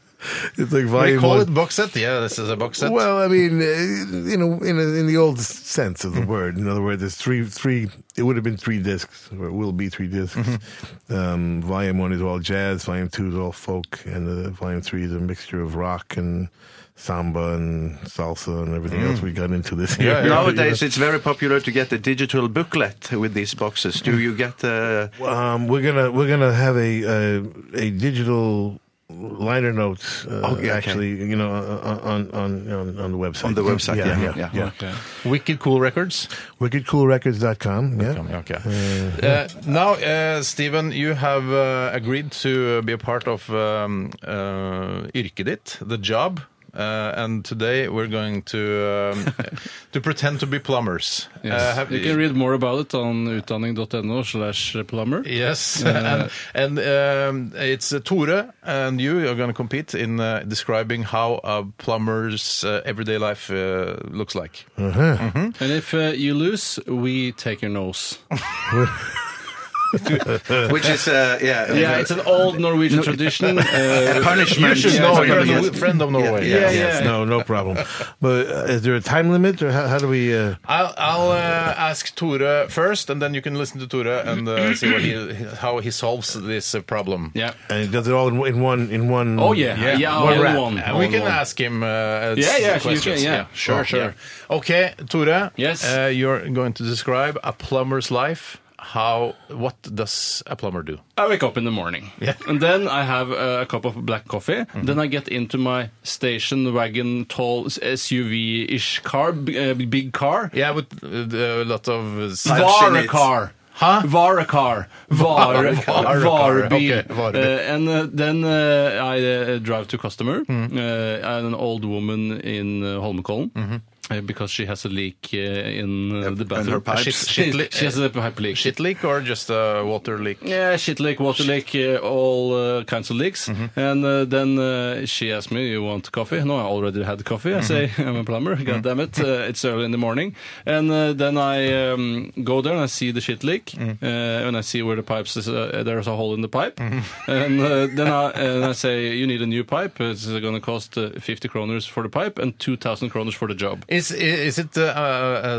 Speaker 9: it's like
Speaker 1: They
Speaker 9: volume
Speaker 1: call
Speaker 9: one.
Speaker 1: it box set. Yeah, this is a box set.
Speaker 9: Well, I mean, uh, you know, in in the old sense of the
Speaker 2: Mm-hmm.
Speaker 9: word. In other words, there's three three. It would have been three discs, or it will be three discs.
Speaker 2: Mm-hmm.
Speaker 9: Um, volume one is all jazz. Volume two is all folk, and uh, volume three is a mixture of rock and samba and salsa and everything
Speaker 2: Mm.
Speaker 9: else we got into this year.
Speaker 2: Nowadays, it's very popular to get a digital booklet with these boxes. Do you get uh,
Speaker 9: um, we're gonna we're gonna have a a, a digital liner notes uh,
Speaker 2: Oh, Okay, okay.
Speaker 9: actually you know uh, on on on on the website
Speaker 2: on the website?
Speaker 9: yeah yeah, yeah.
Speaker 3: Okay.
Speaker 1: Wicked Cool Records.
Speaker 9: wickedcoolrecords.com yeah
Speaker 1: Okay. Uh, now, uh, Steven, you have uh, agreed to be a part of um, uh, yrket ditt, the job. Uh, and today we're going to um, to pretend to be plumbers. Uh,
Speaker 3: Yes.
Speaker 1: have-
Speaker 3: You can read more about it on utdanning.no slash plumber.
Speaker 1: Yes, and, and um, it's uh, Tore and you are going to compete in uh, describing how a plumber's uh, everyday life uh, looks like.
Speaker 3: And if uh, you lose, we take your nose.
Speaker 2: Which is uh, yeah,
Speaker 3: Yeah, it's an old Norwegian tradition. Uh,
Speaker 2: punishment.
Speaker 1: You should
Speaker 2: Yeah,
Speaker 1: know
Speaker 2: it's a
Speaker 1: you're a
Speaker 2: punishment.
Speaker 1: Nor- friend of Norway.
Speaker 2: Yeah, yeah.
Speaker 9: Yes, no, no problem. But uh, is there a time limit, or how, how do we? Uh,
Speaker 1: I'll, I'll uh, ask Tore first, and then you can listen to Tore and uh, see what he, how he solves this uh, problem.
Speaker 3: yeah.
Speaker 9: and does it all in, in one? In one?
Speaker 3: Oh, yeah. Yeah,
Speaker 1: One
Speaker 3: all in
Speaker 1: rap.
Speaker 3: one.
Speaker 1: And
Speaker 3: All
Speaker 1: we
Speaker 3: in
Speaker 1: can
Speaker 3: one.
Speaker 1: ask him uh, uh,
Speaker 3: Yeah, yeah,
Speaker 1: s-
Speaker 3: you
Speaker 1: questions.
Speaker 3: can, yeah. Sure, sure.
Speaker 1: yeah. Okay, Tore.
Speaker 3: Yes.
Speaker 1: Uh, you're going to describe a plumber's life. How? What does a plumber do?
Speaker 3: I wake up in the morning, and then I have uh, a cup of black coffee. Then I get into my station wagon, tall SUV-ish car, b- uh, big car.
Speaker 1: Yeah, with uh, a lot of
Speaker 3: Vara
Speaker 2: it.
Speaker 3: car.
Speaker 1: Huh?
Speaker 3: Vara car. Vara
Speaker 1: Vara-
Speaker 3: Vara bil.
Speaker 1: Okay, vara bil.
Speaker 3: Uh, and uh, then uh, I uh, drive to customer,
Speaker 1: Mm.
Speaker 3: uh, and an old woman in uh, Holmenkollen.
Speaker 1: Mm-hmm.
Speaker 3: uh, Because she has a leak uh, in uh, the bathroom.
Speaker 2: her pipes.
Speaker 3: She,
Speaker 1: Shit- shit-
Speaker 3: she has a pipe leak.
Speaker 1: shit leak or just a water leak?
Speaker 3: Yeah, shit leak, water leak, uh, all uh, kinds of leaks. And uh, then uh, she asked me, "You want coffee?" No, I already had coffee. I say, "I'm a plumber. God damn it, uh, it's early in the morning." And uh, then I um, go there and I see the shit leak, uh, and I see where the pipes is. Uh, there's a hole in the pipe, and uh, then I and I say, "You need a new pipe. It's going to cost uh, 50 kroners for the pipe and 2,000 kroners for the job."
Speaker 1: Is is it uh,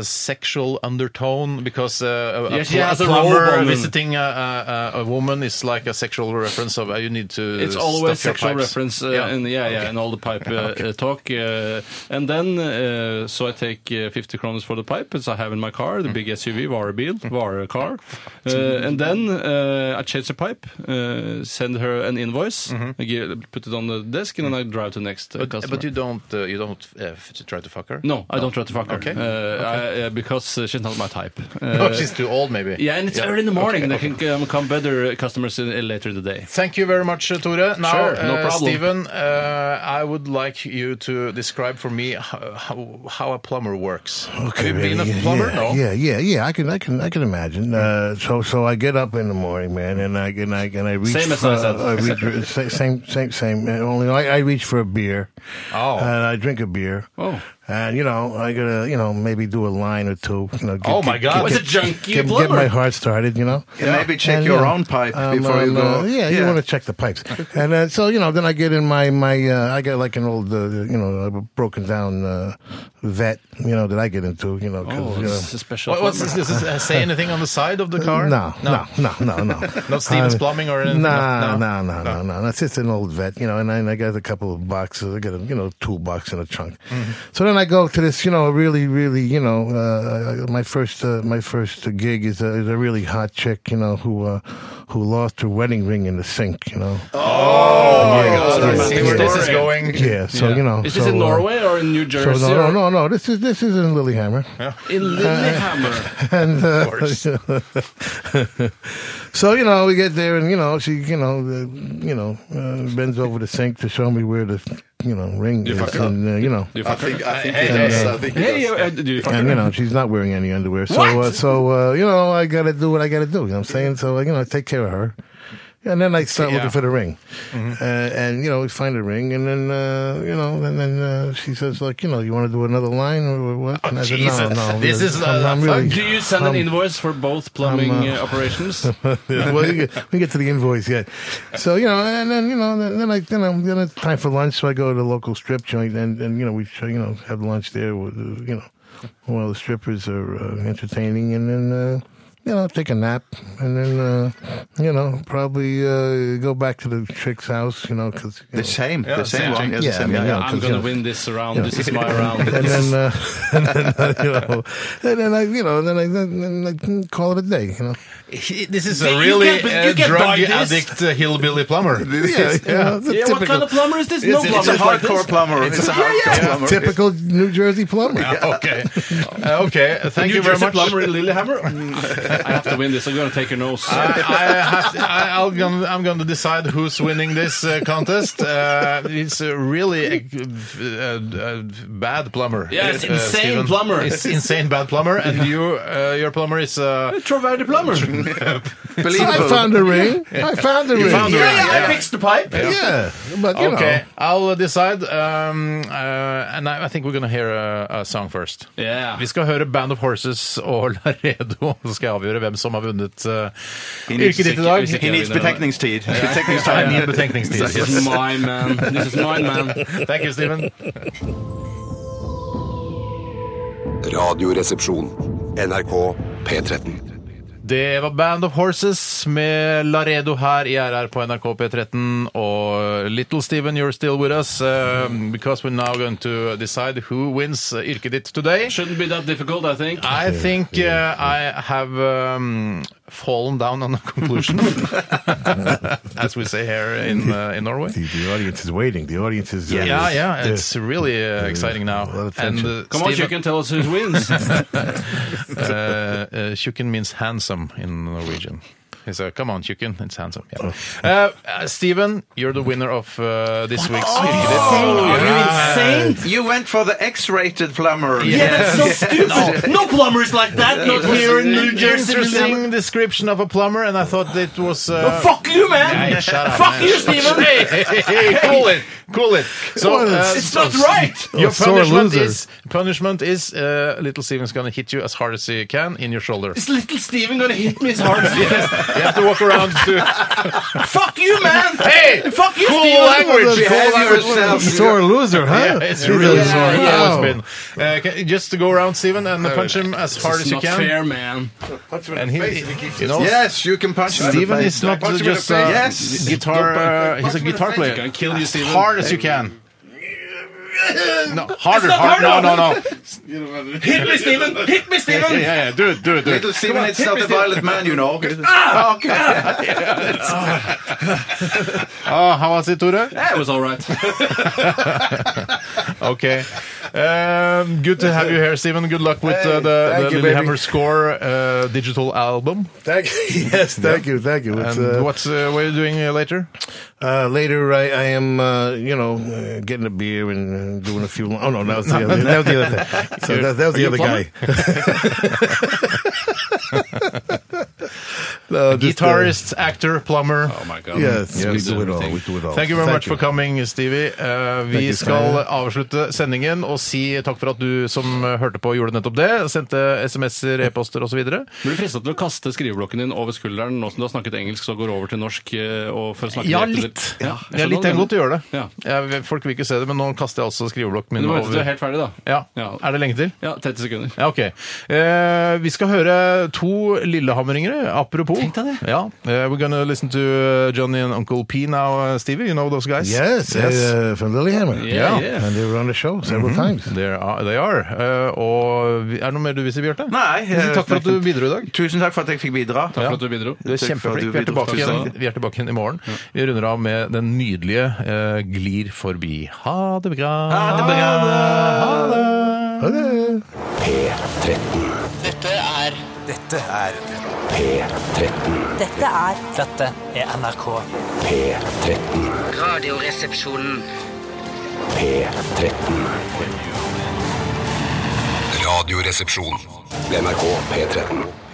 Speaker 1: a sexual undertone? Because uh, a,
Speaker 3: Yeah, she
Speaker 1: pl-
Speaker 3: has a robe
Speaker 1: plumber
Speaker 3: on.
Speaker 1: visiting a, a, a- a woman is like a sexual reference of uh, you need to.
Speaker 3: it's always
Speaker 1: stuff
Speaker 3: sexual
Speaker 1: your pipes.
Speaker 3: reference uh,
Speaker 1: Yeah.
Speaker 3: and yeah yeah and all the pipe uh, uh, talk uh, and then uh, so I take uh, 50 kroners for the pipe as I have in my car the big
Speaker 1: Mm.
Speaker 3: SUV Varebil Vare car uh, and then uh, I change the pipe uh, send her an invoice I give, put it on the desk and then I drive to next uh,
Speaker 1: Mm-hmm. But,
Speaker 3: customer
Speaker 1: but you don't uh, you don't uh, f- try to fuck her.
Speaker 3: no I don't try to fuck her
Speaker 1: Okay.
Speaker 3: uh, I, uh, because uh, she's not my type
Speaker 1: Oh,
Speaker 3: Uh,
Speaker 1: she's too old, maybe.
Speaker 3: yeah and it's early in the morning they can um, come better customers in, uh, later in the day
Speaker 1: Thank you very much, uh, Tore. Now,
Speaker 3: Sure, no
Speaker 1: uh,
Speaker 3: problem.
Speaker 1: Stephen, uh, I would like you to describe for me how, how, how a plumber works. Have you been
Speaker 9: yeah,
Speaker 1: a plumber?
Speaker 9: Yeah,
Speaker 1: no.
Speaker 9: yeah, yeah, yeah. I can, I can, I can imagine. Uh, so, so I get up in the morning, man, and I and I and I reach.
Speaker 3: Same as
Speaker 9: for,
Speaker 3: I said.
Speaker 9: I reach, sa- same, same, same. uh, Only I, I reach for a beer.
Speaker 1: Oh.
Speaker 9: And I drink a beer.
Speaker 3: Oh.
Speaker 9: And you know, know, I gotta, you know, maybe do a line or two. You know, get,
Speaker 1: Oh, my God. It's a junkie
Speaker 9: get, get
Speaker 1: plumber.
Speaker 9: my heart started, you know.
Speaker 2: And maybe check
Speaker 9: And,
Speaker 2: your
Speaker 9: yeah,
Speaker 2: own pipe
Speaker 9: um,
Speaker 2: before you
Speaker 9: um,
Speaker 2: go.
Speaker 9: uh, yeah, you want to check the pipes. and uh, so, you know, then I get in my, my uh, I got like an old, uh, you know, a broken down uh, vet, you know, that I get into, you know. 'cause,
Speaker 3: Oh,
Speaker 9: you know,
Speaker 3: this is special.
Speaker 1: What, what's this? Does this uh, say anything on the side of the car?
Speaker 9: Uh, No, no, no, no, no.
Speaker 1: Not Stevens Plumbing or anything?
Speaker 9: Nah,
Speaker 1: No, Ah.
Speaker 9: no, no, no, no. That's just an old vet, you know. And I, and I got a couple of boxes. I got a you know toolbox and a trunk.
Speaker 1: Mm-hmm.
Speaker 9: So then I go to this, you know, really, really, you know, uh, my first, uh, my first gig is a, is a really hot chick, you know, who uh, who lost her wedding ring in the sink, you know.
Speaker 1: Oh,
Speaker 9: Yeah,
Speaker 1: God,
Speaker 9: yeah,
Speaker 1: I see
Speaker 9: yeah.
Speaker 1: where this is going.
Speaker 9: Yeah. So you know,
Speaker 3: Is
Speaker 9: so,
Speaker 3: this in
Speaker 9: uh,
Speaker 3: Norway or in New
Speaker 9: so
Speaker 3: Jersey?
Speaker 9: no, no,
Speaker 3: or-
Speaker 9: no, no. This is this is in Lilyhammer.
Speaker 3: In Lillehammer.
Speaker 9: and uh, so you know we get there and you know she you know the, you know uh, bends over the sink to show me where the you know ring
Speaker 3: You fuck
Speaker 9: is
Speaker 3: her up.
Speaker 9: and uh, you know
Speaker 3: Do you
Speaker 4: I
Speaker 3: fuck her?
Speaker 4: think, I think
Speaker 1: Hey,
Speaker 4: he
Speaker 1: hey,
Speaker 4: does.
Speaker 1: hey.
Speaker 4: I think he
Speaker 3: Hey,
Speaker 4: does.
Speaker 3: uh, do you fuck
Speaker 9: and
Speaker 3: her?
Speaker 9: you know she's not wearing any underwear so
Speaker 3: What?
Speaker 9: Uh, so uh, you know I got to do what I got to do you know what I'm saying so uh, you know I take care of her and then I start
Speaker 1: Yeah.
Speaker 9: looking for the ring
Speaker 3: Mm-hmm.
Speaker 9: uh, and you know we find the ring and then uh, you know and then uh, she says like you know you want to do another line or what and I said,
Speaker 1: Jesus. This is, uh,
Speaker 3: Do you send
Speaker 9: I'm-
Speaker 3: an invoice for both plumbing
Speaker 9: I'm,
Speaker 3: uh, operations?
Speaker 9: Yeah, well, we get, we get to the invoice yet. So you know, and then you know, then, then I then, I'm, then it's time for lunch. So I go to the local strip joint, and, and you know we try, you know have lunch there. With, uh, you know, while the strippers are uh, entertaining, and then uh, you know take a nap, and then uh, you know probably uh, go back to the chick's house. You know, because
Speaker 2: The same, the same,
Speaker 1: same
Speaker 2: one.
Speaker 1: thing.
Speaker 2: the
Speaker 9: Yeah,
Speaker 2: same
Speaker 9: I mean,
Speaker 2: guy.
Speaker 9: yeah.
Speaker 3: I'm
Speaker 9: 'cause,
Speaker 3: going to
Speaker 9: you know,
Speaker 3: win this round.
Speaker 9: you know,
Speaker 3: This is my round.
Speaker 9: and then, uh, and then uh, you know, and then I, you know, and then I, then I then I call it a day. You know,
Speaker 1: He- This is
Speaker 3: You
Speaker 1: a really
Speaker 3: can't be- you
Speaker 1: uh,
Speaker 3: can't buy
Speaker 1: drug
Speaker 3: this.
Speaker 1: addict uh, hillbilly plumber.
Speaker 9: yeah, you know,
Speaker 3: yeah,
Speaker 9: it's a
Speaker 3: what
Speaker 9: typical-
Speaker 3: kind of plumber is this? No
Speaker 1: It's- it's
Speaker 3: plumber.
Speaker 2: It's a hardcore plumber. It's a hardcore plumber.
Speaker 9: typical New Jersey plumber.
Speaker 1: Ah, okay. Uh, okay. Thank
Speaker 3: New
Speaker 1: you very
Speaker 3: Jersey
Speaker 1: much.
Speaker 3: plumber in Lillehammer. Mm. I have to win this. I'm going to take your nose.
Speaker 1: I, I have to, I, I'll gonna, I'm going to decide who's winning this uh, contest. Uh, it's a really a, a, a bad plumber. Uh,
Speaker 3: Yeah, it's insane
Speaker 1: Steven.
Speaker 3: plumber.
Speaker 1: It's insane bad plumber, and you, uh, your plumber is. Uh,
Speaker 3: Troverdi plumber.
Speaker 9: I found a ring. I found a ring.
Speaker 1: found a
Speaker 9: yeah.
Speaker 1: ring.
Speaker 3: I fixed the pipe.
Speaker 9: Yeah, but you
Speaker 1: okay, I'll uh, decide. Um, uh, and I, I think we're going to hear a, a song first.
Speaker 3: Yeah.
Speaker 1: Vi skal høre Band of Horses og Laredo, og så skal jeg avgjøre hvem som har vunnet uh, yrket ditt i dag.
Speaker 3: Hvis ikke-
Speaker 2: He needs betenkningstid.
Speaker 1: I
Speaker 2: Betenkningstid.
Speaker 1: need betenkningstid.
Speaker 3: This is my man. This is my man.
Speaker 1: Thank you, Steven.
Speaker 5: Radioresepsjon. NRK P13.
Speaker 1: Det var Band of Horses med Laredo her i RR på NRK P13 og Little Steven, you're still with us uh, because we're now going to decide who wins uh, yrket ditt today.
Speaker 3: Shouldn't be that difficult, I think.
Speaker 1: I think uh, I have um, fallen down on a conclusion, as we say here in uh, in Norway.
Speaker 9: The, the audience is waiting. The audience is.
Speaker 1: Yeah,
Speaker 9: uh,
Speaker 1: yeah,
Speaker 9: the-
Speaker 1: it's really uh, exciting now.
Speaker 9: A lot of
Speaker 1: And
Speaker 9: tension.
Speaker 1: uh,
Speaker 3: Come on, you
Speaker 1: Steven-
Speaker 3: can tell us who wins.
Speaker 1: uh, uh, Tjukken means handsome in Norwegian. He said, come on, Tjukken, it's handsome. Yeah. Uh, uh, Steven, you're the winner of uh, this week's
Speaker 3: Are you insane?
Speaker 2: You went for the X-rated plumber.
Speaker 3: Yeah, that's so stupid. No plumbers like that. Not here in New Jersey. Lillehammer.
Speaker 1: Interesting description of a plumber, and I thought it was. Uh,
Speaker 3: Fuck you, man.
Speaker 1: Yeah, shut up,
Speaker 3: Fuck
Speaker 1: man.
Speaker 3: you, Steven.
Speaker 1: Hey, hey, hey, cool it, cool it. So, uh,
Speaker 3: It's not right.
Speaker 1: your
Speaker 9: sore
Speaker 1: punishment
Speaker 9: loser.
Speaker 1: is, punishment is uh, little Steven's gonna hit you as hard as he can in your shoulder.
Speaker 3: Is little Steven gonna hit me as hard as this?
Speaker 1: You have to walk around to.
Speaker 3: Fuck you, man.
Speaker 1: Hey,
Speaker 3: Fuck you,
Speaker 1: cool
Speaker 3: Steven.
Speaker 1: language, cool
Speaker 2: Behave
Speaker 1: language.
Speaker 2: yourself.
Speaker 9: Sore loser, huh?
Speaker 1: Yeah, it's
Speaker 9: He's a
Speaker 1: really
Speaker 9: sore-
Speaker 1: sore. It's
Speaker 9: Wow.
Speaker 1: always been. Uh, can, just to go around, Steven, and punch him as hard as
Speaker 3: It's
Speaker 1: you
Speaker 3: not
Speaker 1: can.
Speaker 3: fair, man.
Speaker 1: And he, you know,
Speaker 2: Yes, you can punch him. in the
Speaker 1: Steven
Speaker 2: face.
Speaker 1: is not
Speaker 2: Punch him in the
Speaker 1: just uh,
Speaker 2: face. yes.
Speaker 1: guitar. Uh, he's a
Speaker 2: Punch him in the
Speaker 1: guitar
Speaker 2: face.
Speaker 1: player.
Speaker 3: Gonna kill you,
Speaker 1: as
Speaker 3: Steven.
Speaker 1: hard as you can. No, harder,
Speaker 3: not
Speaker 1: harder. No,
Speaker 3: hard
Speaker 1: no, no.
Speaker 3: Hit me, Steven. Hit me,
Speaker 1: Yeah,
Speaker 3: Steven.
Speaker 1: yeah, do it, do it, do it.
Speaker 2: Little Steven, it's not a violent man, you know. okay.
Speaker 1: Ah, how was it, Tore?
Speaker 3: That was all right.
Speaker 1: Okay. Um, good to have you here, Steven. Good luck with uh, the,
Speaker 9: Hey,
Speaker 1: the
Speaker 9: thank you,
Speaker 1: Lillehammer
Speaker 9: baby.
Speaker 1: Score uh, digital album.
Speaker 9: Thank you. Yes, thank you, thank you. It's,
Speaker 1: And
Speaker 9: uh,
Speaker 1: what's uh, what are you doing uh, later?
Speaker 9: uh, later, I, I am, uh, you know, uh, getting a beer and uh, doing a few. Oh no, that was the other. That was the other thing. So that, that was the
Speaker 1: you
Speaker 9: other
Speaker 1: a plumber?
Speaker 9: guy. No, just, uh,
Speaker 1: Guitarist, actor, plumber.
Speaker 3: Oh my god.
Speaker 9: Yes,
Speaker 3: Yes,
Speaker 9: we do it all.
Speaker 3: everything.
Speaker 9: We do it all.
Speaker 1: Thank you very much for coming, Stevie. Eh, vi
Speaker 9: Thank you,
Speaker 1: skal
Speaker 9: Steinar.
Speaker 1: avslutte sendingen og si takk for at du som eh, hørte på, gjorde nettopp det. Sendte SMS-er, e-poster osv.
Speaker 3: Blir du frista til å kaste skriveblokken din over skulderen nå som du har snakket engelsk så går over til norsk? eh, Og for å snakke
Speaker 1: Ja,
Speaker 3: direkte til-
Speaker 1: litt.
Speaker 3: Ja, jeg
Speaker 1: Jeg er litt
Speaker 3: skjønner
Speaker 1: god til å gjøre det.
Speaker 3: Ja.
Speaker 1: Jeg- folk vil ikke se det, men nå kaster jeg også skriveblokken
Speaker 3: Men
Speaker 1: min
Speaker 3: Du må vente til du er
Speaker 1: over.
Speaker 3: helt ferdig, da.
Speaker 1: Ja.
Speaker 3: Ja.
Speaker 1: Er det lenge til?
Speaker 3: Ja, 30 sekunder.
Speaker 1: Ja, ok. Eh, vi skal høre to lillehammeringere, apropos.
Speaker 3: Tenk deg det.
Speaker 1: Ja. Eh, we're gonna listen to eh, Johnny and Uncle P now, eh, Stevie. You know those guys?
Speaker 9: Yes, Uh, from Lilyhammer.
Speaker 3: Yeah, yeah.
Speaker 9: And they were on the show several times.
Speaker 1: They are. They are. Eh, og vi- er det noe mer du vil si, Bjarte?
Speaker 2: Nei, eh,
Speaker 1: Takk for at du bidro i dag.
Speaker 2: Tusen takk for at jeg fikk bidra.
Speaker 3: Takk
Speaker 1: Ja.
Speaker 3: for at du bidro.
Speaker 1: Du er kjempeflink. Vi er tilbake igjen, vi er tilbake igjen i morgen. Vi runder av med den nydelige eh, Glir forbi. Ha det bra. Ha det bra. Ha det.
Speaker 5: P13.
Speaker 6: Dette er
Speaker 5: P13.
Speaker 10: Dette er
Speaker 6: Dette er NRK.
Speaker 5: P13.
Speaker 11: Radioresepsjonen.
Speaker 5: P13. Radioresepsjon. NRK P13.